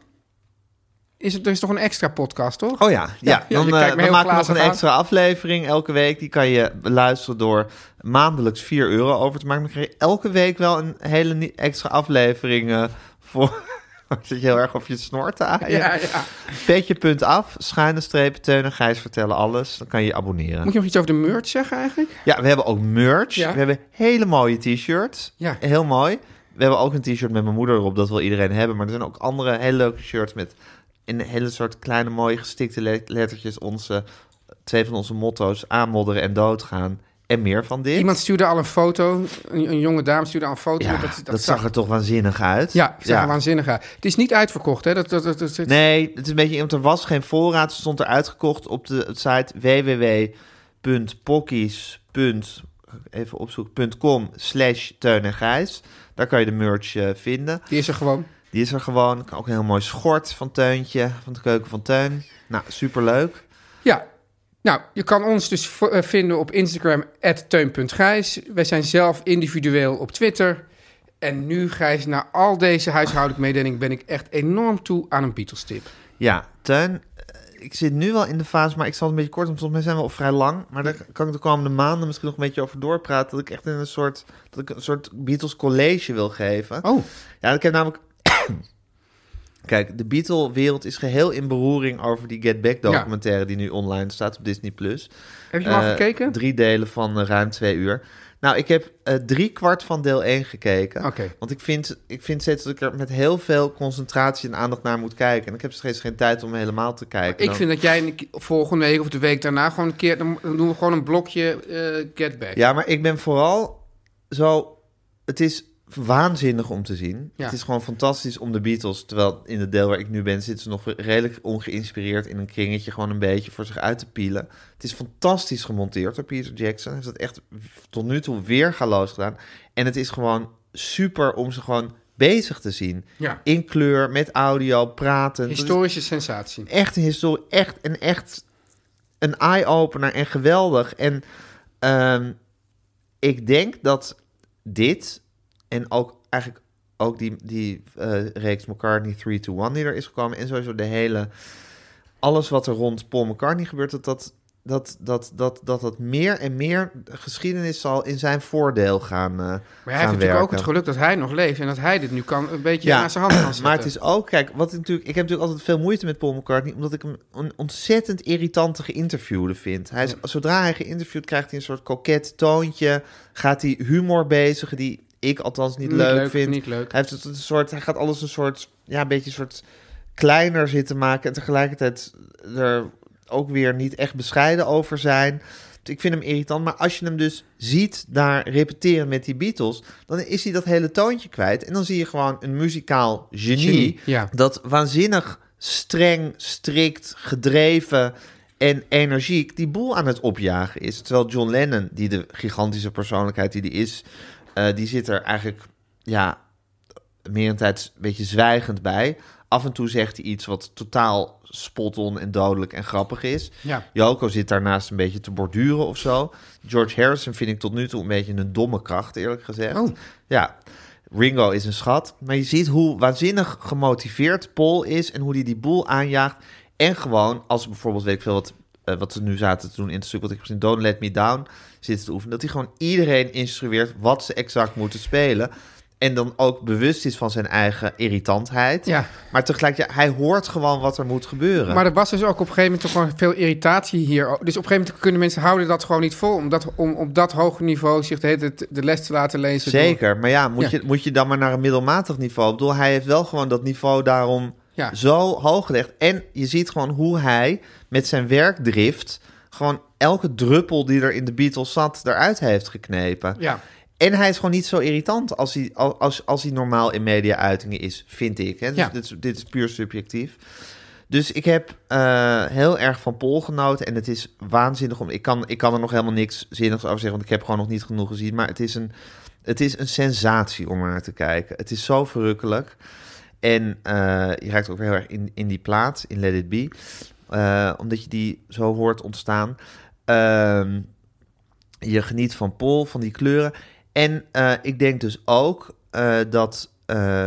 [SPEAKER 2] Is het, er is toch een extra podcast, toch?
[SPEAKER 1] Oh ja, ja.
[SPEAKER 2] Ja, ja,
[SPEAKER 1] dan
[SPEAKER 2] je
[SPEAKER 1] eh,
[SPEAKER 2] kijkt me
[SPEAKER 1] we
[SPEAKER 2] heel
[SPEAKER 1] maken nog een
[SPEAKER 2] glazig aan.
[SPEAKER 1] extra aflevering elke week. Die kan je beluisteren door maandelijks 4 euro over te maken. Dan krijg je elke week wel een hele nie- extra aflevering eh, voor, Zit je heel erg op je snor te aaien?
[SPEAKER 2] Ja, ja.
[SPEAKER 1] Petje punt af, schuine streep, Teun en Gijs vertellen alles. Dan kan je je abonneren.
[SPEAKER 2] Moet je nog iets over de merch zeggen eigenlijk?
[SPEAKER 1] Ja, we hebben ook merch.
[SPEAKER 2] Ja.
[SPEAKER 1] We hebben hele mooie t-shirts.
[SPEAKER 2] Ja.
[SPEAKER 1] Heel mooi. We hebben ook een t-shirt met mijn moeder erop. Dat wil iedereen hebben. Maar er zijn ook andere hele leuke shirts met een hele soort kleine mooie gestikte le- lettertjes. Onze, twee van onze motto's, aanmodderen en doodgaan. En meer van dit.
[SPEAKER 2] Iemand stuurde al een foto, een, een jonge dame stuurde al een foto.
[SPEAKER 1] ja, dat, zag er toch waanzinnig uit.
[SPEAKER 2] Ja, zag er waanzinnig uit. Het is niet uitverkocht, hè? Dat, dat, dat, dat-
[SPEAKER 1] Nee, het is een beetje, want er was geen voorraad. Het stond er uitgekocht op de site www.pockies. Even opzoeken.com slash Teun en Gijs. Daar kan je de merch eh, vinden.
[SPEAKER 2] Die is er gewoon.
[SPEAKER 1] Die is er gewoon. Ook een heel mooi schort van Teuntje, van de keuken van Teun. Nou, superleuk.
[SPEAKER 2] Ja. Nou, je kan ons dus v- eh, vinden op Instagram, teun.gijs. Wij zijn zelf individueel op Twitter. En nu, Gijs, na al deze huishoudelijke mededelingen... ben ik echt enorm toe aan een Beatles-tip.
[SPEAKER 1] Ja, Teun, eh, ik zit nu wel in de fase, maar ik zal het een beetje kort, want volgens mij zijn we al vrij lang. Maar daar kan ik de komende maanden misschien nog een beetje over doorpraten. Dat ik echt in een soort, dat ik een soort Beatles college wil geven.
[SPEAKER 2] Oh,
[SPEAKER 1] Ja, ik heb namelijk. Kijk, de Beatle-wereld is geheel in beroering over die Get Back documentaire die nu online staat op Disney Plus.
[SPEAKER 2] heb je hem al
[SPEAKER 1] Eh,
[SPEAKER 2] gekeken?
[SPEAKER 1] Drie delen van eh, ruim twee uur. Nou, ik heb eh, drie kwart van deel 1 gekeken.
[SPEAKER 2] Oké.
[SPEAKER 1] Want ik vind, ik vind steeds dat ik er met heel veel concentratie en aandacht naar moet kijken. En ik heb steeds geen tijd om helemaal te kijken.
[SPEAKER 2] Ik
[SPEAKER 1] Dan-
[SPEAKER 2] vind dat jij een ke- volgende week of de week daarna gewoon een keer... dan dan doen we gewoon een blokje eh, Get Back.
[SPEAKER 1] Ja, maar ik ben vooral zo. Het is waanzinnig om te zien.
[SPEAKER 2] Ja.
[SPEAKER 1] Het is gewoon fantastisch om de Beatles. Terwijl in het deel waar ik nu ben, zitten ze nog redelijk ongeïnspireerd in een kringetje. Gewoon een beetje voor zich uit te pielen. Het is fantastisch gemonteerd door Peter Jackson. Hij heeft dat echt tot nu toe weergaloos gedaan. En het is gewoon super om ze gewoon bezig te zien.
[SPEAKER 2] Ja.
[SPEAKER 1] In kleur, met audio, praten. Dat is
[SPEAKER 2] Historische sensatie.
[SPEAKER 1] echt een historie, echt een echt een eye-opener en geweldig. En ehm, ik denk dat dit en ook eigenlijk ook die, die eh, reeks McCartney 3 to 1 die er is gekomen en sowieso de hele alles wat er rond Paul McCartney gebeurt, dat dat dat dat dat dat, dat meer en meer geschiedenis zal in zijn voordeel gaan. eh,
[SPEAKER 2] Maar hij heeft natuurlijk ook het
[SPEAKER 1] werken.
[SPEAKER 2] geluk dat hij nog leeft... en dat hij dit nu kan een beetje naast zijn handen kan zetten.
[SPEAKER 1] Maar het is ook, kijk, wat ik natuurlijk, ik heb natuurlijk altijd veel moeite met Paul McCartney, omdat ik hem een ontzettend irritante geïnterviewde vind. Hij is, Zodra hij geïnterviewd krijgt hij een soort koket toontje, gaat hij humor bezigen die ik althans niet,
[SPEAKER 2] Niet
[SPEAKER 1] leuk,
[SPEAKER 2] leuk,
[SPEAKER 1] vind.
[SPEAKER 2] niet leuk.
[SPEAKER 1] Hij, heeft het een soort, hij gaat alles een soort, ja, een beetje een soort kleiner zitten maken en tegelijkertijd er ook weer niet echt bescheiden over zijn. Ik vind hem irritant, maar als je hem dus ziet daar repeteren met die Beatles, dan is hij dat hele toontje kwijt. En dan zie je gewoon een muzikaal genie,
[SPEAKER 2] Genie, ja.
[SPEAKER 1] dat waanzinnig streng, strikt, gedreven en energiek die boel aan het opjagen is. Terwijl John Lennon, die de gigantische persoonlijkheid die die is, eh, die zit er eigenlijk ja, meer een tijd een beetje zwijgend bij. Af en toe zegt hij iets wat totaal spot-on en dodelijk en grappig is.
[SPEAKER 2] Ja.
[SPEAKER 1] Joko zit daarnaast een beetje te borduren of zo. George Harrison vind ik tot nu toe een beetje een domme kracht, eerlijk gezegd.
[SPEAKER 2] Oh.
[SPEAKER 1] Ja, Ringo is een schat. Maar je ziet hoe waanzinnig gemotiveerd Paul is en hoe hij die boel aanjaagt. En gewoon, als bijvoorbeeld, weet ik veel wat, eh, wat ze nu zaten te doen in het stuk, wat ik heb gezien, Don't Let Me Down, zitten te oefenen. Dat hij gewoon iedereen instrueert wat ze exact moeten spelen. En dan ook bewust is van zijn eigen irritantheid.
[SPEAKER 2] Ja.
[SPEAKER 1] Maar tegelijkertijd, hij hoort gewoon wat er moet gebeuren.
[SPEAKER 2] Maar er was dus ook op een gegeven moment toch gewoon veel irritatie hier. Dus op een gegeven moment kunnen mensen houden dat gewoon niet vol. Om, dat, om op dat hoge niveau zich de, hele tijd de les te laten lezen. door-
[SPEAKER 1] Zeker, maar ja, moet,
[SPEAKER 2] Ja.
[SPEAKER 1] Je, moet je dan maar naar een middelmatig niveau? Ik bedoel, hij heeft wel gewoon dat niveau daarom
[SPEAKER 2] Ja.
[SPEAKER 1] zo hoog gelegd. En je ziet gewoon hoe hij met zijn werkdrift... gewoon elke druppel die er in de Beatles zat eruit heeft geknepen.
[SPEAKER 2] Ja.
[SPEAKER 1] En hij is gewoon niet zo irritant als hij, al- als, als hij normaal in media-uitingen is, vind ik. Hè? Dus
[SPEAKER 2] Ja.
[SPEAKER 1] dit, is, dit is puur subjectief. Dus ik heb eh, heel erg van Pol genoten. En het is waanzinnig om. Ik kan, ik kan er nog helemaal niks zinnigs over zeggen. Want ik heb gewoon nog niet genoeg gezien. Maar het is een, het is een sensatie om er naar te kijken. Het is zo verrukkelijk. En eh, je raakt ook weer heel erg in, in die plaat, in Let It Be. Eh, omdat je die zo hoort ontstaan. Ehm, je geniet van Pol, van die kleuren. En eh, ik denk dus ook eh, dat eh,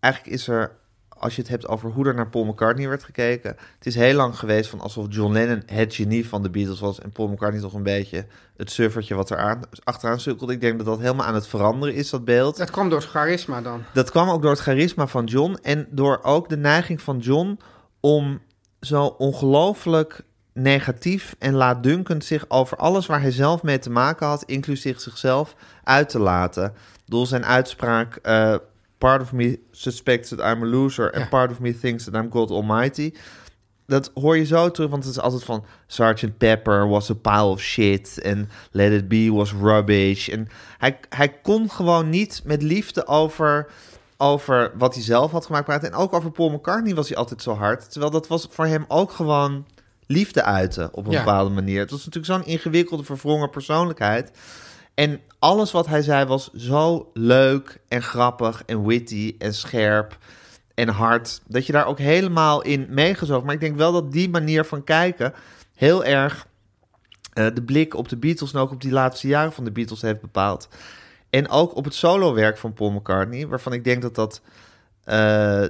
[SPEAKER 1] eigenlijk is er, als als je het hebt over hoe er naar Paul McCartney werd gekeken. Het is heel lang geweest van alsof John Lennon het genie van de Beatles was en Paul McCartney toch een beetje het suffertje wat er aan, achteraan sukkelde. Ik denk dat dat helemaal aan het veranderen is, dat beeld.
[SPEAKER 2] Dat kwam door het charisma dan.
[SPEAKER 1] Dat kwam ook door het charisma van John en door ook de neiging van John om zo ongelooflijk negatief en laatdunkend zich over alles waar hij zelf mee te maken had, inclusief zichzelf, uit te laten. Door zijn uitspraak: eh, Part of me suspects that I'm a loser, and part of me thinks that I'm God Almighty. Dat hoor je zo terug, want het is altijd van Sergeant Pepper was a pile of shit en Let It Be was rubbish. En hij, hij kon gewoon niet met liefde over, over wat hij zelf had gemaakt praten. En ook over Paul McCartney was hij altijd zo hard. Terwijl dat was voor hem ook gewoon liefde uiten op een
[SPEAKER 2] Ja.
[SPEAKER 1] bepaalde manier. Het was natuurlijk zo'n ingewikkelde, verwrongen persoonlijkheid. En alles wat hij zei was zo leuk en grappig en witty en scherp en hard. Dat je daar ook helemaal in meegezoog. Maar ik denk wel dat die manier van kijken heel erg eh, de blik op de Beatles en ook op die laatste jaren van de Beatles heeft bepaald. En ook op het solowerk van Paul McCartney, waarvan ik denk dat dat eh,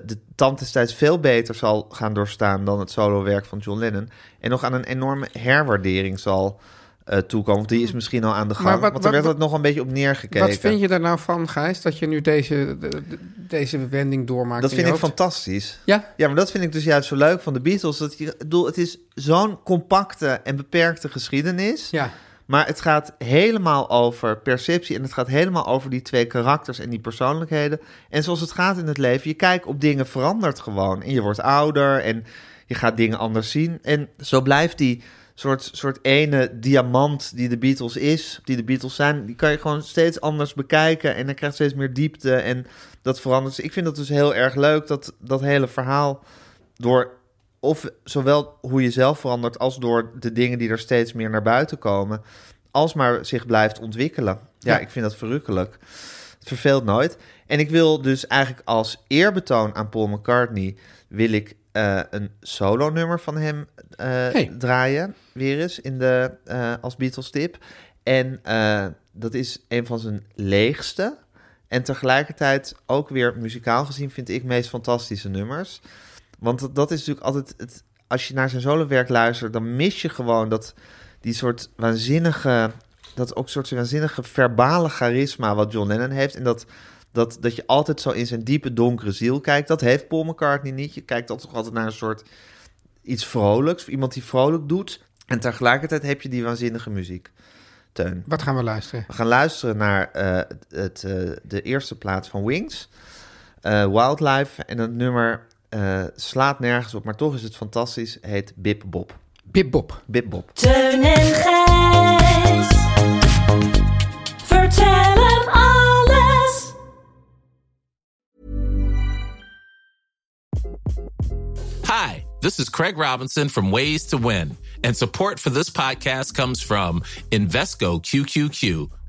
[SPEAKER 1] de tand destijds veel beter zal gaan doorstaan dan het solowerk van John Lennon. En nog aan een enorme herwaardering zal eh, toekomen. Want die is misschien al aan de gang.
[SPEAKER 2] Mm. Maar wat-
[SPEAKER 1] want
[SPEAKER 2] wat-
[SPEAKER 1] er werd
[SPEAKER 2] wat-
[SPEAKER 1] het nog een beetje op neergekeken.
[SPEAKER 2] Wat vind je daar nou van, Gijs, dat je nu deze, de- de- deze wending doormaakt?
[SPEAKER 1] dat
[SPEAKER 2] in
[SPEAKER 1] vind
[SPEAKER 2] je
[SPEAKER 1] ik
[SPEAKER 2] hoofd?
[SPEAKER 1] fantastisch.
[SPEAKER 2] Ja,
[SPEAKER 1] Ja, maar dat vind ik dus juist zo leuk van de Beatles. Dat je, ik bedoel, het is zo'n compacte en beperkte geschiedenis.
[SPEAKER 2] ja.
[SPEAKER 1] Maar het gaat helemaal over perceptie en het gaat helemaal over die twee karakters en die persoonlijkheden. En zoals het gaat in het leven, je kijkt op dingen verandert gewoon. En je wordt ouder en je gaat dingen anders zien. En zo blijft die soort, soort ene diamant die de Beatles is, die de Beatles zijn, die kan je gewoon steeds anders bekijken. En dan krijgt steeds meer diepte en dat verandert. Dus ik vind dat dus heel erg leuk, dat, dat hele verhaal door of zowel hoe je zelf verandert als door de dingen die er steeds meer naar buiten komen, als maar zich blijft ontwikkelen. Ja,
[SPEAKER 2] Ja.
[SPEAKER 1] ik vind dat verrukkelijk. Het verveelt nooit. En ik wil dus eigenlijk als eerbetoon aan Paul McCartney wil ik eh, een solo nummer van hem eh, draaien weer eens in de eh, als Beatles tip. En eh, dat is een van zijn leegste en tegelijkertijd ook weer muzikaal gezien vind ik meest fantastische nummers. Want dat, dat is natuurlijk altijd het. Als je naar zijn solowerk luistert, dan mis je gewoon dat die soort waanzinnige. Dat ook soort waanzinnige verbale charisma wat John Lennon heeft. En dat, dat, dat je altijd zo in zijn diepe donkere ziel kijkt. Dat heeft Paul McCartney niet. Je kijkt altijd, altijd naar een soort iets vrolijks. Iemand die vrolijk doet. En tegelijkertijd heb je die waanzinnige muziek. Teun.
[SPEAKER 2] Wat gaan we luisteren?
[SPEAKER 1] We gaan luisteren naar eh, het, eh, de eerste plaat van Wings, eh, Wildlife. En dat nummer eh, slaat nergens op, maar toch is het fantastisch. Heet Bip Bob.
[SPEAKER 2] Bip Bob.
[SPEAKER 1] Bip Bob.
[SPEAKER 4] Teun en Gijs. Vertel hem alles.
[SPEAKER 7] Hi, this is Craig Robinson from Ways to Win, and support for this podcast comes from Invesco QQQ,